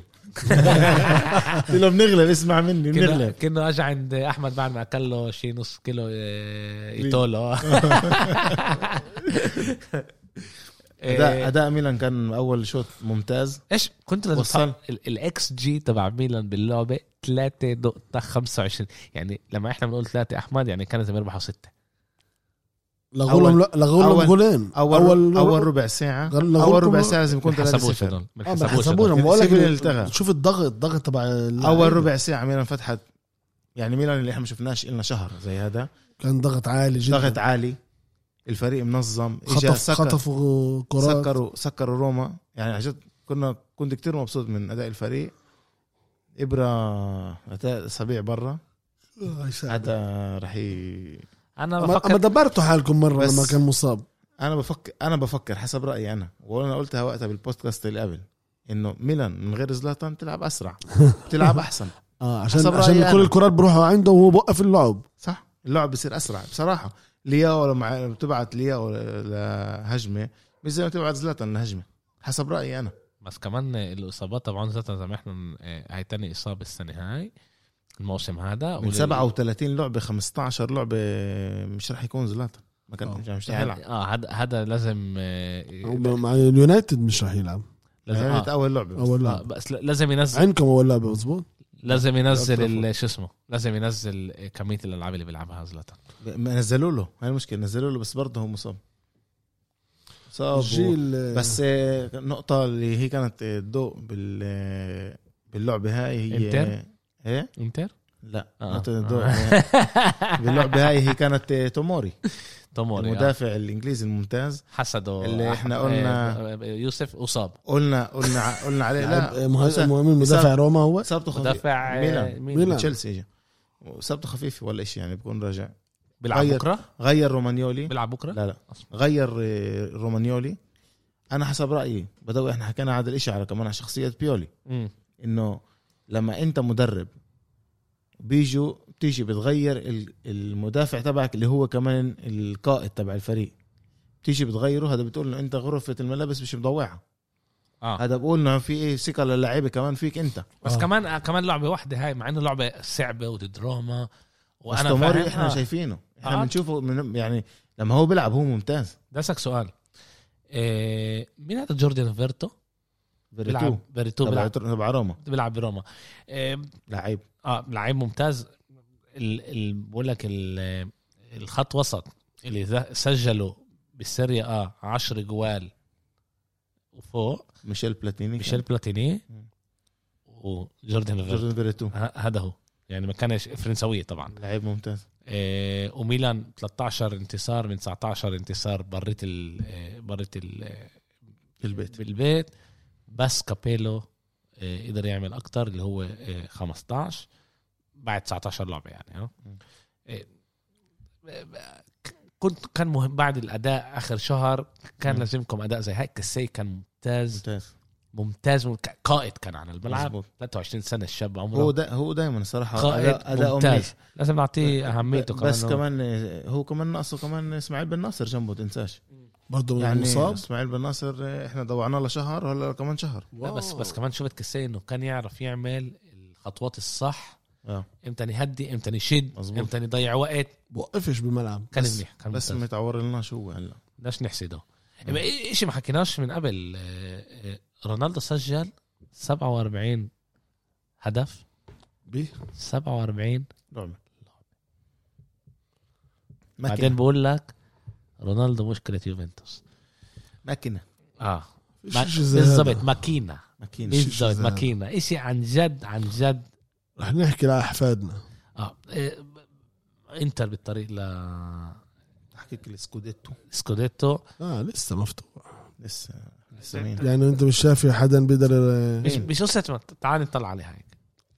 C: قلت له بنغلب اسمع مني
A: كنا
C: بنغلب
A: كنا اجى عند احمد بعد ما اكل له شي نص كيلو آه، ايتولو
B: إيه.
C: اداء
A: آه،
C: اداء ميلان كان اول شوط ممتاز
A: ايش كنت لازم
C: وصل.
A: وصل الاكس جي تبع ميلان باللعبه 3.25 يعني لما احنا بنقول 3 احمد يعني كانت يربحوا 6
B: لغوا لهم لغوا لهم
C: أول-
B: جولين
C: اول اول, أول ربع ساعه
B: قال له
C: اول
B: هو-
C: ربع ساعه لازم يكون 3
A: بنحسبوش
C: 0
A: هدول
B: اه
A: بنحسبوش هدول.
B: بحسبونا بقول لك
C: السيفيليا التغى.
B: شوف الضغط الضغط تبع اللعيبة.
C: اول ربع ساعه ميلان فتحت يعني ميلان اللي احنا ما شفناش لنا شهر زي هذا
B: كان ضغط عالي جدا
C: ضغط عالي الفريق منظم إجا
B: خطف خطفوا كرات
C: سكروا سكروا روما يعني عن جد كنا كنت كتير مبسوط من اداء الفريق ابره اداء اصابيع برا
B: آه، يساعد.
C: هذا رح ي...
A: انا
B: اما أما
A: بفكر
B: دبرتوا حالكم مره
C: بس-
B: لما كان مصاب
C: انا بفكر انا بفكر حسب رايي انا وانا قلتها وقتها بالبودكاست اللي قبل انه ميلان من غير زلاتان بتلعب اسرع بتلعب احسن
B: اه عشان
C: حسب
B: عشان
C: رأيي
B: كل
C: أنا.
B: الكرات بروحوا عنده وهو بوقف اللعب
C: صح اللعب بصير اسرع بصراحه لياو لما بتبعت لياو لهجمه مش زي ما تبعت زلاتان لهجمه حسب رايي انا
A: بس كمان الاصابات طبعا زي ما احنا آه، هاي تاني اصابه السنه هاي الموسم هذا
C: من 37 لعبه 15 لعبه مش رح يكون زلاتان ما كان مش رح يلعب
A: يعني اه هذا هذا لازم آه،
B: أو مع اليونايتد مش راح يلعب
A: لازم
C: هي كانت
A: آه
C: اول لعبه
B: اول
A: آه،
B: لعبه
A: بس ل- لازم ينزل
B: عندكم اول لعبه مزبوط
A: لازم
C: لا
A: ينزل
C: تفوت.
A: ال- شو اسمه لازم ينزل آه، كميه الالعاب اللي بيلعبها زلاتان
C: ما نزلوا له هاي المشكله نزلوا له بس برضه هو مصاب مصاب و...
B: الجيل بس
C: بس آه، النقطه اللي هي كانت آه، الضوء بال آه، باللعبه هاي هي
A: إنتر؟
C: ايه
A: انتر
C: لا
A: آه.
C: نقطه الضوء باللعبه هاي هي كانت آه، توموري
A: توموري آه.
C: المدافع الانجليزي الممتاز
A: حسده
C: اللي إحنا
A: أحمد-
C: قلنا-
A: آه، يوسف اصاب
C: قلنا قلنا قلنا عليه لا
B: آه، مهاجم مدافع روما هو
C: اصابته خفيفه
A: مدافع آه،
C: ميلان.
A: مين
B: ميلان.
C: تشيلسي اجى اصابته خفيفه ولا شيء يعني بكون راجع
A: بيلعب
C: غير-
A: بكره
C: غير رومانيولي
A: بيلعب بكره
C: لا لا غير آه، رومانيولي انا حسب رايي بدوي احنا حكينا هذا الاشي على كمان على شخصيه بيولي
A: مم.
C: انه لما انت مدرب بيجوا بتيجي بتغير ال- المدافع تبعك اللي هو كمان القائد تبع الفريق بتيجي بتغيره هذا بتقول انه انت غرفه الملابس مش مضوعه
A: اه
C: هذا بقول انه في ايه ثقه للاعيبه كمان فيك انت
A: بس
B: آه.
A: كمان آه، كمان لعبه واحده هاي مع انه لعبه صعبه ودراما
C: بس
A: وانا
C: توموري
A: فاهم
C: احنا
A: آه.
C: شايفينه احنا
A: آه.
C: بنشوفه من يعني لما هو بيلعب هو ممتاز
A: بدي اسالك سؤال إيه مين هذا جوردن فيرتو؟
C: بيلعب
A: بيلعب بيرتو
C: تبع
A: بيلعب
C: تبع روما
A: بيلعب بروما إيه
C: لعيب
A: اه لعيب ممتاز ال... ال... بقول لك ال... الخط وسط اللي ذا- سجلوا بالسيريا اه 10 جوال وفوق
C: ميشيل بلاتيني
A: ميشيل بلاتيني
C: نعم. مم.
A: وجوردن فيرتو
C: جوردن بيريتو
A: ه- هذا هو يعني ما كانش فرنسويه طبعا
C: لعيب ممتاز
A: إيه وميلان 13 انتصار من 19 انتصار بريت ال... آه، بريت ال... آه،
C: بالبيت
A: بالبيت بس كابيلو آه، قدر يعمل اكتر اللي هو آه، 15 بعد 19 لعبه يعني آه.
C: م.
A: آه، آه، كنت كان مهم بعد الاداء اخر شهر كان
C: م.
A: لازمكم اداء زي هيك كسي كان ممتاز
C: ممتاز
A: ممتاز ممت- قائد كان على الملعب
C: مظبوط.
A: 23 سنه الشاب
C: هو
A: عمره
C: دا هو دائما الصراحه
A: قائد
C: أداء- اداؤه
A: ممتاز
C: ممتاز
A: لازم نعطيه اهميته كمان
C: بس كمان آه، هو كمان ناقصه كمان اسماعيل بن ناصر جنبه تنساش
B: برضه
C: يعني
B: يعني مصاب
C: اسماعيل بن ناصر آه، احنا ضوعنا له شهر هلا كمان شهر
A: لا بس بس كمان شفت كسي انه كان يعرف يعمل الخطوات الصح
C: آه.
A: امتى يهدي امتى يشد
C: مظبوط.
A: امتى يضيع وقت
B: بوقفش بالملعب
A: كان
C: بس-
A: منيح كان
C: بس آه.
A: ممتاز
C: ما تعور لناش هو هلا
A: بدناش نحسده إيه-
C: مم.
A: شيء ما حكيناش من قبل آه، آه، رونالدو سجل 47 هدف
B: بيه
A: 47
C: لعبه
A: بعدين
C: ماكينه
A: بقول لك رونالدو مشكله يوفنتوس
C: ماكينه
A: اه
B: فيش
A: ما-
B: شي زي هذا.
A: بالضبط ماكينه
C: ماكينه
B: مش- شي
A: بالضبط
B: زي هذا.
A: ماكينه شيء عن جد عن جد
B: رح نحكي لاحفادنا
A: اه آه، انتر بالطريق لسكوديتو
C: حكيت السكوديتو
B: اه لسه مفتوح
C: لسه لسه مين
B: يعني انت مش شايف حدا بيقدر آه،
A: مش مش قصه تعال نطلع عليها هيك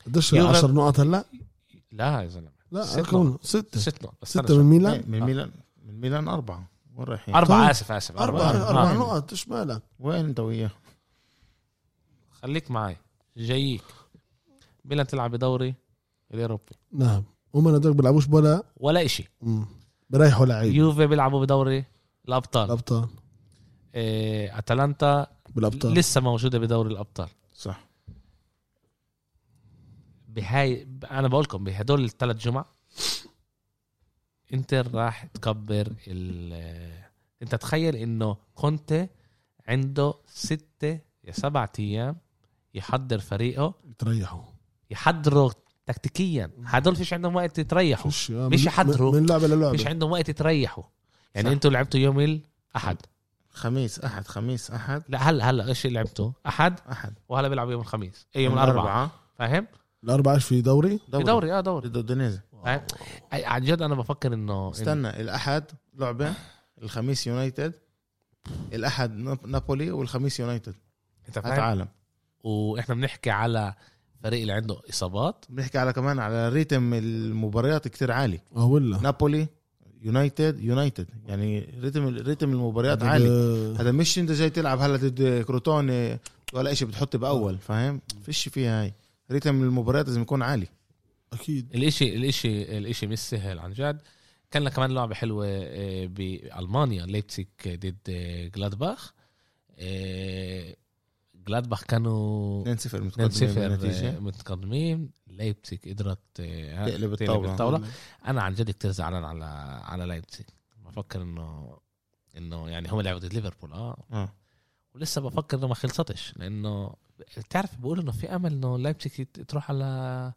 B: قديش
A: يوفن-
B: 10 نقط هلا؟
A: لا يا زلمه
B: لا
A: ستة.
B: كم ستة
A: ست نقط بس
B: ستة
A: استنى
B: من
C: لا
B: ميلان
C: إيه، من
A: آه.
C: ميلان من ميلان أربعة وين
A: شوي.
C: رايحين؟
A: اربعه
B: طيب.
A: اسف اسف
B: أربعة
A: آه.
B: أربع نقط ايش مالك؟
C: وين أنت وياه؟
A: خليك معي جايك ميلان تلعب بدوري الاوروبي
B: نعم هم هذول بيلعبوش ولا
A: ولا إشي
B: مم. بريحوا لعيب
A: يوفي بيلعبوا بدوري الابطال
B: الابطال
A: إيه اتلانتا
B: بالابطال
A: لسه موجوده بدوري الابطال
C: صح
A: بهاي انا بقول لكم بهدول الثلاث جمع انتر راح تكبر ال انت تخيل انه كونتي عنده ستة يا سبعة ايام يحضر فريقه
B: تريحوا
A: يحضره تكتيكيا هدول فيش عندهم وقت يتريحوا
B: فيش- آه،
A: فيش
B: من-
A: يحضروا.
B: من لعبه
A: فيش
B: للعبه
A: عندهم وقت يتريحوا يعني
C: صح.
A: انتوا لعبتوا يوم الاحد
C: خميس احد خميس احد
A: لا هلا هلا ايش لعبتوا احد
C: احد
A: وهلا بيلعب يوم الخميس أي يوم الاربعاء فاهم
B: الاربعه في دوري
C: دوري, دوري.
A: دوري اه دوري
C: ضد اندونيسيا
A: فاهم؟ أي- عن جد انا بفكر انه
C: استنى الاحد لعبه الخميس يونايتد الاحد ناب- نابولي والخميس يونايتد
A: انت
C: هات
A: فاهم
C: عالم
A: واحنا بنحكي على فريق اللي عنده اصابات
C: بنحكي على كمان على ريتم المباريات كتير عالي
B: اه
A: نعم،
B: ولا
C: نابولي يونايتد يونايتد يعني ريتم ريتم المباريات عالي هذا مش انت جاي تلعب هلا ضد كروتون آه، ولا اشي بتحط
A: آه.
C: باول فاهم فيش فيها هاي ريتم المباريات لازم يكون عالي
B: اكيد
A: الاشي الاشي الاشي مش سهل عن جد كان لنا كمان لعبه حلوه آه، بالمانيا ليبتسيك ضد آه، جلادباخ آه، جلادباخ كانوا
C: 2-0 متقدمين
A: 2-0
C: بالنتيجة.
A: متقدمين ليبتسيك قدرت آه،
C: إيه، تقلب
A: تقلب
C: الطاولة.
A: الطاوله انا عن جد كتير زعلان على على ليبتسيك بفكر انه انه يعني هم لعبوا ضد ليفربول اه
C: اه
A: ولسه بفكر انه ما خلصتش لانه بتعرف بقول انه في امل انه لايبزيج يت- تروح على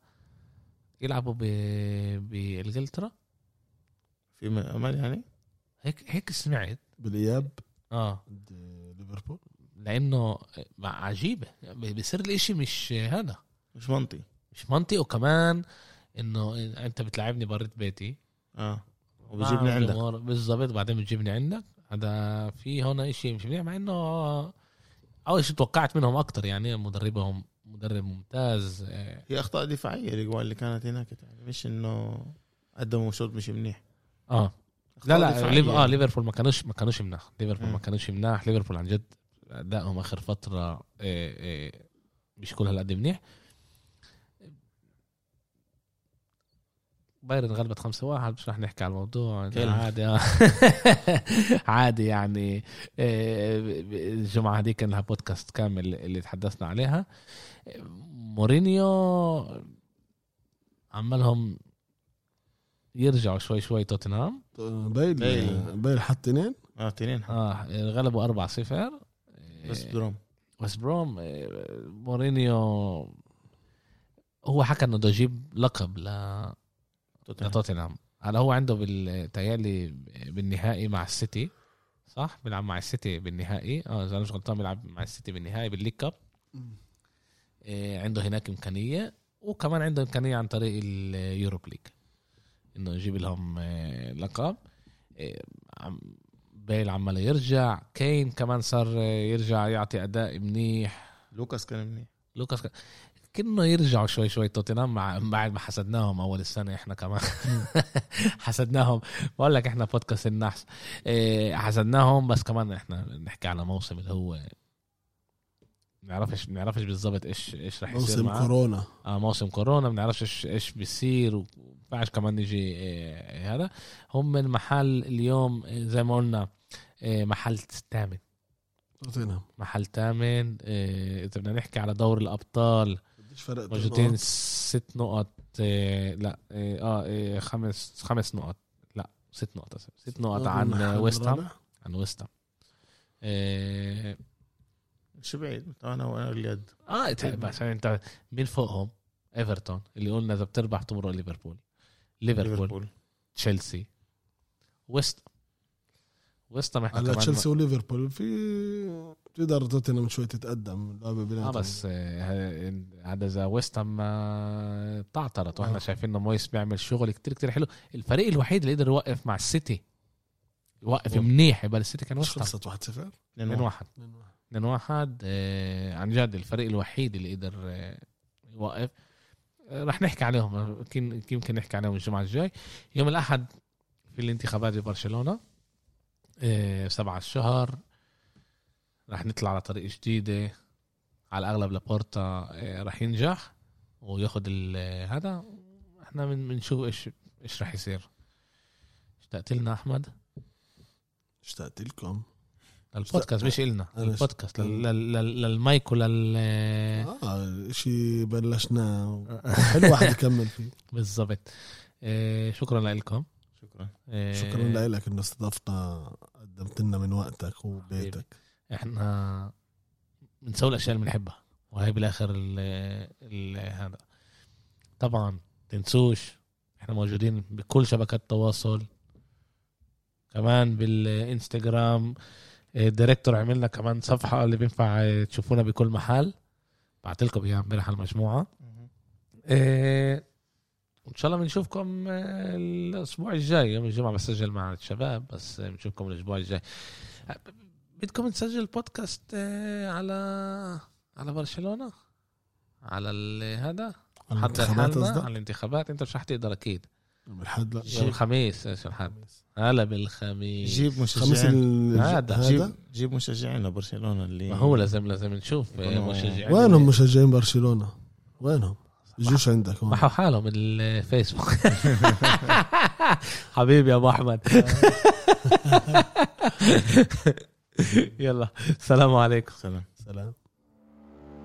A: يلعبوا ب بانجلترا
C: في م- امل يعني
A: هيك هيك سمعت
B: بالاياب
A: اه
B: ضد ليفربول
A: لانه مع- عجيبه ب- بصير الاشي مش هذا
C: مش منطقي
A: مش منطقي وكمان انه انت بتلعبني بريت بيتي
C: اه وبجيبني
A: مع
C: عندك
A: الجمهور بالضبط بعدين بتجيبني عندك هذا في هون اشي مش منيح مع انه اول شيء توقعت منهم اكتر يعني مدربهم مدرب ممتاز آه،
C: هي اخطاء دفاعيه الاجوال اللي كانت هناك يعني مش انه قدموا شوط مش منيح
A: اه لا
C: أخطاء
A: لا
C: دفاعية
A: ليف... اه
C: يعني.
A: ليفربول ما كانوش ما كانوش مناح ليفربول
C: مم.
A: ما كانوش مناح ليفربول عن جد ادائهم اخر فتره آه، آه، مش كل هالقد منيح بايرن غلبت 5 1 مش رح نحكي على الموضوع
C: كلمة.
A: عادي آه. عادي يعني آه، ب- ب- الجمعه هذيك كان لها بودكاست كامل اللي تحدثنا عليها آه، مورينيو عمالهم يرجعوا شوي شوي توتنهام
B: بايل
C: بايل.
B: بايل آه، حط اثنين
C: اه تنين
A: اه غلبوا 4 0 إيه.
C: بس دروم
A: ويست بروم آه، مورينيو هو حكى انه بده يجيب لقب ل-
C: توتنهام.
A: لتوتنهام هلا هو عنده بالتهيألي بالنهائي مع السيتي صح بيلعب مع السيتي بالنهائي اه اذا انا مش غلطان بيلعب مع السيتي بالنهائي بالليج كاب آه، عنده هناك امكانيه وكمان عنده امكانيه عن طريق اليوروب ليج انه يجيب لهم آه، لقب آه، عم- بيل عمال يرجع كين كمان صار آه، يرجع يعطي اداء منيح
C: لوكاس كان منيح
A: لوكاس ك- كأنه يرجعوا شوي شوي توتنهام مع بعد ما حسدناهم اول السنه احنا كمان حسدناهم بقول لك احنا بودكاست النحس آه، حسدناهم بس كمان احنا نحكي على موسم اللي هو نعرفش نعرفش بالضبط ايش ايش رح يصير
B: موسم
A: معاه
B: كورونا
A: آه موسم كورونا بنعرفش ايش ايش بيصير وبعرفش كمان نيجي آه هذا هم من محل اليوم آه، زي ما قلنا آه محل ثامن
B: توتنهام
A: محل ثامن آه، اذا بدنا نحكي على دور الابطال
B: قديش فرق آه،
A: موجودين ست نقط آه لا اه, آه, آه خمس خمس نقط لا ست نقط أسف. ست نقط عن آه، ويست هام عن ويست هام آه،
C: مش بعيد انا وانا اليد
A: اه إنت- بس يعني انت مين فوقهم؟ ايفرتون اللي قلنا اذا بتربح تمرق ليفربول ليفربول
C: ليفربول
A: تشيلسي ويست ويست هام احنا
B: هلا
A: كمان
B: تشيلسي وليفربول في تقدر توتنهام شوي تتقدم لعبه
A: اه
B: بيناتهم
A: بس آه، ه- هذا اذا ويست هام آه، تعثرت واحنا
B: آه.
A: شايفين انه مويس بيعمل شغل كتير كتير حلو الفريق الوحيد اللي قدر يوقف مع السيتي يوقف
C: أوه.
A: منيح يبقى السيتي كان
B: مش
A: ويست هام
B: خلصت 1-0
C: 2
A: 2
C: واحد.
A: 1 2 1 آه، عن جد الفريق الوحيد اللي قدر آه، يوقف آه، رح نحكي عليهم آه، يمكن يمكن نحكي عليهم الجمعه الجاي يوم الاحد في الانتخابات ببرشلونه آه، سبعة الشهر رح نطلع على طريق جديده على الاغلب لابورتا آه، رح ينجح وياخد ال- آه، هذا احنا بن- بنشوف ايش ايش رح يصير اشتقت لنا احمد
B: اشتقت لكم
A: البودكاست مش إلنا
B: أنا مش-
A: البودكاست لل- لل- لل- للمايك ولل إيه.
B: اه شيء بلشناه حلو واحد يكمل فيه
A: بالضبط آه، شكرا لكم آه،
C: شكرا
A: إيه.
B: شكرا لك انه استضفتنا قدمت لنا من وقتك وبيتك
A: احنا بنسوي الاشياء اللي بنحبها وهي بالاخر ال ال هذا طبعا تنسوش احنا موجودين بكل شبكات التواصل كمان بالانستغرام اه، الديريكتور عملنا كمان صفحه اللي بينفع اه، تشوفونا بكل محل بعت لكم اياها امبارح على المجموعه اه، وان شاء الله بنشوفكم اه، الاسبوع الجاي يوم الجمعه بسجل مع الشباب بس اه، بنشوفكم الاسبوع الجاي بدكم نسجل بودكاست آه، على على برشلونه على ال- هذا
B: على
A: حتى
B: الانتخابات
A: حالنا
B: قصدك؟
A: على الانتخابات انت مش حتقدر اكيد
B: يوم الأحد لا
A: يوم الخميس ايش الحد هلا بالخميس
C: جيب
B: خميس
C: مشجعين
B: ال-
A: هذا.
B: هذا
C: جيب جيب مشجعين لبرشلونه اللي
A: ما هو لازم لازم نشوف آه،
C: يكونوا-
A: مشجعين
B: وينهم مشجعين برشلونه وينهم بيجوش عندك هون
A: محوا حالهم الفيسبوك حبيبي يا ابو احمد يلا السلام عليكم
C: سلام
B: سلام